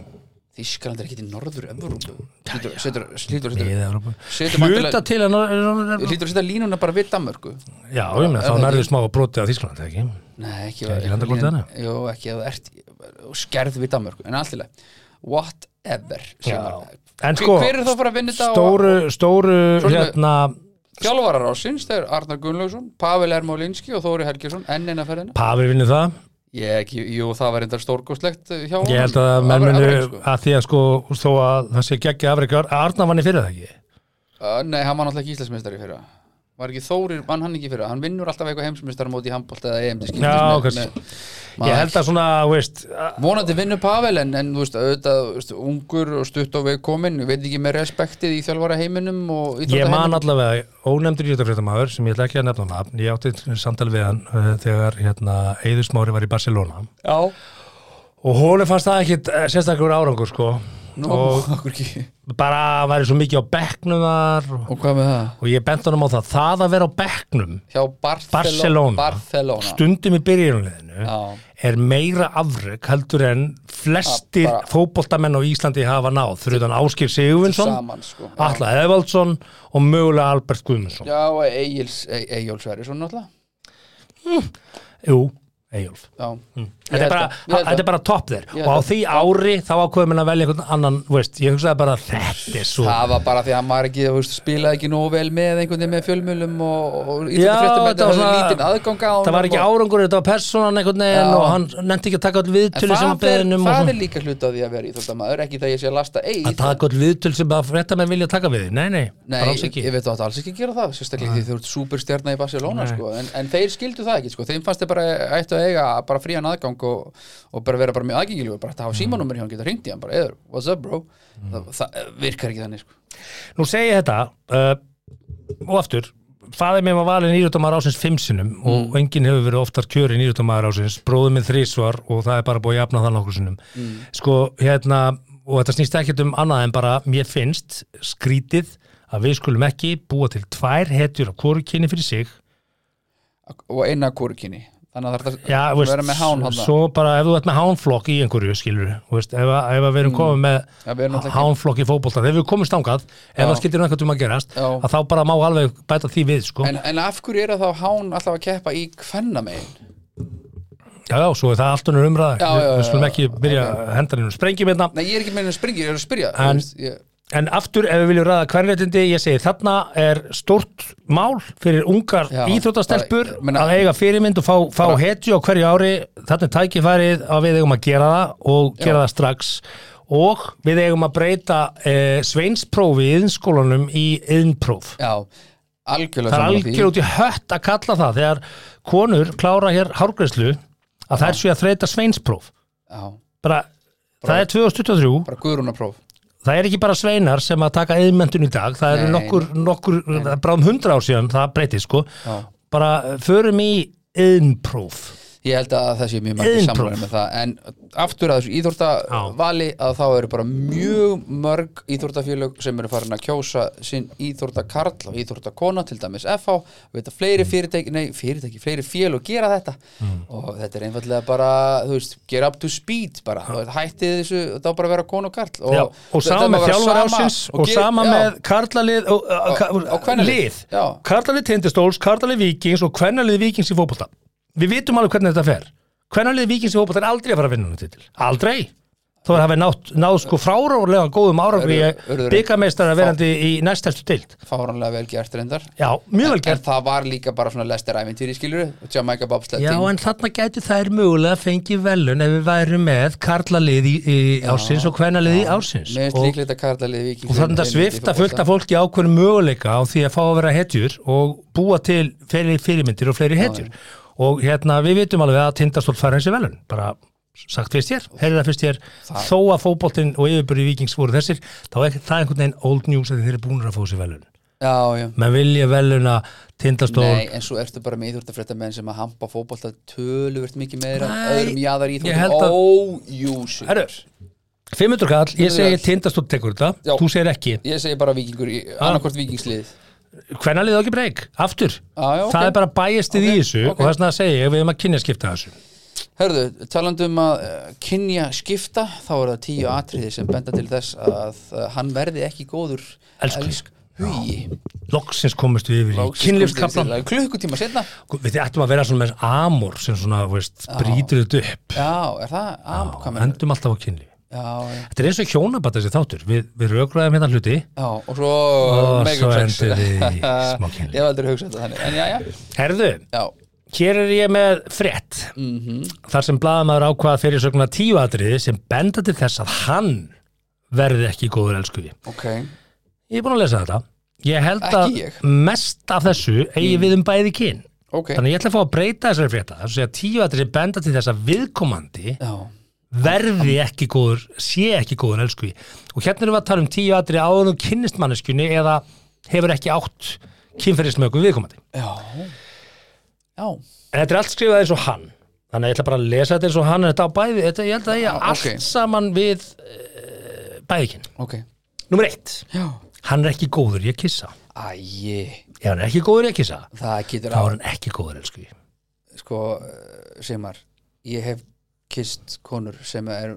Speaker 2: Þískland er ekki í Norður-Evrópu Hlýtur- setur- hlýtur- setur-
Speaker 1: niður Evrópu
Speaker 2: setur
Speaker 1: hluta
Speaker 2: væntanlega-
Speaker 1: til að nor- nor- nor-
Speaker 2: hlýtur að setja línuna bara við Danmörku
Speaker 1: já, ég meina, þá
Speaker 2: það
Speaker 1: nærðu smá að broti á Þískaland, eða ekki
Speaker 2: Nei, ekki
Speaker 1: Er ekki landakortið
Speaker 2: línan-
Speaker 1: þannig?
Speaker 2: Jú, ekki að það ert og skerð við Danmörku, en allt í leið Whatever
Speaker 1: Já.
Speaker 2: segir maður.
Speaker 1: En
Speaker 2: Hver-
Speaker 1: sko,
Speaker 2: Hver er þá bara að vinna þetta á
Speaker 1: stóru, stóru
Speaker 2: Svo sem-
Speaker 1: hérna,
Speaker 2: þjálfarar ásins? Það er Arnar Gunnlaugsson, Pavel Ermolinski og Þóri Helgjesson, enn eina ferðina
Speaker 1: Pavi vinnur það
Speaker 2: Ég ekki, jú, það var reyndar stórkostlegt eh, hjá honum.
Speaker 1: ég held að menn
Speaker 2: Afrek-
Speaker 1: munu
Speaker 2: afrek, sko.
Speaker 1: að því að sko þó að það sé geggja afreikar að Arna vann í fyrir það ekki
Speaker 2: Uh, Nei, hann var náttúrulega ekki Íslandsmeistari fyrir það Var ekki Þórir, vann hann ekki fyrir það Hann vinnur alltaf eitthvað heimsmeistara móti í handbólta eða EM
Speaker 1: Já, kannski. ég held að svona, veist að-
Speaker 2: Vonandi vinnur Pavel en, en þú veist, auðvitað, þú veist, ungur og stutt á veg komin, veit ekki með respektið í þjálfara heiminum og
Speaker 1: ég man
Speaker 2: íþróttaheiminum.
Speaker 1: allavega ónefndur jötafréttamaður sem ég ætla ekki að nefna nafn ég átti samtal við hann uh, þegar hérna, Eiður Smári var í Barcelona
Speaker 2: Já,
Speaker 1: og hólu fannst það ekkit uh, sérstakur árangur sko
Speaker 2: nú,
Speaker 1: og
Speaker 2: okkur ekki
Speaker 1: bara væri svo mikið á bekknum þar og,
Speaker 2: Og hvað með það?
Speaker 1: og ég bent honum á það það að vera á bekknum
Speaker 2: Hjá Barcelona
Speaker 1: Barcelona.
Speaker 2: Barcelona.
Speaker 1: stundum í byrjunliðinu
Speaker 2: Já.
Speaker 1: er meira afrök heldur en flestir
Speaker 2: Ja, Ah, bara-
Speaker 1: fótboltamenn á Íslandi hafa náð fyrir utan Áskir Sigurvinsson,
Speaker 2: Saman, sko Já.
Speaker 1: Atla Evaldsson og mögulega Albert Guðmundsson
Speaker 2: E- Já, og Egil Sverrisson náttúrulega
Speaker 1: Jú, Eyjólf
Speaker 2: já
Speaker 1: Mm. Þetta er, bara, þetta er bara topp þér
Speaker 2: Ég
Speaker 1: og á
Speaker 2: held að-
Speaker 1: því ári þá ákveðum en að velja einhvern annan, þú veist, ég hugsaði bara þetta er svo
Speaker 2: Það var bara því að maður ekki, þú veist, spilaði ekki nógu vel með einhvern veginn með fjölmjölum og, og
Speaker 1: þetta
Speaker 2: íþjóttafréttum
Speaker 1: var
Speaker 2: en það
Speaker 1: svona-
Speaker 2: var lítinn aðgang á
Speaker 1: það var ekki
Speaker 2: honum og-
Speaker 1: árangur, þetta var persónan einhvern veginn
Speaker 2: Já.
Speaker 1: og hann nefndi ekki að taka all
Speaker 2: En
Speaker 1: viðtölu sem að
Speaker 2: það, er,
Speaker 1: beðinum
Speaker 2: það er líka hluti af því að vera íþjóttamaður, ekki það ég sé að lasta eigi
Speaker 1: að taka all viðtölu sem að frétta með vilja taka við því, nei, nei,
Speaker 2: Nei,
Speaker 1: bara alls
Speaker 2: ég,
Speaker 1: ekki
Speaker 2: ég veit að alls ekki að gera það sérstaklega því þú ert superstjarna í Barcelona
Speaker 1: Nei.
Speaker 2: sko. en, en þeir skildu það ekki, sko. þeim fannst þeir bara ættu að eiga bara frían aðgang og, og bara vera bara mjög aðgengilegur, bara
Speaker 1: Mm.
Speaker 2: að hafa símanúmer hjá hann geta hringt í hann, bara eður, what's up bro það, það eh, virkar ekki þannig sko.
Speaker 1: Nú segi ég þetta uh, og aftur Faðið mér var valinn írutamæður ásins fimm sinnum
Speaker 2: Mm.
Speaker 1: og enginn hefur verið oftar kjörin írutamæður ásins, bróðið minn þrísvar og það er bara búið að jafna það nokkur sinnum.
Speaker 2: Mm.
Speaker 1: Sko, hérna, og þetta snýst ekkert um annað en bara, mér finnst skrítið að við skulum ekki búa til tvær hetjur á hvoru kynni fyrir sig.
Speaker 2: og eina kúrkinni þannig að það þarf
Speaker 1: Já,
Speaker 2: að
Speaker 1: veist,
Speaker 2: vera með hán hann
Speaker 1: svo bara ef þú ert með hánflokk í einhverju, skilur, veist, ef, að- ef að við erum komið með
Speaker 2: Mm. Já, við erum náttúrulega ekki-
Speaker 1: hánflokk í fótbolta, þegar við komum stangað, ef
Speaker 2: Já.
Speaker 1: það skiltir einhvern tíma að gerast,
Speaker 2: Já.
Speaker 1: að þá bara má alveg bæta því við, sko.
Speaker 2: en, en af hverju er að þá hán alltaf að keppa í kvennamegin
Speaker 1: Já, já, svo er það allt unnur umræða
Speaker 2: Já,
Speaker 1: Við-
Speaker 2: já, já,
Speaker 1: Við skulum
Speaker 2: já,
Speaker 1: ekki byrja að henda henni sprengjum hérna
Speaker 2: nei, ég er ekki meina að springi, ég er að spyrja þú
Speaker 1: En-
Speaker 2: veist, ég,
Speaker 1: En aftur, ef við viljum ræða hverjréttindi ég segi þarna er stórt mál fyrir ungar
Speaker 2: Já,
Speaker 1: íþróttastelpur
Speaker 2: bara, meina-
Speaker 1: að eiga fyrirmynd og fá, fá hetju á hverju ári þarna er tækifærið að við eigum að gera það og gera það strax og við eigum að breyta eh, sveinsprófi í yðnskólanum í yðnpróf
Speaker 2: já, algjörlega
Speaker 1: Það er
Speaker 2: sammála því.
Speaker 1: algjör út í hött að kalla það þegar konur klára hér hárgreyslu að þær séu að þreita sveinspróf
Speaker 2: já,
Speaker 1: bara, það er 2023
Speaker 2: bara guðrúnapróf
Speaker 1: það er ekki bara sveinar sem að taka eðmentun í dag, það eru
Speaker 2: Nei.
Speaker 1: nokkur, nokkur bráðum hundra ár síðan, það breytist sko
Speaker 2: Já.
Speaker 1: bara eh, förum í eðnpróf
Speaker 2: Ég held að það sé mjög margir
Speaker 1: Iðnpróf.
Speaker 2: samræmi með það en aftur að þessu íþórtavali að þá eru bara mjög mörg íþórtafélög sem eru farin að kjósa sinn íþórtakarl og íþórtakona til dæmis FH, við veit að
Speaker 1: Mm.
Speaker 2: fleiri fyrirtæki nei, fyrirtæki, fleiri félög gera þetta og þetta er einfallega bara þú veist, get up to speed bara ja. hættið þessu, þá bara að vera kona og karl
Speaker 1: og, og sama með þjálfar ásins og,
Speaker 2: ge-
Speaker 1: sama
Speaker 2: já,
Speaker 1: með karlalið og, uh,
Speaker 2: Og-
Speaker 1: ka-
Speaker 2: og kvennalið.
Speaker 1: lið,
Speaker 2: Já.
Speaker 1: karlalið tindistóls karlalið vikings og kvennalið vikings í fótbolta við vitum alveg hvernig þetta fer kvennalið vikings í fótbolta er aldrei að fara að vinna um titil aldrei þó er að hafa nátt, náð sko fráróflega góðum árangri
Speaker 2: Urðu- urðu-
Speaker 1: byggameistara verandi í næstæstu dild
Speaker 2: fáránlega vel gert reyndar
Speaker 1: já, mjög vel
Speaker 2: en
Speaker 1: gert
Speaker 2: það var líka bara svona lestir ævintýri skilur Jamaica Bobsled
Speaker 1: Já,
Speaker 2: team.
Speaker 1: en þarna gæti þær mögulega fengið velun ef við værum með karlalið í, í ásins og hvernalið í ásins
Speaker 2: Mér finnst
Speaker 1: og,
Speaker 2: líklegt að karlalið Víking
Speaker 1: og þannig að svifta fullt af fólki ákveðin möguleika á því að fá að vera hetjur og búa til fleiri fyrirmyndir og fleiri hetjur og hérna við vitum alveg að tindastóll fara eins í velun bara sagt fyrst hér, heyrið það fyrst hér þó að fótboltinn og yfirbyrði vikings voru þessir þá er það einhvern veginn old news að þeir eru búinir að fá sér velun
Speaker 2: Já, já
Speaker 1: menn vilja veluna tindastóll
Speaker 2: Nei, en svo ertu bara með íþjórtafréttamenn sem að hampa fótbolta töluvert mikið meira
Speaker 1: Nei,
Speaker 2: öðrum jáðar
Speaker 1: ég held að-
Speaker 2: íþjórtum ójúsi
Speaker 1: Herru, 500 kall, ég segi tindastótt tekur þetta,
Speaker 2: Já.
Speaker 1: þú segir ekki
Speaker 2: Ég segi bara vikingur, í- annarkvort vikingslið
Speaker 1: hvenær liðið á ekki breyk, aftur
Speaker 2: Já, já, ok.
Speaker 1: það er bara bæjastið í
Speaker 2: Ok,
Speaker 1: þessu
Speaker 2: ok.
Speaker 1: og það er svona að segja, við erum að kynja skipta þessu
Speaker 2: Hörðu, talandi um að uh, kynja skipta þá er það tíu atriði sem benda til þess að uh, hann verði ekki góður
Speaker 1: Elskhugi.
Speaker 2: hugi
Speaker 1: loksins komist við yfir í kynlífskaplan
Speaker 2: Klukkutíma setna
Speaker 1: við ættum að vera svona með amor sem svona, veist, brýtur þetta upp
Speaker 2: Já, er það? Já, hvað meinar?
Speaker 1: endum alltaf á kynlíf
Speaker 2: Já, já,
Speaker 1: þetta er eins og hjónabata þessi þáttur, við, við rökraðum hérna hluti
Speaker 2: já, og svo
Speaker 1: og
Speaker 2: mega
Speaker 1: svo
Speaker 2: sex.
Speaker 1: endur við í smá
Speaker 2: Ég
Speaker 1: kynlíf
Speaker 2: hef aldrei hugsað þetta þannig En já, já,
Speaker 1: herðu,
Speaker 2: já
Speaker 1: Hér er ég með frétt þar sem blaðamaður ákvað fyrir söguna tíu atriði sem benda til þess að hann verði ekki góður elskuði.
Speaker 2: Ok,
Speaker 1: Ég er búin að lesa þetta. Ég held
Speaker 2: Ekki
Speaker 1: að
Speaker 2: ég.
Speaker 1: mest af þessu eigi við um bæði kyn.
Speaker 2: ok
Speaker 1: Þannig að ég ætla að fá að breyta þessari frétta. Þannig að tíu atriði sem benda til þess að viðkomandi
Speaker 2: Já,
Speaker 1: verði ekki góður, sé ekki góður elskuði. Og hérna erum við að tala um tíu atriði áður og kynnist manneskjunni eða hefur ekki átt kynferðismöku viðkomandi.
Speaker 2: já Já,
Speaker 1: En þetta er allt skrifað eins og hann Þannig að ég ætla bara að lesa þetta eins og hann en Þetta á bæði, þetta, ég held að ég
Speaker 2: Já,
Speaker 1: allt
Speaker 2: ok.
Speaker 1: saman við uh, bæðikinn
Speaker 2: ok
Speaker 1: Númer eitt,
Speaker 2: Já
Speaker 1: hann er ekki góður í að kissa
Speaker 2: Æi,
Speaker 1: Ef hann er ekki góður í að kissa
Speaker 2: það getur
Speaker 1: Þá
Speaker 2: á
Speaker 1: er hann ekki góður, elsku ég
Speaker 2: Sko, semar Ég hef kist konur sem er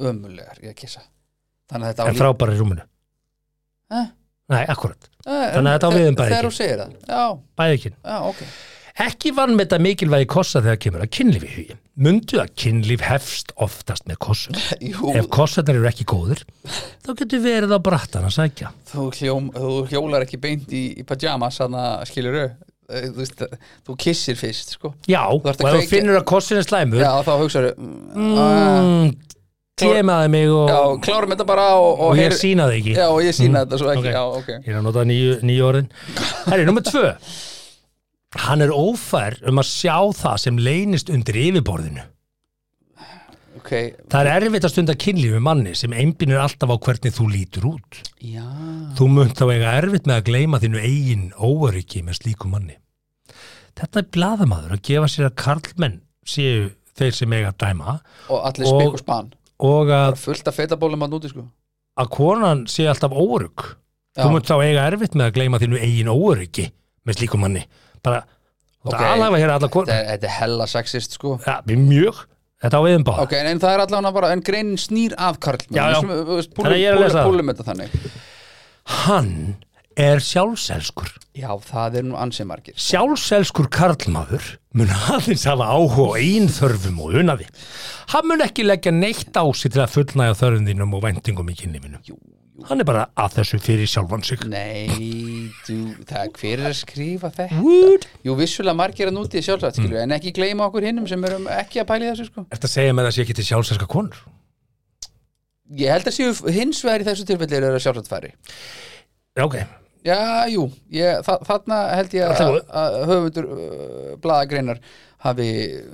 Speaker 2: ömulegar í að kissa Þannig að þetta
Speaker 1: En frábæri í rúminu
Speaker 2: Hæ? Eh,
Speaker 1: Nei, akkurat, þannig að þetta á við um bæði
Speaker 2: Þegar
Speaker 1: kyn.
Speaker 2: þú segir það Já,
Speaker 1: bæðikinn
Speaker 2: já, ok
Speaker 1: Ekki vann með þetta mikilvægi kossa þegar kemur að kynlífi í hugin. Mundu að kynlíf hefst oftast með kossum.
Speaker 2: Jú.
Speaker 1: Ef kossarnir eru ekki góðir, þá getur verið á brattan að sækja.
Speaker 2: þú, hljóm, þú hjólar ekki beint í, í pajamas þannig að skilur þú veist, þú kissir fyrst sko.
Speaker 1: Já,
Speaker 2: Þú
Speaker 1: og
Speaker 2: ert
Speaker 1: ef
Speaker 2: að
Speaker 1: þú
Speaker 2: kveikja-
Speaker 1: finnur að kossin er slæmur,
Speaker 2: já þá hugsaðu mm, ah,
Speaker 1: mm, tjemaði mig og,
Speaker 2: já, klárum þetta bara og,
Speaker 1: og ég
Speaker 2: heyr-
Speaker 1: sínaði ekki.
Speaker 2: já, og ég sína þetta svo ekki
Speaker 1: ok.
Speaker 2: já, okay.
Speaker 1: Ég er að nota nýju, nýju orðin Herri, nummer tvö Hann er ófær um að sjá það sem leynist undir yfirborðinu
Speaker 2: ok,
Speaker 1: Það er erfitt að stunda kynlíf með manni sem einbýnir alltaf á hvernig þú lítur út
Speaker 2: já
Speaker 1: Þú munt þá eiga erfitt með að gleyma þínu eigin óöryggi með slíkum manni Þetta er blaðamaður að gefa sér að karlmenn séu þeir sem eiga að dæma
Speaker 2: og allir
Speaker 1: Og-
Speaker 2: spik og span
Speaker 1: og
Speaker 2: Bara
Speaker 1: að,
Speaker 2: fullt af feitabólum að núti sko
Speaker 1: að konan sé alltaf óörygg
Speaker 2: Já.
Speaker 1: Þú munt þá eiga erfitt með að gleyma þínu eigin óöryggi með slíkum manni Bara, okay.
Speaker 2: Ok.
Speaker 1: það alhafa hér alla
Speaker 2: þetta
Speaker 1: konan
Speaker 2: er, þetta er hella sexist sko
Speaker 1: Já, mjög, þetta á viðum báða
Speaker 2: ok, en, en það er allavega bara, en greinin snýr af karlmenn
Speaker 1: Já, já. Þannig að ég er að lesa það.
Speaker 2: púlum þetta þannig
Speaker 1: Hann er sjálfselskur
Speaker 2: já, það er nú ansið margir
Speaker 1: Sjálfselskur karlmaður mun aðeins hafa áhuga á einn þörfum og unaði. Hann mun ekki leggja neitt á sig til að fullnæja þörfum þínum og væntingum í kynlífinu. Hann er bara að þessu fyrir sjálfan sig.
Speaker 2: nei, þú, það, hver er að skrifa þetta Mm.
Speaker 1: Wood.
Speaker 2: Jú, vissulega margir að núti sjálfsagt, skilju, en ekki gleyma okkur hinnum sem erum ekki að pæli þessu, sko.
Speaker 1: Ertu að segja með það sé ekki til sjálfselska konur?
Speaker 2: Ég held að séu hins vegar í þessu tilfelli eru að sjálfsagt færi.
Speaker 1: Já, ok.
Speaker 2: Já, jú, ég, þa þarna held ég
Speaker 1: Þetta er
Speaker 2: að,
Speaker 1: góð.
Speaker 2: að höfundur uh, blaðagreinar hafi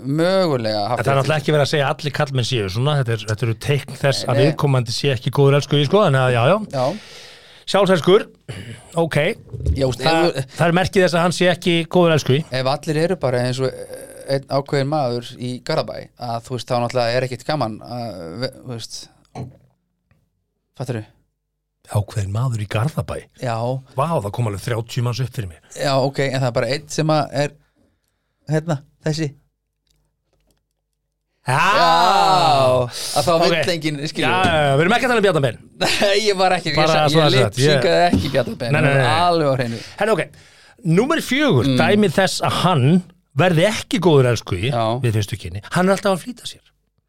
Speaker 2: mögulega haft
Speaker 1: Þetta er náttúrulega ekki verið að segja að allir karlmenn séu svona. Þetta, er, þetta eru teikn þess að
Speaker 2: Nei.
Speaker 1: viðkomandi sé ekki góður elsku í sko. Þannig að já, já.
Speaker 2: Já,
Speaker 1: Sjálfselskur, ok.
Speaker 2: já, þú veist,
Speaker 1: Það,
Speaker 2: ef,
Speaker 1: það er merkið þess að hann sé ekki góður elsku
Speaker 2: ef allir eru bara eins og eh, einn ákveðin maður í Garabæ að þú veist, þá náttúrulega er ekkit gaman að, ve- þú veist, fattur þau?
Speaker 1: Ákveðin maður í Garðabæ.
Speaker 2: Já,
Speaker 1: Vá, það kom alveg 30 manns upp fyrir mér.
Speaker 2: Já, ok, en það er bara einn sem að er hérna, þessi
Speaker 1: Já,
Speaker 2: að þá okay.
Speaker 1: Ok.
Speaker 2: vill enginn,
Speaker 1: já,
Speaker 2: skilur
Speaker 1: já, við erum ekki að tala um Bjarnar Ben
Speaker 2: Nei, ég var ekki,
Speaker 1: Bara svona
Speaker 2: ég, ég
Speaker 1: sagt, ég-
Speaker 2: lipsyngaði ekki Bjarnabenn
Speaker 1: Nei, nei, nei, nei.
Speaker 2: Alveg á hreinu
Speaker 1: Henni, ok, númer fjögur
Speaker 2: Mm.
Speaker 1: dæmið þess að hann verði ekki góður elsku í
Speaker 2: Já.
Speaker 1: við fyrstu kynni, hann er alltaf að flýta sér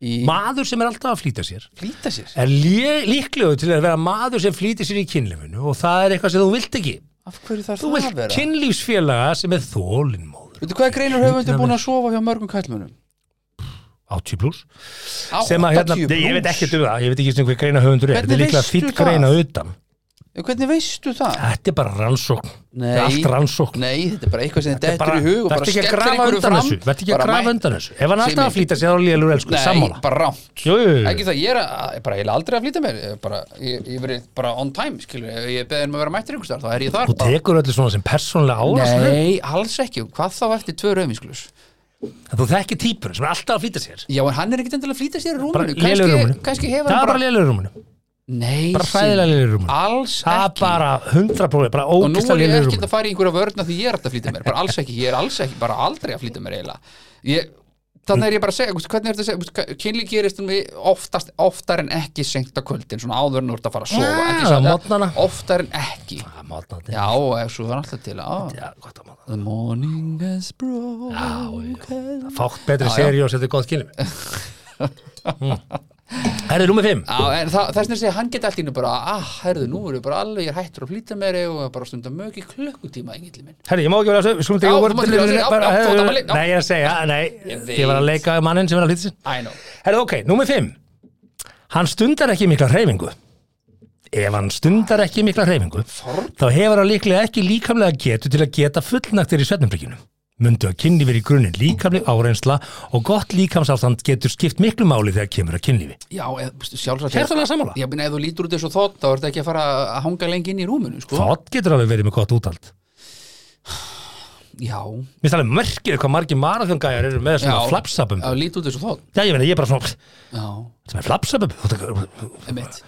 Speaker 2: Í
Speaker 1: maður sem er alltaf að flýta sér
Speaker 2: flýta sér
Speaker 1: er lé- líklegur til að vera maður sem flýtir sér í kynlifinu og það er eitthvað sem þú vilt ekki
Speaker 2: Af hverju þarf
Speaker 1: þú
Speaker 2: það
Speaker 1: vilt
Speaker 2: að vera?
Speaker 1: kynlífsfélaga sem er þólinmóður
Speaker 2: Veitu hvað greinur höfundur búin að sofa hjá mörgum kallmönum?
Speaker 1: 80 pluss
Speaker 2: Á,
Speaker 1: sem að hérna,
Speaker 2: 80
Speaker 1: Nei, ég veit
Speaker 2: plús.
Speaker 1: ekki um það, ég veit ekki sem hver greina höfundur er
Speaker 2: Hvernig
Speaker 1: þetta er líklega
Speaker 2: veistu
Speaker 1: fýtt
Speaker 2: það?
Speaker 1: greina utan
Speaker 2: Hvernig veistu það?
Speaker 1: þetta er bara rannsókn, þetta er
Speaker 2: Nei.
Speaker 1: allt rannsókn
Speaker 2: Nei, þetta er bara eitthvað sem þetta
Speaker 1: bara,
Speaker 2: er í hug og bara
Speaker 1: vertu ekki að
Speaker 2: skellir
Speaker 1: grafa
Speaker 2: einhverju
Speaker 1: undan
Speaker 2: fram,
Speaker 1: þessu vertu ekki að
Speaker 2: bara
Speaker 1: grafa
Speaker 2: mætt-
Speaker 1: undan þessu ef hann er alltaf
Speaker 2: Simmi.
Speaker 1: að flýta sér þá lélur elsku,
Speaker 2: Nei,
Speaker 1: sko, sammála
Speaker 2: bara rámt
Speaker 1: Jú, jú, jú.
Speaker 2: ekki það, ég er, að, ég bara, ég er aldrei að flýta mér ég, er bara, ég, ég verið bara on time skilur, ef ég beðin um að vera mættur ykkur þá er ég þar
Speaker 1: þú tekur öllu svona sem persónlega árás
Speaker 2: Nei, alls ekki, hvað þá eftir tvö rauðminsklus
Speaker 1: En þú þekkir típur sem er alltaf að flýta sér
Speaker 2: Já, en hann er ekkit endilega að flýta sér í
Speaker 1: bara
Speaker 2: rúminu
Speaker 1: lélur rúmunu
Speaker 2: kannski
Speaker 1: það
Speaker 2: hefur
Speaker 1: er
Speaker 2: hann
Speaker 1: bara
Speaker 2: bara
Speaker 1: lélur rúmunu
Speaker 2: Nei,
Speaker 1: bara fræðilega lélur rúmunu
Speaker 2: alls
Speaker 1: það er
Speaker 2: ekki
Speaker 1: bara 100% bara
Speaker 2: Og nú
Speaker 1: ógislega
Speaker 2: er um- ég
Speaker 1: lélur
Speaker 2: ekkit
Speaker 1: rúmunu
Speaker 2: að fara í einhverja vörna því ég er alltaf að flýta mér bara alls ekki, ég er alls ekki, bara aldrei að flýta mér eiginlega ég, Þannig er ég bara að segja, veist, hvernig er þetta að segja kynli gerist um við oftast, oftar en ekki senkt á kvöldin, svona áður en þú ert að fara að sofa
Speaker 1: Já,
Speaker 2: ekki satt, eða
Speaker 1: morgnana.
Speaker 2: Oftar en ekki
Speaker 1: Ah,
Speaker 2: Já, ef svo er alltaf til að The morning has
Speaker 1: Ah,
Speaker 2: broken
Speaker 1: fátt betri seri og setja gott kynlum Herði, númer 5
Speaker 2: Já, en það, þess að segja, hann geti allt í hennu bara ah, herðu, nú erum við bara alveg, ég er hættur að flýta mér og er bara stundum mög í klukkutíma engillin minn
Speaker 1: Herri, ég má ekki vera að segja, við skulum
Speaker 2: Já,
Speaker 1: ekki
Speaker 2: þú
Speaker 1: voru-
Speaker 2: mátt ekki vera að segja, já,
Speaker 1: bara-
Speaker 2: já, þú ert að leika, já.
Speaker 1: Nei, ég er að segja, nei,
Speaker 2: Ég
Speaker 1: ég var að
Speaker 2: veit.
Speaker 1: leika mannin sem er að lítið sér.
Speaker 2: I know
Speaker 1: Herri, ok, númer 5. Hann stundar ekki mikla hreyfingu. Ef hann stundar ekki mikla hreyfingu, þá hefur hann líklega ekki líkamlega getu til að geta fullnaktir í svefnumbryggjunum. Mundu að kynlífi er í grunninn líkamleg áreynsla og gott líkamsástand getur skipt miklu máli þegar kemur að kynlífi.
Speaker 2: Já, eð, sjálfsagt
Speaker 1: Hjertalega sammála.
Speaker 2: Já, minna, ef þú lítur út eins og þótt, þá ertu ekki að fara að hanga lengi inn í rúminu, sko
Speaker 1: Þátt getur alveg verið með gott útald.
Speaker 2: Já,
Speaker 1: Mér finnst alveg merkir hvað margir marathongæjar eru með svona
Speaker 2: Já.
Speaker 1: flapsabum.
Speaker 2: já, lítur út eins og þótt
Speaker 1: Já, ég meina, ég er bara svona,
Speaker 2: Já,
Speaker 1: sem er flapsabum. Þú ert að-
Speaker 2: emitt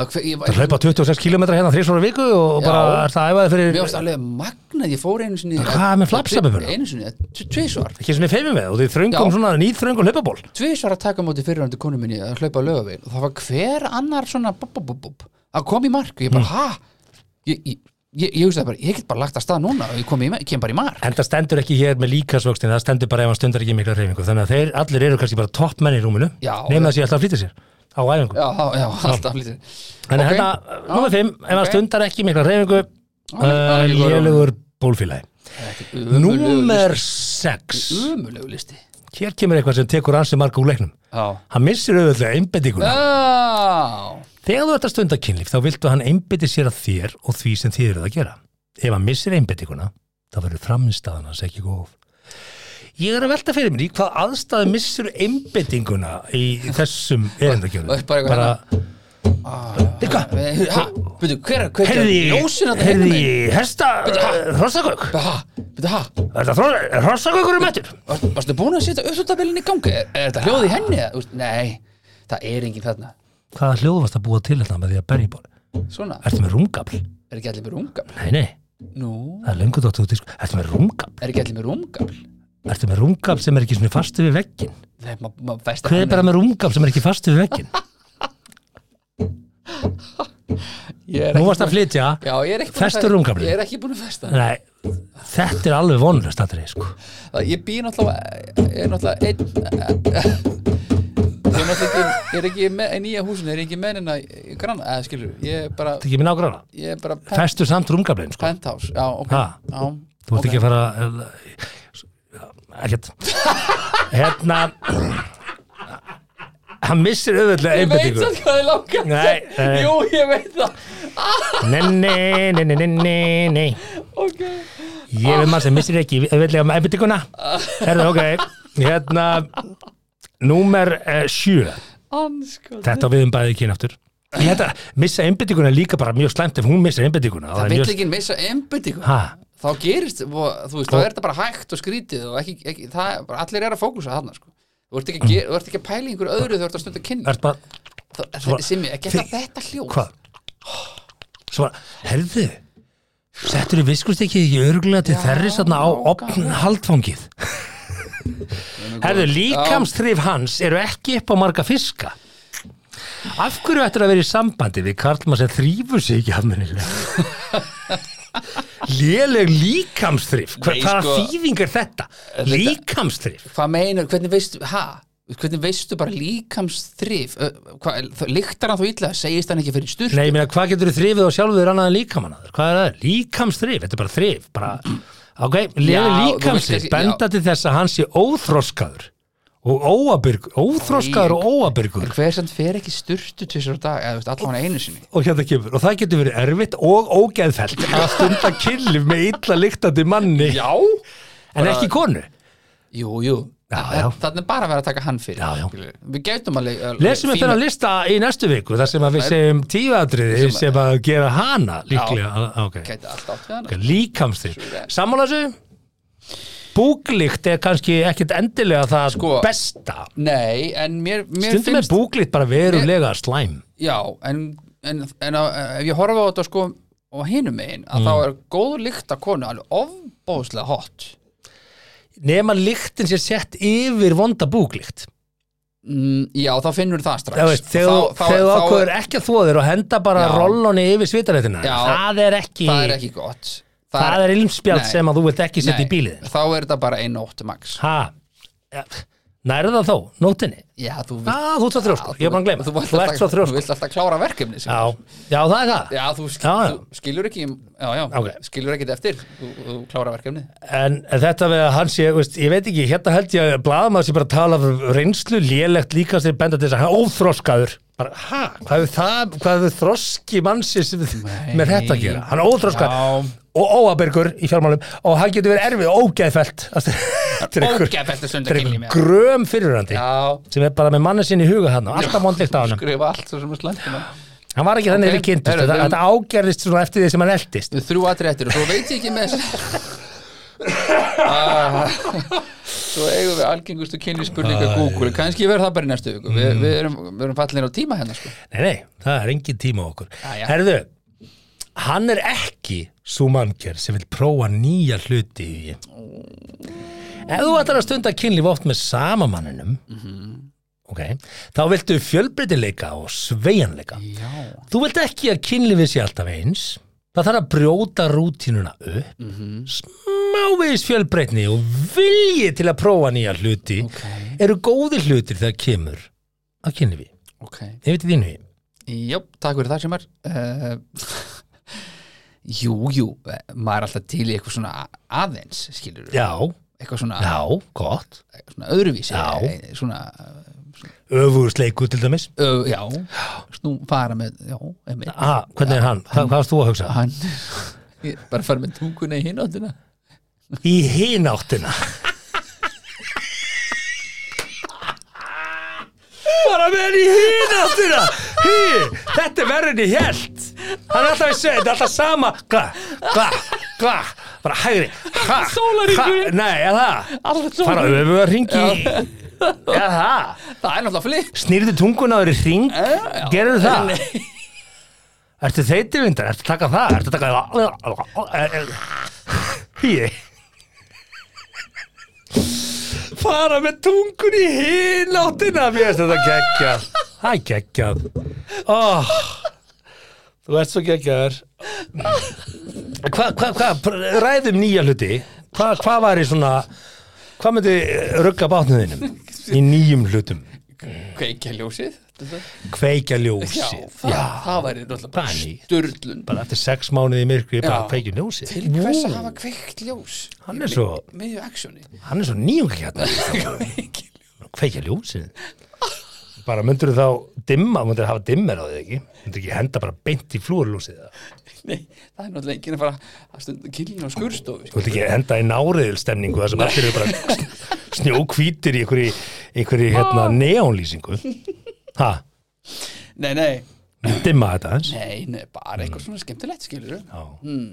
Speaker 2: Það hver- ég,
Speaker 1: að hlaupa 26 km hérna þrísvara viku og bara
Speaker 2: Já.
Speaker 1: er það æfaði
Speaker 2: Mér
Speaker 1: fyrir
Speaker 2: varst alveg magnað, ég fór einu sinni
Speaker 1: Hvað með flapsaböfuna?
Speaker 2: Einu sinni, tvisvar
Speaker 1: ekki sem ég feimum með og því þröngum
Speaker 2: Já.
Speaker 1: svona nýþröngum hlaupaból
Speaker 2: Tvisvar að taka á móti fyrirhandi konu minni að hlaupa
Speaker 1: Mm.
Speaker 2: lögavegin og það var hver annar svona bub, bub, bub, bub, að koma í mark og ég bara, ha? Ég, ég, ég, ég hugsa það bara, ég get bara lagt að stað núna og ég kom, í, ma- kem bara í mark
Speaker 1: En það stendur ekki hér með líkasvöxtin, það stendur bara ef hann stundar ekki mikla reyfingu. Þannig að þeir allir eru kannski bara toppmenn í rúminu,
Speaker 2: Já.
Speaker 1: nema það sé alltaf að flýta sér á æfingu.
Speaker 2: já, já, já, alltaf lítið
Speaker 1: Þannig
Speaker 2: ok.
Speaker 1: að þetta,
Speaker 2: Já.
Speaker 1: nummer 5, ef hann
Speaker 2: Ok.
Speaker 1: stundar ekki mikla reyfingu, uh, lélugur bólfélagi. Númer 6,
Speaker 2: umulegu listi
Speaker 1: hér kemur eitthvað sem tekur ansi marga úr leiknum.
Speaker 2: já,
Speaker 1: Hann missir auðvitað einbendinguna.
Speaker 2: já.
Speaker 1: Þegar þú ert að stunda kynlíf, þá viltu að hann einbeiti sér að þér og því sem þið eruð að gera. Ef hann missir einbeitinguna, þá verður framistæðan hans ekki góð. Ég er að velta fyrir mér í hvað aðstæði missir einbeitinguna í þessum erindakjörðum.
Speaker 2: Og bara eitthvað hérna.
Speaker 1: eitthvað
Speaker 2: Ha, byrju, hver er, hver er
Speaker 1: Herði,
Speaker 2: ljósin hérna, að það
Speaker 1: herði, hesta, hrossagökk.
Speaker 2: ha, byrju, ha,
Speaker 1: Er það hrossagökkur um ettur?
Speaker 2: var, varstu búin að setja uppsvöldabillin í gangi er, er þetta hljóð í henni? eða, Úst, nei, það er engin þarna
Speaker 1: Hvaða hljóð varst að búa til þetta með því að berja í ból?
Speaker 2: svona,
Speaker 1: Ertu með rúmgafl?
Speaker 2: er ekki allir með rúmgafl?
Speaker 1: Nei, nei,
Speaker 2: nú,
Speaker 1: það er löngu dóttu út í sko. Ertu með rúmgafl?
Speaker 2: er ekki allir með rúmgafl?
Speaker 1: Ertu með rúmgafl sem er ekki svona fastu við vegginn?
Speaker 2: Nei, ma- maður veist að
Speaker 1: Hver er
Speaker 2: hann
Speaker 1: bara með rúmgafl sem er ekki fastu við vegginn?
Speaker 2: Ég er
Speaker 1: Nú
Speaker 2: ekki
Speaker 1: varst að
Speaker 2: búin-
Speaker 1: flytja
Speaker 2: Já, ég er ekki búin að
Speaker 1: Festu
Speaker 2: fe-
Speaker 1: rúmgaflinn?
Speaker 2: Ég er ekki búin að festa
Speaker 1: Nei, þetta er alveg vonlust aðrið sko.
Speaker 2: Það- Ég býr náttúrulega Ég er náttúrulega einn Ég er náttúrulega ekki, ég er ekki með, í nýja húsinu er ég ekki með henni grann, eða skilur, ég er bara
Speaker 1: Þetta er ekki minn ágrána
Speaker 2: ég er bara pen,
Speaker 1: Festu samt rúmgaflinn sko.
Speaker 2: penthouse já, ok
Speaker 1: Ha?
Speaker 2: já,
Speaker 1: Þú ert
Speaker 2: ok.
Speaker 1: ekki að fara að- Ekkert Hérna Hann missir auðvitað
Speaker 2: Ég veit
Speaker 1: einbendingu
Speaker 2: samt hvað þið langar
Speaker 1: Nei, nei.
Speaker 2: Jú, ég veit það
Speaker 1: Nei, nei, nei, nei, nei, nei, nei
Speaker 2: Ok
Speaker 1: Ég veit maður sem missir ekki auðvitað með einbendinguna Herðu, ok Hérna Númer eh, sjö
Speaker 2: Anskot
Speaker 1: Þetta á við um bæði kyn aftur Ég held að missa einbendinguna er líka bara mjög slæmt ef hún missa einbendinguna
Speaker 2: Það vill ekki missa einbyttingu
Speaker 1: Ha,
Speaker 2: Þá gerist, og, þú veist, þá er þetta bara hægt og skrítið og ekki, ekki það, er bara, allir er að fókusa þarna, sko Þú ert ekki að, ger, þú ert ekki að pæla í einhverju öðru þú ert að stunda kynni
Speaker 1: Mm. ert bara Svo-
Speaker 2: Simmi, ekki
Speaker 1: Þi-
Speaker 2: þetta þetta hljóð
Speaker 1: Hvað? Svo var, herðu Settur þú viskust ekki ekki örgulega til þerris þarna á opn haldfangið Herðu, líkamstrif hans eru ekki upp á marga fiska Af hverju ættir að vera í sambandi við karlmann sem þrýfur sig ekki afmennilega Léleg líkamstrif Hva,
Speaker 2: Nei,
Speaker 1: Hvaða
Speaker 2: sko,
Speaker 1: þýðing er þetta? Líkamstrif
Speaker 2: Hvað meinar, hvernig veistu, ha? Hvernig veistu bara líkamsþrif? Ö, hvað- þá- Lyktar hann þú illa, segist hann ekki fyrir sturt
Speaker 1: Nei, ég meina, hvað getur þú þrifið á sjálfuður annað en líkamannaður? Hvað er það? Líkamsþrif, þetta er bara þrif, bara, ok,
Speaker 2: Já,
Speaker 1: leður
Speaker 2: þú
Speaker 1: líkamsþrif,
Speaker 2: veist kannski-
Speaker 1: benda til þess að hann sé óþroskaður og óabyrg, óþroskaður og óabyrgur
Speaker 2: Hver sem fer ekki sturtu tvisar á dag, eða þú veist, allavega einu sinni
Speaker 1: og hérna kemur, og það getur verið erfitt og ógeðfellt að stunda kynlif með illa lyktandi manni,
Speaker 2: Já
Speaker 1: en ekki konu.
Speaker 2: Jú, jú
Speaker 1: Já,
Speaker 2: Þa-
Speaker 1: já.
Speaker 2: Þarna er bara að vera að taka hann fyrir
Speaker 1: Já, já.
Speaker 2: skilurðu. Við gætum alveg alveg
Speaker 1: Lesum við
Speaker 2: fína-
Speaker 1: þennan lista í næstu viku, þar sem að við segjum tíuatriði sem að gera hana líklega, Ah, ok.
Speaker 2: Gæti allt átt við hann
Speaker 1: líkamsþrif sammála þessu búklikt er kannski ekkit endilega það sko,
Speaker 2: Sko,
Speaker 1: besta
Speaker 2: Nei, en mér, mér
Speaker 1: stundum er búklikt bara verulega slæm
Speaker 2: Já, en, en, en að, ef ég horfa á þetta sko og hinum megin, að
Speaker 1: Mm.
Speaker 2: þá er góður lykt að konu alveg ofbóðslega hot
Speaker 1: nema lyktin sér sett yfir vonda búklikt
Speaker 2: mm, Já, þá finnur það strax
Speaker 1: veist, þegar
Speaker 2: Þá- þá-
Speaker 1: þegar þú
Speaker 2: þá-
Speaker 1: ákveður ekki að þvo þér og henda bara
Speaker 2: Já.
Speaker 1: rollunni yfir svitaréttina
Speaker 2: Já.
Speaker 1: það er ekki
Speaker 2: Það er ekki gott
Speaker 1: það er ilmspjald
Speaker 2: Nei.
Speaker 1: sem að þú vilt ekki setja í
Speaker 2: Nei,
Speaker 1: bílið
Speaker 2: Þá er þetta bara einn ótt max
Speaker 1: ha ja. nærðu það þó, nótinni
Speaker 2: Já, þú vilt
Speaker 1: ah, þú ert svo
Speaker 2: Já,
Speaker 1: þrjóskur, ég er bara að gleyma
Speaker 2: þú,
Speaker 1: þú,
Speaker 2: vilt alltaf-
Speaker 1: ert svo
Speaker 2: þú
Speaker 1: þrjóskur
Speaker 2: vilt alltaf klára verkefni sem.
Speaker 1: já. já, það er það
Speaker 2: já, þú skil,
Speaker 1: Já, já.
Speaker 2: Þú skilur ekki já, já,
Speaker 1: Ok.
Speaker 2: skilur ekki eftir þú, þú klára verkefni
Speaker 1: En þetta við að hans ég, veist, ég veit ekki, hérna held ég að blaðamaður sé bara að tala af reynslu, lélegt líka sem benda til þess að hann er óþroskaður. Bara, hæ, hvað hefur það, hvað hefur þroski mannsins með þetta að gera? Hann er óþroskaður
Speaker 2: Já.
Speaker 1: og óabergur í fjármálum og hann getur verið erfið og ógeðfelt. Þetta er einhver-
Speaker 2: Ógeðfellt að stunda
Speaker 1: þetta er
Speaker 2: kynlíf,
Speaker 1: einhver
Speaker 2: já.
Speaker 1: gröm fyrirrandi
Speaker 2: já, Sko.
Speaker 1: sem er bara með manni sinni í huga hann og alltaf vondlikt á hann.
Speaker 2: skrifa allt svo sem er slæmt um það.
Speaker 1: Hann var ekki þannig
Speaker 2: Ok,
Speaker 1: við kynntist,
Speaker 2: heyrðu,
Speaker 1: þetta,
Speaker 2: við-
Speaker 1: þetta ágerðist svona eftir því sem hann eldist.
Speaker 2: Þú þrjú aðri eftir og svo veit ég ekki með þess Ah, Svo eigum við algengustu kynli spurninga Google kannski verður það bara í næstu viku við, við erum, við erum fallin á tíma hérna sko.
Speaker 1: Nei, nei, það er engin tíma á okkur
Speaker 2: já.
Speaker 1: Herðu, hann er ekki svo mannker sem vil prófa nýja hluti í því Ef þú ætlar að stunda kynlíf oft með sama manninum
Speaker 2: Mhm.
Speaker 1: ok, þá viltu fjölbreytileika og sveigjanleika
Speaker 2: Já,
Speaker 1: Þú vilt ekki að kynlífið sé alltaf eins það þarf að brjóta rútínuna upp mm
Speaker 2: Mhm.
Speaker 1: -hmm. smávegis fjölbreytni og vilji til að prófa nýja hluti
Speaker 2: Ok,
Speaker 1: eru góði hlutir þegar kemur að kynni við,
Speaker 2: ok
Speaker 1: ég veit þínu við
Speaker 2: Jöp, takk fyrir það sem er uh, Jú, jú maður er alltaf til í eitthvað svona aðeins skilur
Speaker 1: já,
Speaker 2: eitthvað svona,
Speaker 1: já, gott
Speaker 2: svona öðruvísi
Speaker 1: Já.
Speaker 2: eh, svona,
Speaker 1: öfugsleiku til dæmis
Speaker 2: ö, já snú fara með, já, einmitt
Speaker 1: ah, hvernig er hann, Hva, hvað varst þú að hugsa
Speaker 2: hann ég er bara fara með tunguna í hinn áttina
Speaker 1: í hináttina bara með henni í hináttina Hí, þetta er verðin í hjælt hann er alltaf að segja, þetta er alltaf sama gla, gla, gla bara hægri, ha, ha
Speaker 2: Sólarhringur.
Speaker 1: nei, er það
Speaker 2: Alveg
Speaker 1: fara
Speaker 2: sólarhringur.
Speaker 1: öfuga ringi er það
Speaker 2: það er náttúrulega flip
Speaker 1: snýrðu tunguna á þér í ring
Speaker 2: Já.
Speaker 1: gerðu það ertu þeytivindar, ertu að taka það ertu að taka það hýi fara með tungun í hinn áttina mér finnst þetta geggjað það er geggjað oh. þú ert svo geggjaður hvað hva, hva, ræðum nýja hluti hvað hva var í svona hvað myndi rugga bátnuðinum í nýjum hlutum
Speaker 2: kveikja ljósið þetta-
Speaker 1: kveikja
Speaker 2: já,
Speaker 1: ljósið
Speaker 2: það, það væri náttúrulega
Speaker 1: Það
Speaker 2: bara
Speaker 1: er nýtt.
Speaker 2: sturlun
Speaker 1: bara eftir sex mánuði í myrkri bara
Speaker 2: Já.
Speaker 1: kveikja ljósið
Speaker 2: til hvers að hafa kveikt ljós
Speaker 1: Hann er svo-
Speaker 2: miðju actioni
Speaker 1: hann er svo nýjung hérna kveikja ljósið bara myndur þá dimma myndur hafa dimmer á þig ekki myndur ekki henda bara beint í flúrljósið eða?
Speaker 2: Nei, það er náttúrulega enginn að fara að stunda kynlín á sko. skurstofu
Speaker 1: þú vilt ekki henda í náriðilstemningu þar sem allir eru bara snjókvítir í einhverju, einhverju hérna, neónlýsingu ha,
Speaker 2: Nei, nei,
Speaker 1: dimma þetta eins
Speaker 2: nei, nei bara eitthvað svona skemmtilegt skilur
Speaker 1: mm.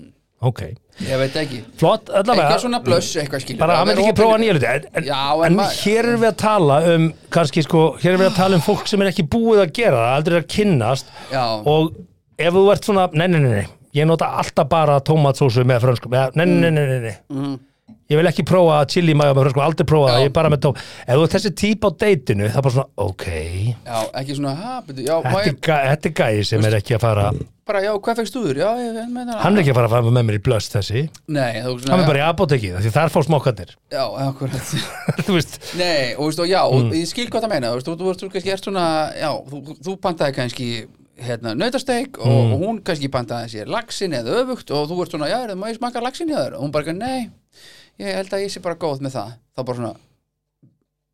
Speaker 1: ok,
Speaker 2: Ég veit ekki
Speaker 1: flott allavega
Speaker 2: Eitthvað svona blöss, eitthvað skilur
Speaker 1: bara hann vil ekki prófa nýja hluti en, en,
Speaker 2: Já,
Speaker 1: en,
Speaker 2: en maður-
Speaker 1: hér erum við að tala um kannski sko, hér erum við að tala um fólk sem er ekki búið að gera það, aldrei að kynnast
Speaker 2: Já.
Speaker 1: og ef þú ert svona nei, nei, nei, nei, ég nota alltaf bara tomatsósu með frönskum, eða, nei,
Speaker 2: Mm.
Speaker 1: nei, nei, nei, nei. ég vil ekki prófa chili mayo með frönskum, aldrei prófa það,
Speaker 2: Já.
Speaker 1: ég er bara með tóm ef þú ert þessi típ á deytinu, það er bara svona ok,
Speaker 2: Já, ekki svona, ha, betur, já, má
Speaker 1: þetta er
Speaker 2: ég
Speaker 1: gæ- þetta er gæði sem er ekki að fara,
Speaker 2: bara, já, hvað fegst úður? Já, ég veit með það
Speaker 1: hann er ekki að fara að fara með mér í blöst þessi,
Speaker 2: Nei, þú
Speaker 1: hann er
Speaker 2: svona,
Speaker 1: bara í apotekið, af því þar fá smokkanir
Speaker 2: já, já, akkurat
Speaker 1: þú veist,
Speaker 2: Nei, og veist, og já,
Speaker 1: Mm.
Speaker 2: og ég skil hvað það meina þú veist, þú- þú veist, þú kannski ert svona, já, þú, þú- þú pantaði kannski hérna, nautasteik og,
Speaker 1: Mm.
Speaker 2: og hún kannski pantaði sér laxin eða öfugt og þú ert svona, já, er það maður smakka laxin hjá þér og hún bara, nei, ég held að ég sé bara góð með það, þá bara svona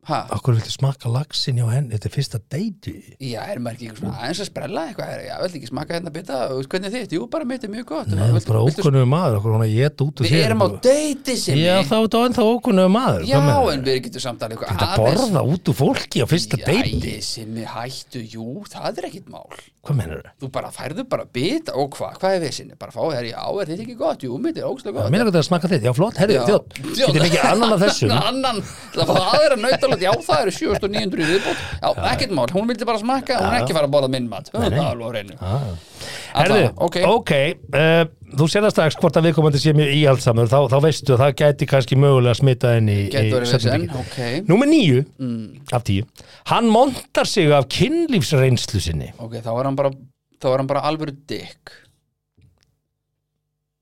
Speaker 2: ha,
Speaker 1: okkur viltu smaka laxin hjá henni, þetta er fyrsta deyti
Speaker 2: já, er maður ekki eitthvað svona aðeins að sprella eitthvað, er, já, veldi ekki smakka hérna bita og veist, hvernig er þitt, jú, bara mitt er mjög gott
Speaker 1: Nei,
Speaker 2: Viltu-
Speaker 1: bara
Speaker 2: viltu-
Speaker 1: ókunnum maður, okkur hún að geta út úr
Speaker 2: við erum á deiti sem
Speaker 1: Já, þá er þetta ennþá ókunnum maður
Speaker 2: já,
Speaker 1: hvað meinarðu?
Speaker 2: en við getum samt alveg
Speaker 1: Þetta
Speaker 2: eitthvað
Speaker 1: borða út úr fólki á fyrsta deyti
Speaker 2: Jæ, sem er hættu, jú, það er ekkit mál
Speaker 1: Hvað mennur það?
Speaker 2: þú bara færðu bara bita og hvað, hvað er vissinni bara fá þér, já, er þetta ekki gott, jú, mitt er ógstlega
Speaker 1: Mér
Speaker 2: gott
Speaker 1: er ekki að smaka þitt, já flott, herri,
Speaker 2: Já.
Speaker 1: þjótt Getur mikið annan af þessum
Speaker 2: annan, það fá aðra nautalöð já, það eru 7900 í viðbót já, ekkert mál, hún vildi bara smakka, hún er ekki fara að borða minn mat, það er alveg á reynu
Speaker 1: Ah. Herðu,
Speaker 2: Alla,
Speaker 1: ok,
Speaker 2: ok.
Speaker 1: uh, þú sér það strax hvort að viðkomandi sé mjög íhaldsamur þá, þá veistu að það gæti kannski mögulega smita inn í, í
Speaker 2: getur verið
Speaker 1: seinni
Speaker 2: vissin,
Speaker 1: leikinn.
Speaker 2: ok mm,
Speaker 1: Númer níu af tíu Hann montar sig af kynlífsreynslu sinni
Speaker 2: ok, þá er hann bara, þá er hann bara alvöru dykk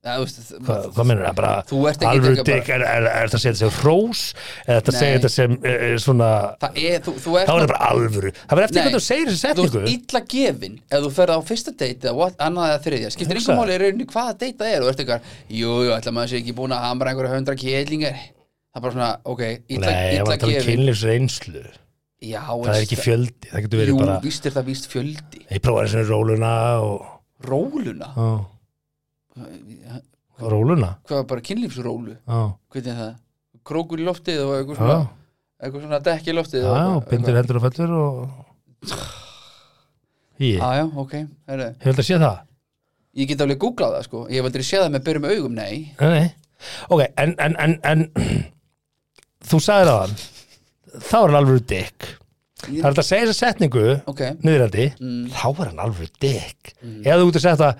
Speaker 2: já, þú veist
Speaker 1: Hva, hvað mennur það?
Speaker 2: Þú
Speaker 1: Bara
Speaker 2: ert ekki
Speaker 1: alvöru
Speaker 2: að taka
Speaker 1: dykk, er, er, er það að segja þetta sem hrós eða þetta að segja
Speaker 2: Nei.
Speaker 1: þetta sem e, svona
Speaker 2: það er, þú, þú
Speaker 1: þá
Speaker 2: ert
Speaker 1: er það bara alvöru, það verður eftir
Speaker 2: Nei.
Speaker 1: hvernig þú segir þessi
Speaker 2: þú
Speaker 1: setningu
Speaker 2: ert illa gefin ef þú ferð á fyrsta date eða what, annað eða þriðja skiptir
Speaker 1: Hugsaðu.
Speaker 2: einhver máli í rauninni hvaða date það er og ert eitthvað, jú, jú, ætla maður sé ekki búin að hamra einhverja hundra kérlingar það er bara svona, ok, illa,
Speaker 1: Nei, ég var
Speaker 2: illa
Speaker 1: að tala um
Speaker 2: gefin
Speaker 1: kynlífsreynslu
Speaker 2: já,
Speaker 1: það er ekki fjöldi, það getur verið
Speaker 2: jú,
Speaker 1: bara
Speaker 2: víst er það víst fjöldi
Speaker 1: ég prófaði þessu róluna og,
Speaker 2: róluna,
Speaker 1: á, róluna
Speaker 2: hvað var bara kynlífsrólu
Speaker 1: á,
Speaker 2: hvernig er það, krókur í loftið og eitthvað
Speaker 1: á,
Speaker 2: svona, eitthvað svona dekki í loftið
Speaker 1: á,
Speaker 2: og
Speaker 1: Ah. bindur hendur og fellur og ég,
Speaker 2: já, Ah, já, ok, herru
Speaker 1: hefur þetta séð það?
Speaker 2: ég get alveg googlað það, sko, ég hef aldrei séð það með byrjum augum, nei,
Speaker 1: Nei, nei. ok, en, en, en, en þú sagðir á hann þá er hann alveg dykk það er hægt að segja þessa setningu
Speaker 2: ok
Speaker 1: niðurandi,
Speaker 2: Mm.
Speaker 1: þá er hann alveg dykk eða þú ert að segja þetta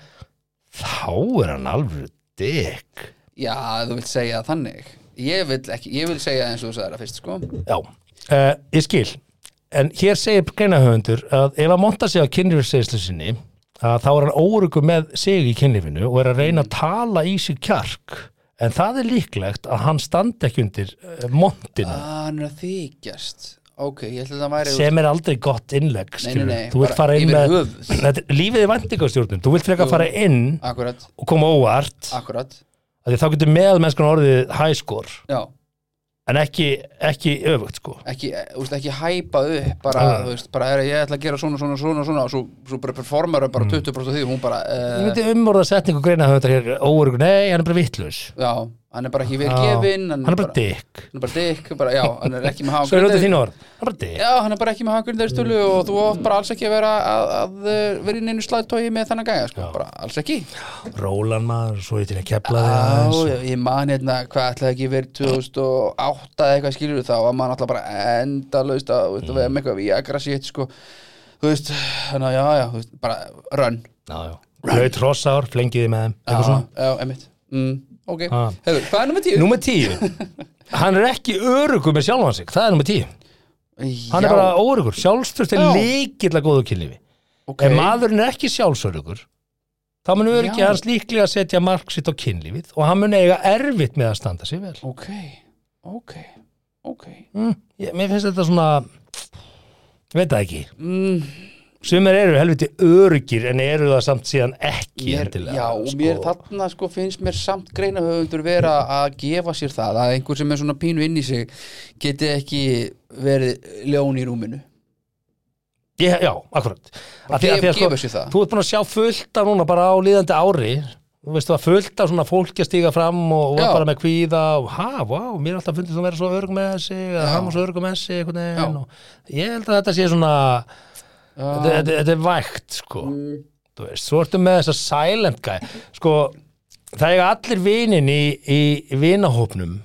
Speaker 1: þá er hann alveg dykk
Speaker 2: Já, þú vilt segja það þannig Ég vil ekki, ég vil segja eins og þú sagði það fyrst sko
Speaker 1: já, uh, ég skil en hér segir greinahöfundur að ef að monta sig á kynrifsreislu sinni að þá er hann óryggur með sig í kynlífinu og er að
Speaker 2: Mm.
Speaker 1: reyna að tala í sig kjark en það er líklegt að hann standi ekki undir eh, montinu
Speaker 2: Ah, hann er að þykjast ok, ég ætla að það væri
Speaker 1: sem er aldrei gott innlegg
Speaker 2: Nei,
Speaker 1: skilur.
Speaker 2: nei, nei,
Speaker 1: þú vilt
Speaker 2: bara
Speaker 1: fara inn
Speaker 2: yfir
Speaker 1: með
Speaker 2: höfuð.
Speaker 1: Þetta- lífið er vendingastjórnum, þú vilt freka
Speaker 2: Jú.
Speaker 1: fara inn
Speaker 2: akkurat,
Speaker 1: og koma óvart
Speaker 2: akkurat
Speaker 1: af því þá getur meðalmennskan orðið high score
Speaker 2: já,
Speaker 1: en ekki, ekki öfugt sko
Speaker 2: ekki, eh, þú veist, ekki hæpa upp bara,
Speaker 1: Ah.
Speaker 2: þú veist, bara er, ég ætla að gera svona, svona, svona, svona og svo, svo bara performar hann bara 20% af því og hún bara,
Speaker 1: Mm. ég
Speaker 2: uh,
Speaker 1: myndi umorða setningu greina að þetta er óörugur, nei, hann er bara vittlus
Speaker 2: já, hann er bara ekki vel gefinn
Speaker 1: Ah. hann er bara dick
Speaker 2: hann er bara dikk, bara, já, hann er ekki með hafa
Speaker 1: svo er þetta þín orð, hann er bara dick
Speaker 2: Já, hann er bara ekki með hangurindæðstölu og þú átt bara alls ekki að vera að, að eh, vera í neinu slæðtói með þannig gæja, sko, bara alls ekki Já,
Speaker 1: rólan maður, svo ég til að kepla þig aðeins
Speaker 2: já, ég man hérna, hvað ætlaði ekki verið 2008 eða eitthvað skilur þá að maður alltaf bara endalaust að, þú veist, að vera með eitthvað viagra sétt, sko þú veist, þannig að, já, já, þú veist, bara run,
Speaker 1: hlaut rossár, flengiði með þeim
Speaker 2: já,
Speaker 1: eitthvað svona
Speaker 2: já, emmitt mm, ok,
Speaker 1: Ah.
Speaker 2: hefur, hvað er nummer tíu?
Speaker 1: Númer tíu Hann er ekki örugur með sjálfan sig Það er númer tíu Hann
Speaker 2: já,
Speaker 1: er bara órugur Sjálfstöðst er
Speaker 2: Já.
Speaker 1: líkilega góðu kynlífi
Speaker 2: ok,
Speaker 1: Ef maðurinn er ekki sjálfsörugur þá mun öryggi
Speaker 2: Já.
Speaker 1: hans líklega að setja mark sitt á kynlífið og hann mun eiga erfitt með að standa sig vel
Speaker 2: ok ok, ok
Speaker 1: mm. ég, Mér finnst þetta svona ég veit það ekki
Speaker 2: mm,
Speaker 1: Sumir eru helviti örugir en eru það samt síðan ekki
Speaker 2: mér,
Speaker 1: endilega,
Speaker 2: já, og mér þarna sko finnst mér samt greinahöfundur vera að gefa sér það að einhver sem er svona pínu inn í sig geti ekki verið ljón í rúminu
Speaker 1: ég, já, akkurat að
Speaker 2: Gef-
Speaker 1: að sko, að
Speaker 2: gefa sér það
Speaker 1: Þú ert búin að sjá fullt af núna bara á líðandi ári Þú veistu að fullt af svona fólki að stíga fram og, og
Speaker 2: Já.
Speaker 1: var bara með kvíða og ha, vá, mér er alltaf fundið þú vera svo örg með þessi að hann var svo örg með þessi einhvern veginn
Speaker 2: Já.
Speaker 1: og ég held að þetta sé svona þetta, þetta, þetta er vægt sko
Speaker 2: Mm.
Speaker 1: þú veist, svo ertu með þessa silent guy sko, það eiga allir vinin í, í vinahópnum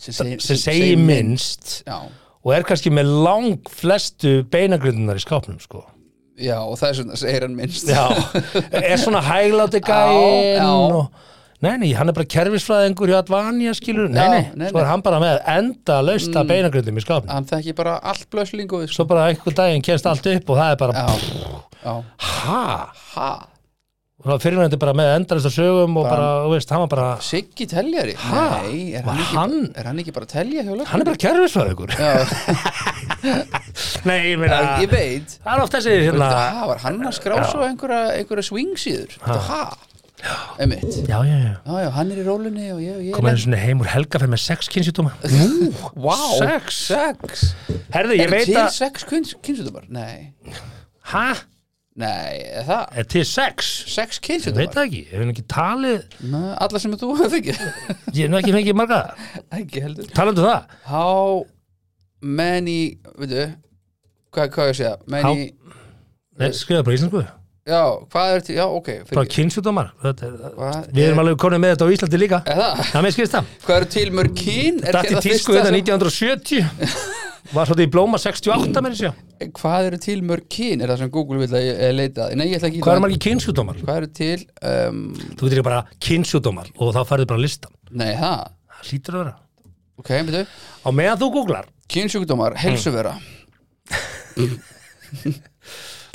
Speaker 2: sem,
Speaker 1: sem segi minnst
Speaker 2: já,
Speaker 1: og er kannski með lang flestu beinagrundunar í skápnum sko
Speaker 2: já, og það er svona segir hann minnst
Speaker 1: Já, er svona hægláti
Speaker 2: Já,
Speaker 1: gæinn
Speaker 2: já.
Speaker 1: og Nei, nei, hann er bara kerfisfræðingur hjá Advanja skilur, nei,
Speaker 2: Já,
Speaker 1: nei,
Speaker 2: nei,
Speaker 1: svo er
Speaker 2: nei.
Speaker 1: hann bara með enda lausta mm. beinagröndum í skapnum
Speaker 2: hann þekki bara allt blöslingu
Speaker 1: Svo bara einhver daginn kemst allt upp og það er bara,
Speaker 2: já, já,
Speaker 1: ha
Speaker 2: ha
Speaker 1: og það fyrirvændi bara með endalista sögum og bara, þú veist, hann var bara
Speaker 2: Siggi teljari,
Speaker 1: Ha?
Speaker 2: nei er
Speaker 1: Var
Speaker 2: hann, ekki,
Speaker 1: hann-
Speaker 2: er hann ekki bara að telja hjá lögum
Speaker 1: hann er bara kerfisfræðingur
Speaker 2: já,
Speaker 1: Nei, ég meina,
Speaker 2: ég veit
Speaker 1: það er oft þessi hérna,
Speaker 2: Það var hann að skrá svo einhverja, einhverja swingsíður Það emitt
Speaker 1: já, já, já
Speaker 2: Já, já, hann er í rólunni og ég, ég
Speaker 1: komið einu sinni heim úr helga fyrir með sex kynsjúdóma Nú,
Speaker 2: Vá,
Speaker 1: sex
Speaker 2: sex
Speaker 1: Herðu, ég
Speaker 2: Er
Speaker 1: veit
Speaker 2: til
Speaker 1: að,
Speaker 2: sex kynsjúdumar? Nei,
Speaker 1: ha,
Speaker 2: nei, er það
Speaker 1: er til sex
Speaker 2: Sex
Speaker 1: Ég veit
Speaker 2: kynsjúdumar?
Speaker 1: það ekki, hefur hann ekki talið
Speaker 2: Alla sem þú hefði ekki
Speaker 1: Ég hef nú ekki fengið marga
Speaker 2: Ekki heldur
Speaker 1: Talandu það
Speaker 2: How many, veitu Hvað, hvað ég segja? Many,
Speaker 1: Nei, skrifaðu bara íslensku
Speaker 2: já, hvað er til, já, ok
Speaker 1: Bara
Speaker 2: fyrir,
Speaker 1: kynsjúdómar Þetta er-
Speaker 2: Hvað
Speaker 1: Við erum
Speaker 2: er-
Speaker 1: alveg konum með þetta á Íslandi líka
Speaker 2: Er það?
Speaker 1: Það með skrifst það
Speaker 2: Hvað eru til mörg kyn? Er
Speaker 1: Datt í
Speaker 2: það
Speaker 1: tísku hérna
Speaker 2: fyrsta
Speaker 1: þetta
Speaker 2: sem-
Speaker 1: 1970 Var svolítið í blóma 68 með þessu
Speaker 2: Hvað eru til mörg kyn? Er það sem Google vil að ég eh, leita að? Nei, ég ætla ekki
Speaker 1: Hvað er margir kynsjúdómar?
Speaker 2: Hvað eru til um,
Speaker 1: Þú getur ekki bara kynsjúdómar og þá færðu bara listan
Speaker 2: Nei, það
Speaker 1: Það hlýtur að vera
Speaker 2: Ok, betur
Speaker 1: Á meðan þú googlar
Speaker 2: Kynsjúkdómar, helsuvera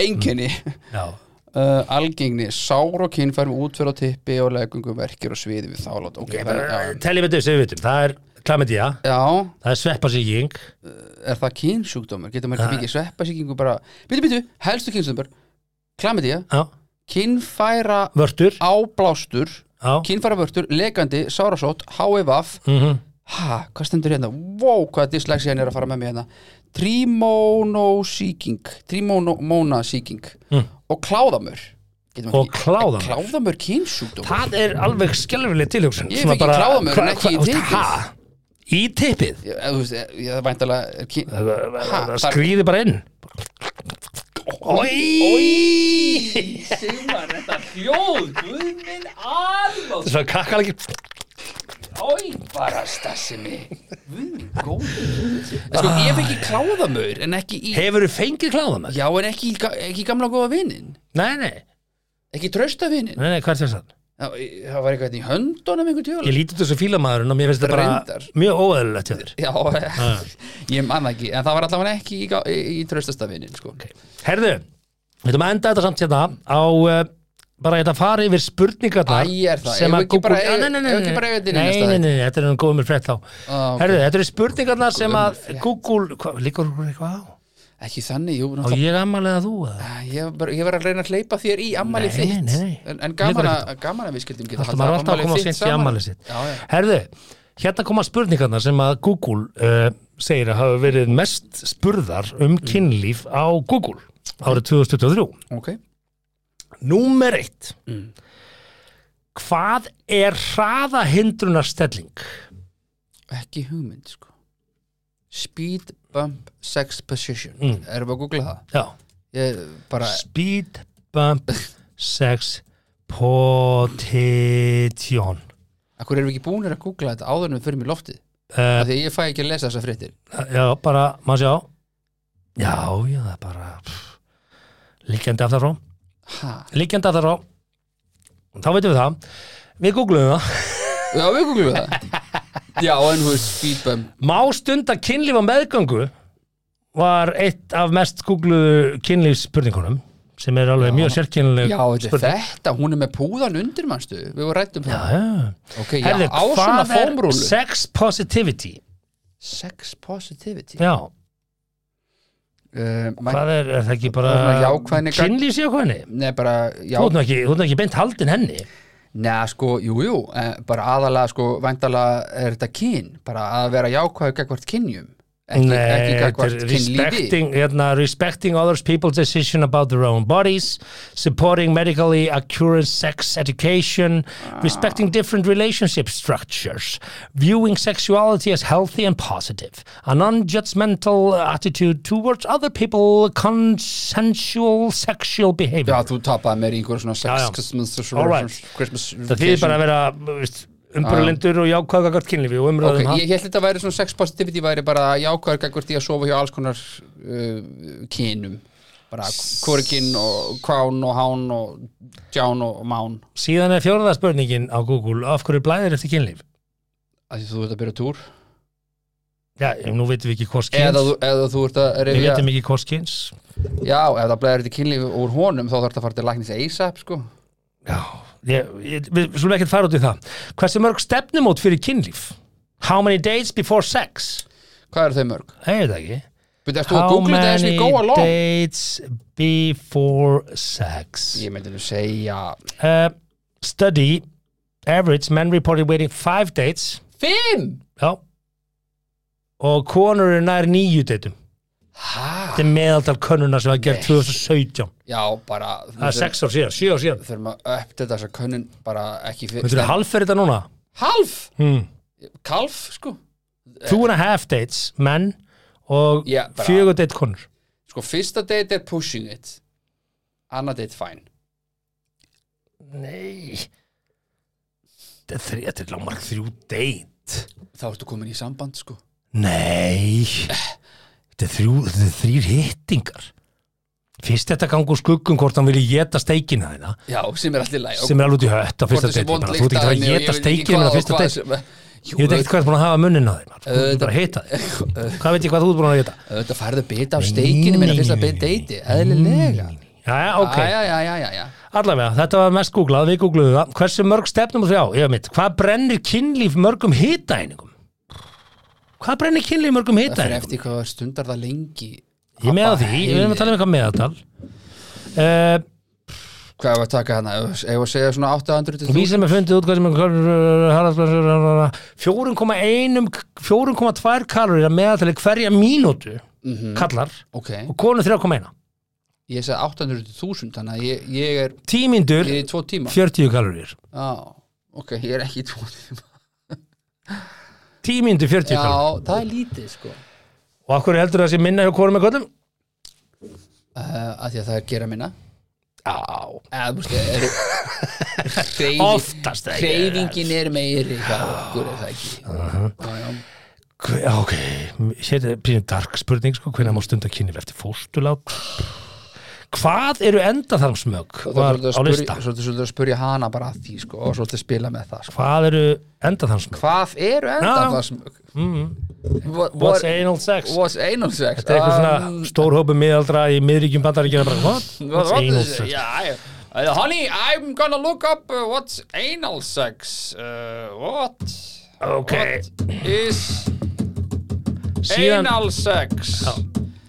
Speaker 2: Einkenni
Speaker 1: Já
Speaker 2: uh, Algengni, sár og kynfærum útferð á tippi og legungum verkir og sviði við þálátt Ok, það er,
Speaker 1: Teljum þetta sem við vitum Það er klamidía
Speaker 2: já Já,
Speaker 1: Það er sveppasíking
Speaker 2: er það kynsjúkdómar? Getur maður ekki mikið sveppasíkingu bara Býtu, býtu, helstu kynsjúkdómar Klamidía,
Speaker 1: Já
Speaker 2: kynfæra
Speaker 1: Vörtur
Speaker 2: áblástur
Speaker 1: Já
Speaker 2: Kynfæra vörtur, legandi, sárasótt, HIVAF
Speaker 1: Mhm.
Speaker 2: Ha, hvað stendur hérna? Vó, hvað dyslexían er að fara með mér hérna Trímónosíking Trímónasíking mm. Og kláðamör Getum
Speaker 1: Hmm. Og
Speaker 2: ekki-
Speaker 1: kláðamör.
Speaker 2: Er Kláðamör kynsjúkdóm
Speaker 1: Það er alveg skelfileg tilhugsun
Speaker 2: Ég
Speaker 1: Svona
Speaker 2: fengi
Speaker 1: bara-
Speaker 2: kláðamörun
Speaker 1: hva-
Speaker 2: ekki í
Speaker 1: hva- þú veist,
Speaker 2: typpið.
Speaker 1: ha? Í tippið?
Speaker 2: Ég, þú veist, ég, ég væntalega er kyn...
Speaker 1: Það
Speaker 2: þar-
Speaker 1: skrýði bara inn Ói
Speaker 2: Sigmar, þetta hljóð Guð minn alveg
Speaker 1: Svo kakkar ekki
Speaker 2: Ói, bara stassi mig Guð, góð Sko, ég fengi kláðamör en ekki í
Speaker 1: Hefur þú fengið kláðamörun?
Speaker 2: Já, en ekki, í ga- ekki í gamla góða vinin
Speaker 1: Nei, nei,
Speaker 2: Ekki trösta vinin
Speaker 1: nei, nei, hvað er þess að?
Speaker 2: Það það var eitthvað hérna í höndunum einhvern tjóla
Speaker 1: Ég lítið þessu fílamaðurinn og mér finnst þetta bara
Speaker 2: Reyndar.
Speaker 1: mjög óæðilegt hjá þér
Speaker 2: Já,
Speaker 1: Ah.
Speaker 2: eh, ég man það ekki, en það var allavega ekki í, í, í tröstastafinin sko.
Speaker 1: Herðu, Við ætlum að enda þetta samt hérna á uh, bara hérna fara yfir spurningarnar
Speaker 2: Æ, er það?
Speaker 1: sem
Speaker 2: Eigum
Speaker 1: að
Speaker 2: við ekki bara-
Speaker 1: Google- Já, nei, nei,
Speaker 2: eigum-
Speaker 1: nei,
Speaker 2: eigum við
Speaker 1: nei.
Speaker 2: ekki bara yfir þetta í
Speaker 1: Nei,
Speaker 2: næsta
Speaker 1: nei,
Speaker 2: þætti? Ah,
Speaker 1: nei, nei, þetta er um góðum frétt þá
Speaker 2: ok.
Speaker 1: Herðu, þetta eru spurningarnar sem að Google, hva, líkur hún eitthvað á?
Speaker 2: ekki þannig, jú,
Speaker 1: Á
Speaker 2: náttúrulega
Speaker 1: ég ammalið að þú? eða?
Speaker 2: Æ, Ég, var bara- ég var að reyna að hleypa þér í ammali
Speaker 1: Nei,
Speaker 2: þitt
Speaker 1: nei, nei.
Speaker 2: En, en
Speaker 1: Liggur
Speaker 2: gaman, að, gaman að við skildum geta
Speaker 1: Alltaf maður er alltaf að
Speaker 2: afmælið
Speaker 1: koma
Speaker 2: þitt
Speaker 1: sent í
Speaker 2: saman.
Speaker 1: ammalið sitt
Speaker 2: já, já.
Speaker 1: Herðu, hérna koma spurningarnar sem að Google uh, segir að hafa verið mest spurðar um kynlíf á Google árið 2023
Speaker 2: ok
Speaker 1: Númer eitt Hvað er hraðahindrunarstelling?
Speaker 2: Ekki hugmynd sko Speed bump sex position
Speaker 1: Mm.
Speaker 2: Erum við að googla það?
Speaker 1: Já,
Speaker 2: Ég bara
Speaker 1: speed bump sex potation
Speaker 2: Akkur erum við ekki búinir að googla þetta áður en við förum í loftið
Speaker 1: Eh.
Speaker 2: Af því að ég fæ ekki að lesa þessa fréttir
Speaker 1: Já, bara, maður sjá Já, já, það er bara pff, Liggjandi aftar frá
Speaker 2: Ha?
Speaker 1: Liggjandi aftar frá Þá veitum við það Við googluðum það
Speaker 2: Já, við googlum það Já, en hún speed bump
Speaker 1: Má stunda kynlíf á meðgöngu var eitt af mest googluðu kynlífsspurningunum sem er alveg mjög sérkynnileg
Speaker 2: Já, þetta, er þetta, hún er með púðan undir manstu Við vorum rætt um það
Speaker 1: Já,
Speaker 2: Ok, já,
Speaker 1: Herðu,
Speaker 2: á svona
Speaker 1: hvað er
Speaker 2: fómrúlu
Speaker 1: sex positivity?
Speaker 2: Sex positivity
Speaker 1: Já,
Speaker 2: uh, mæ-
Speaker 1: hvað er, er það ekki bara
Speaker 2: Það er svona jákvæðni gagn-
Speaker 1: kynlífsjákvæðni?
Speaker 2: Nei, bara, já,
Speaker 1: Þú ert nú ekki, þú ert nú ekki beint haldin henni
Speaker 2: Nei, sko, jú, jú, eh, bara aðalega, sko, væntalega er þetta kyn, bara að vera jákvæður gegvart kynjum, ekki, ekki
Speaker 1: þetta
Speaker 2: gegvart
Speaker 1: er
Speaker 2: kynlífi.
Speaker 1: respecting, hérna, respecting others people's decision about their own bodies supporting medically accurate sex education
Speaker 2: Ah.
Speaker 1: respecting different relationship structures viewing sexuality as healthy and positive a non-judgmental attitude towards other people consensual sexual behavior
Speaker 2: Já, þú tapaði mér í einhver svona sex,
Speaker 1: Já, já.
Speaker 2: Christmas,
Speaker 1: All right.
Speaker 2: Christmas
Speaker 1: það þýðir bara að vera veist, umbrulindur og jákvæða gart kynlífi og
Speaker 2: Ah. Ok,
Speaker 1: umröðum
Speaker 2: ég held þetta væri svona sex positivity væri bara jákvæður gegvart í að sofa hjá alls konar uh, kynum, bara kvorkinn og kván og hán og dján og mán.
Speaker 1: síðan er fjóraða spurningin á Google af hverju blæðir eftir kynlíf
Speaker 2: Af Því þú ert að byrja túr,
Speaker 1: Já, nú veitum við ekki hvort
Speaker 2: eða,
Speaker 1: kyns
Speaker 2: þú- eða þú ert að
Speaker 1: Við
Speaker 2: rifja,
Speaker 1: veitum ekki hvort kyns
Speaker 2: já, ef það blæður þetta kynlífi úr honum þá þarf þetta að fara til læknis ASAP, sko.
Speaker 1: Já, ég, ég, við skulum ekkert fara út í það Hversu mörg stefnumót fyrir kynlíf? How many days before sex?
Speaker 2: Hvað eru þau mörg?
Speaker 1: Það er það ekki
Speaker 2: Byrja, ertu að
Speaker 1: How
Speaker 2: googla þetta eins og
Speaker 1: many
Speaker 2: ég go along?
Speaker 1: dates before sex?
Speaker 2: Ég myndi nú segja
Speaker 1: Uh, study Average men reported waiting five dates
Speaker 2: Fimm!
Speaker 1: Já Og konur er nær nýju datum
Speaker 2: Hæ?
Speaker 1: Þetta er meðaldal könnuna sem var gerð 2017
Speaker 2: Já, bara
Speaker 1: Það er sex ár síðan, sjö ár síðan
Speaker 2: Þurfum að uppdata þessa könnun bara ekki fyrir
Speaker 1: Þetta er halvferð þetta núna
Speaker 2: Half?
Speaker 1: hmm.
Speaker 2: Kalf, sko
Speaker 1: Two and a half dates, menn og
Speaker 2: Já, bara-
Speaker 1: fjögur date konur
Speaker 2: Sko, fyrsta date er pushing it Anna date fine
Speaker 1: Nei Þetta er þrjá, þetta er lámar þrjú deit
Speaker 2: Þá ertu komin í samband, sko
Speaker 1: Nei Þetta er þrjú, þetta er þrýr hittingar Fyrst þetta gangur skuggum hvort hann vilji geta steikina þeirna
Speaker 2: Já, sem er allir læg
Speaker 1: sem er alveg út í hött á fyrsta deit Þú ert ekki að fara að geta steikina á fyrsta deit Ég veit ekkert hvað það er búin að hafa munnin á þeim maður. Þú ert
Speaker 2: Auðvitað-
Speaker 1: bara að hita þig Hvað veit ég hvað þú ert búin að hita
Speaker 2: Þetta færðu bita af steikinu minna fyrsta bit deiti Eðlilega
Speaker 1: Jæja, Mm. ok,
Speaker 2: Æja, já, já, já, já
Speaker 1: allavega, þetta var mest googlað, við googluðum það Hversu mörg stefnum þrjá, ég mitt Hvað brennir kynlíf mörgum hitaeiningum? Hvað brennir kynlíf mörgum
Speaker 2: Það er
Speaker 1: hitaeiningum?
Speaker 2: eftir hvað stundar það lengi
Speaker 1: Ég með á því, við erum að tala um eitthvað meðatal uh,
Speaker 2: Hvað var að taka hana? Ef ef að segja svona 800.000
Speaker 1: Við sem er fundið út hvað sem er 4,1 4,2 kalorir að meðatali hverja mínútu
Speaker 2: Mhm.
Speaker 1: kallar
Speaker 2: Ok,
Speaker 1: og konu 3,1
Speaker 2: ég segi 800.000 Þannig að ég, ég er
Speaker 1: Tímindur
Speaker 2: ég er í tvo tíma
Speaker 1: 40 kalorir
Speaker 2: Já, ok, ég er ekki í tvo tíma
Speaker 1: Tímindur 40 kalorir
Speaker 2: Já, það er lítið sko uh,
Speaker 1: Og af hverju heldur það sé minna hjá konum með konum?
Speaker 2: að Eh, Því að það er gera minna
Speaker 1: Já,
Speaker 2: Eða, þú veist, er, hreyfi,
Speaker 1: oftast ekki
Speaker 2: Hreyfingin er meiri hjá okkur er það ekki Já, já.
Speaker 1: Hve- já, Ok, hér er pínir dark spurning sko, hvernig má stunda kynlíf eftir fóstulát Hvað eru endaþarmsmög
Speaker 2: Svo
Speaker 1: var á
Speaker 2: þetta er svolítið
Speaker 1: lista?
Speaker 2: að spyrja- svolítið- svolítið að spurja hana bara að því sko, og svolítið spila með það sko.
Speaker 1: Hvað eru endaþarmsmög?
Speaker 2: Hvað eru enda
Speaker 1: Já. Mm-hmm.
Speaker 2: það smög?
Speaker 1: What's anal sex?
Speaker 2: What's oh anal sex?
Speaker 1: Þetta er eitthvað
Speaker 2: um,
Speaker 1: svona stór hópu miðaldra í miðríkjum bandaríkjana bara, what? What's oh anal sex?
Speaker 2: Yeah, I, uh, honey, I'm gonna look up uh, what's anal sex. Uh, what?
Speaker 1: Ok.
Speaker 2: What is oh
Speaker 1: Síðan-
Speaker 2: anal sex?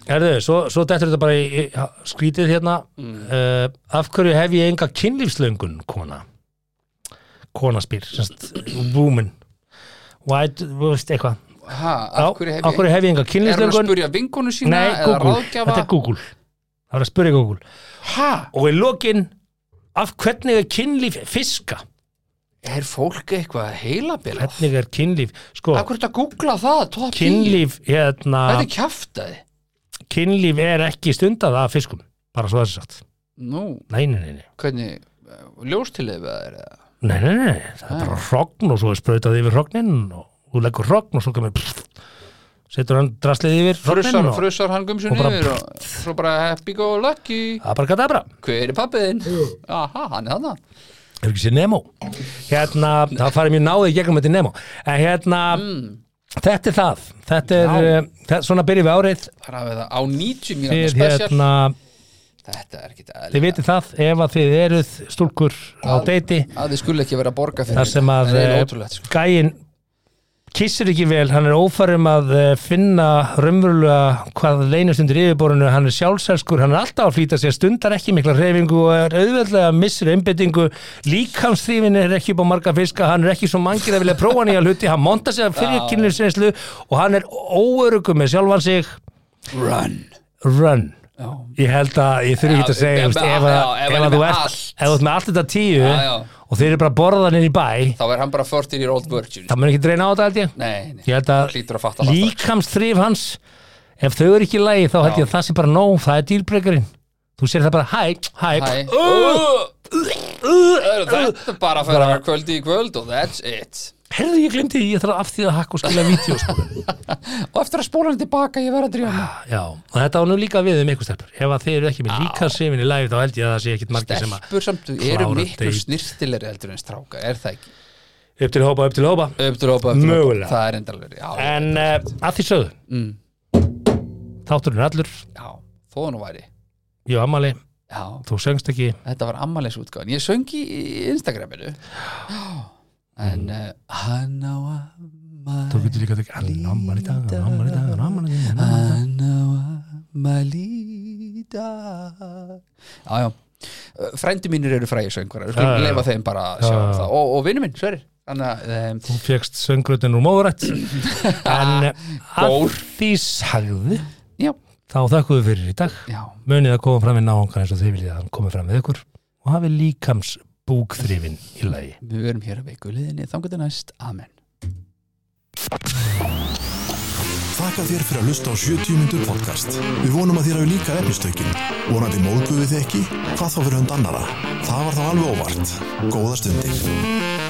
Speaker 1: Herðu, svo, svo dettur þetta bara í, í skrítið hérna
Speaker 2: Mm.
Speaker 1: uh, af hverju hef ég enga kynlífslöngun kona kona spyr, semst, woman why, do- þú veist, eitthvað
Speaker 2: Ha,
Speaker 1: Já,
Speaker 2: af hverju hef ég...
Speaker 1: hef ég enga
Speaker 2: Er hann að
Speaker 1: kynlífslöngun
Speaker 2: spurja vinkonu sína
Speaker 1: nei,
Speaker 2: eða
Speaker 1: Google,
Speaker 2: ráðgjafa?
Speaker 1: þetta er Google það er að spyrja Google
Speaker 2: Ha?
Speaker 1: og í lokin, af hvernig er kynlíf fiska,
Speaker 2: Er fólk eitthvað heilabila? Af
Speaker 1: hvernig er kynlíf sko,
Speaker 2: hverju þetta googla það? Top 10?
Speaker 1: kynlíf hérna,
Speaker 2: Þetta er kjaftaði.
Speaker 1: kynlíf er ekki stundað af fiskum, bara svo þessi satt
Speaker 2: Nú,
Speaker 1: nei, nei, nei, nei
Speaker 2: hvernig eh, ljóstileif eða er það?
Speaker 1: Nei, nei, nei, það er
Speaker 2: Ah.
Speaker 1: bara hrogn og svo er sprautað yfir hrogninn og þú leggur hrogn og svo kemur pff, setur hann draslið yfir hrogninn
Speaker 2: Frussar,
Speaker 1: og
Speaker 2: frussar hann gumsun
Speaker 1: og bara-
Speaker 2: yfir og svo bara happy go lucky.
Speaker 1: abrakadabra,
Speaker 2: Hver er pappiðinn? Aha, hann er þarna.
Speaker 1: er ekki sér Nemo hérna, það farið mjög náðið í gegnum þetta í Nemo en hérna, þetta er það þetta er,
Speaker 2: Já.
Speaker 1: eh, það, svona byrjum við árið
Speaker 2: Bara við það á 90 mínútur
Speaker 1: þið,
Speaker 2: spesial.
Speaker 1: hérna,
Speaker 2: Þetta er ekkit
Speaker 1: þið
Speaker 2: eðlilega.
Speaker 1: vitið það ef að þið eruð stúlkur á deiti
Speaker 2: Að þið skulle ekki vera að borga fyrir
Speaker 1: þar sem að
Speaker 2: Það er
Speaker 1: eh,
Speaker 2: eiginlega ótrúlegt sko.
Speaker 1: gæinn kissir ekki vel, hann er ófærum að eh, finna raunverulega hvað leynast undir yfirborinu, hann er sjálfselskur hann er alltaf að flýta sér, stundar ekki mikla reyfingu og er auðveldlega að missir einbyttingu líkamsþrýfin er ekki upp á marga fiska hann er ekki svo mangir að vilja prófa nýja hluti hann monta sér fyrir kynlisreynslu og hann er óörugum með sjálfan sig
Speaker 2: Run.
Speaker 1: run
Speaker 2: Já.
Speaker 1: ég held að, ég þurfi ekki að
Speaker 2: Já,
Speaker 1: segja
Speaker 2: já,
Speaker 1: þú veist,
Speaker 2: já,
Speaker 1: ef að-
Speaker 2: já, ef
Speaker 1: ef
Speaker 2: hann
Speaker 1: að
Speaker 2: er
Speaker 1: þú
Speaker 2: með
Speaker 1: ert
Speaker 2: allt.
Speaker 1: ef þú ert með allt þetta tíu
Speaker 2: Já, já.
Speaker 1: og þeir eru bara borðanir í bæ
Speaker 2: Þá er hann bara 40 year old virgin.
Speaker 1: það mun ekki dreina á þetta held ég
Speaker 2: Nei, nei.
Speaker 1: ég held
Speaker 2: Hlýtur að fatta
Speaker 1: að
Speaker 2: það
Speaker 1: líkamsþrif hans ef þau eru ekki í lagi þá held ég
Speaker 2: Já.
Speaker 1: að það sé bara nóg, það er dýrbrekarinn þú sér það bara hæ, hæ,
Speaker 2: Hæ.
Speaker 1: uh, uh,
Speaker 2: Það eru Þetta er bara að fara að vera kvöldi í kvöld og that's it.
Speaker 1: herðu ég glemdi því, ég þarf af því að hakka og skilja vídeo sko.
Speaker 2: Og eftir að spóla hann tilbaka, ég verð að drífa mig.
Speaker 1: já, og þetta á nú líka við um ykkur stelpur ef að þið eru ekki með líkamsþrifin í lagi þá held ég að það sé ekkit margir sem að
Speaker 2: Stelpur samt, þú eru
Speaker 1: klára
Speaker 2: miklu
Speaker 1: date.
Speaker 2: snirtilegri heldur en stráka, er það ekki?
Speaker 1: upp til hópa, upp til hópa
Speaker 2: Upp til hópa, upp til hópa.
Speaker 1: Mögulega.
Speaker 2: Það er endalveri, já, mm,
Speaker 1: en uh, að því sögðu þátturinn er allur,
Speaker 2: já. Þó nú væri.
Speaker 1: ég og Amali
Speaker 2: Já,
Speaker 1: þú söngst ekki
Speaker 2: þetta var ammælisútgáðan ég söng í í Instagraminu en uh, hann á
Speaker 1: þú
Speaker 2: ammæli
Speaker 1: getur líka að tekja hann ammali dag, hann ammali dag, hann ammali dag
Speaker 2: hann á ammæli í dag já, já frændi mínir eru fræði söngvarar
Speaker 1: Já, já, já.
Speaker 2: leifa þeim bara að sjá um
Speaker 1: Já, já.
Speaker 2: það og, og vinnu minn, sverir þannig að um,
Speaker 1: þú fegst söngrutin úr móðurætt en eh, að
Speaker 2: Gór.
Speaker 1: því sagðu
Speaker 2: já,
Speaker 1: þá þakkuðu fyrir í dag
Speaker 2: já,
Speaker 1: munið að koma fram við náungan eins og þið viljið að hann komi fram við ykkur og hafi líkams búkþrifin í lagi
Speaker 2: við verum hér að veiku liðinni þangur til næst, amen
Speaker 3: Þakka þér fyrir að hlusta á 70 myndur podcast. Við vonum að þér hafi líka efnistökin. Vonandi móðguðu þið ekki? Hvað þá fyrir hund annara? Það var þá alveg óvart. Góða stundir.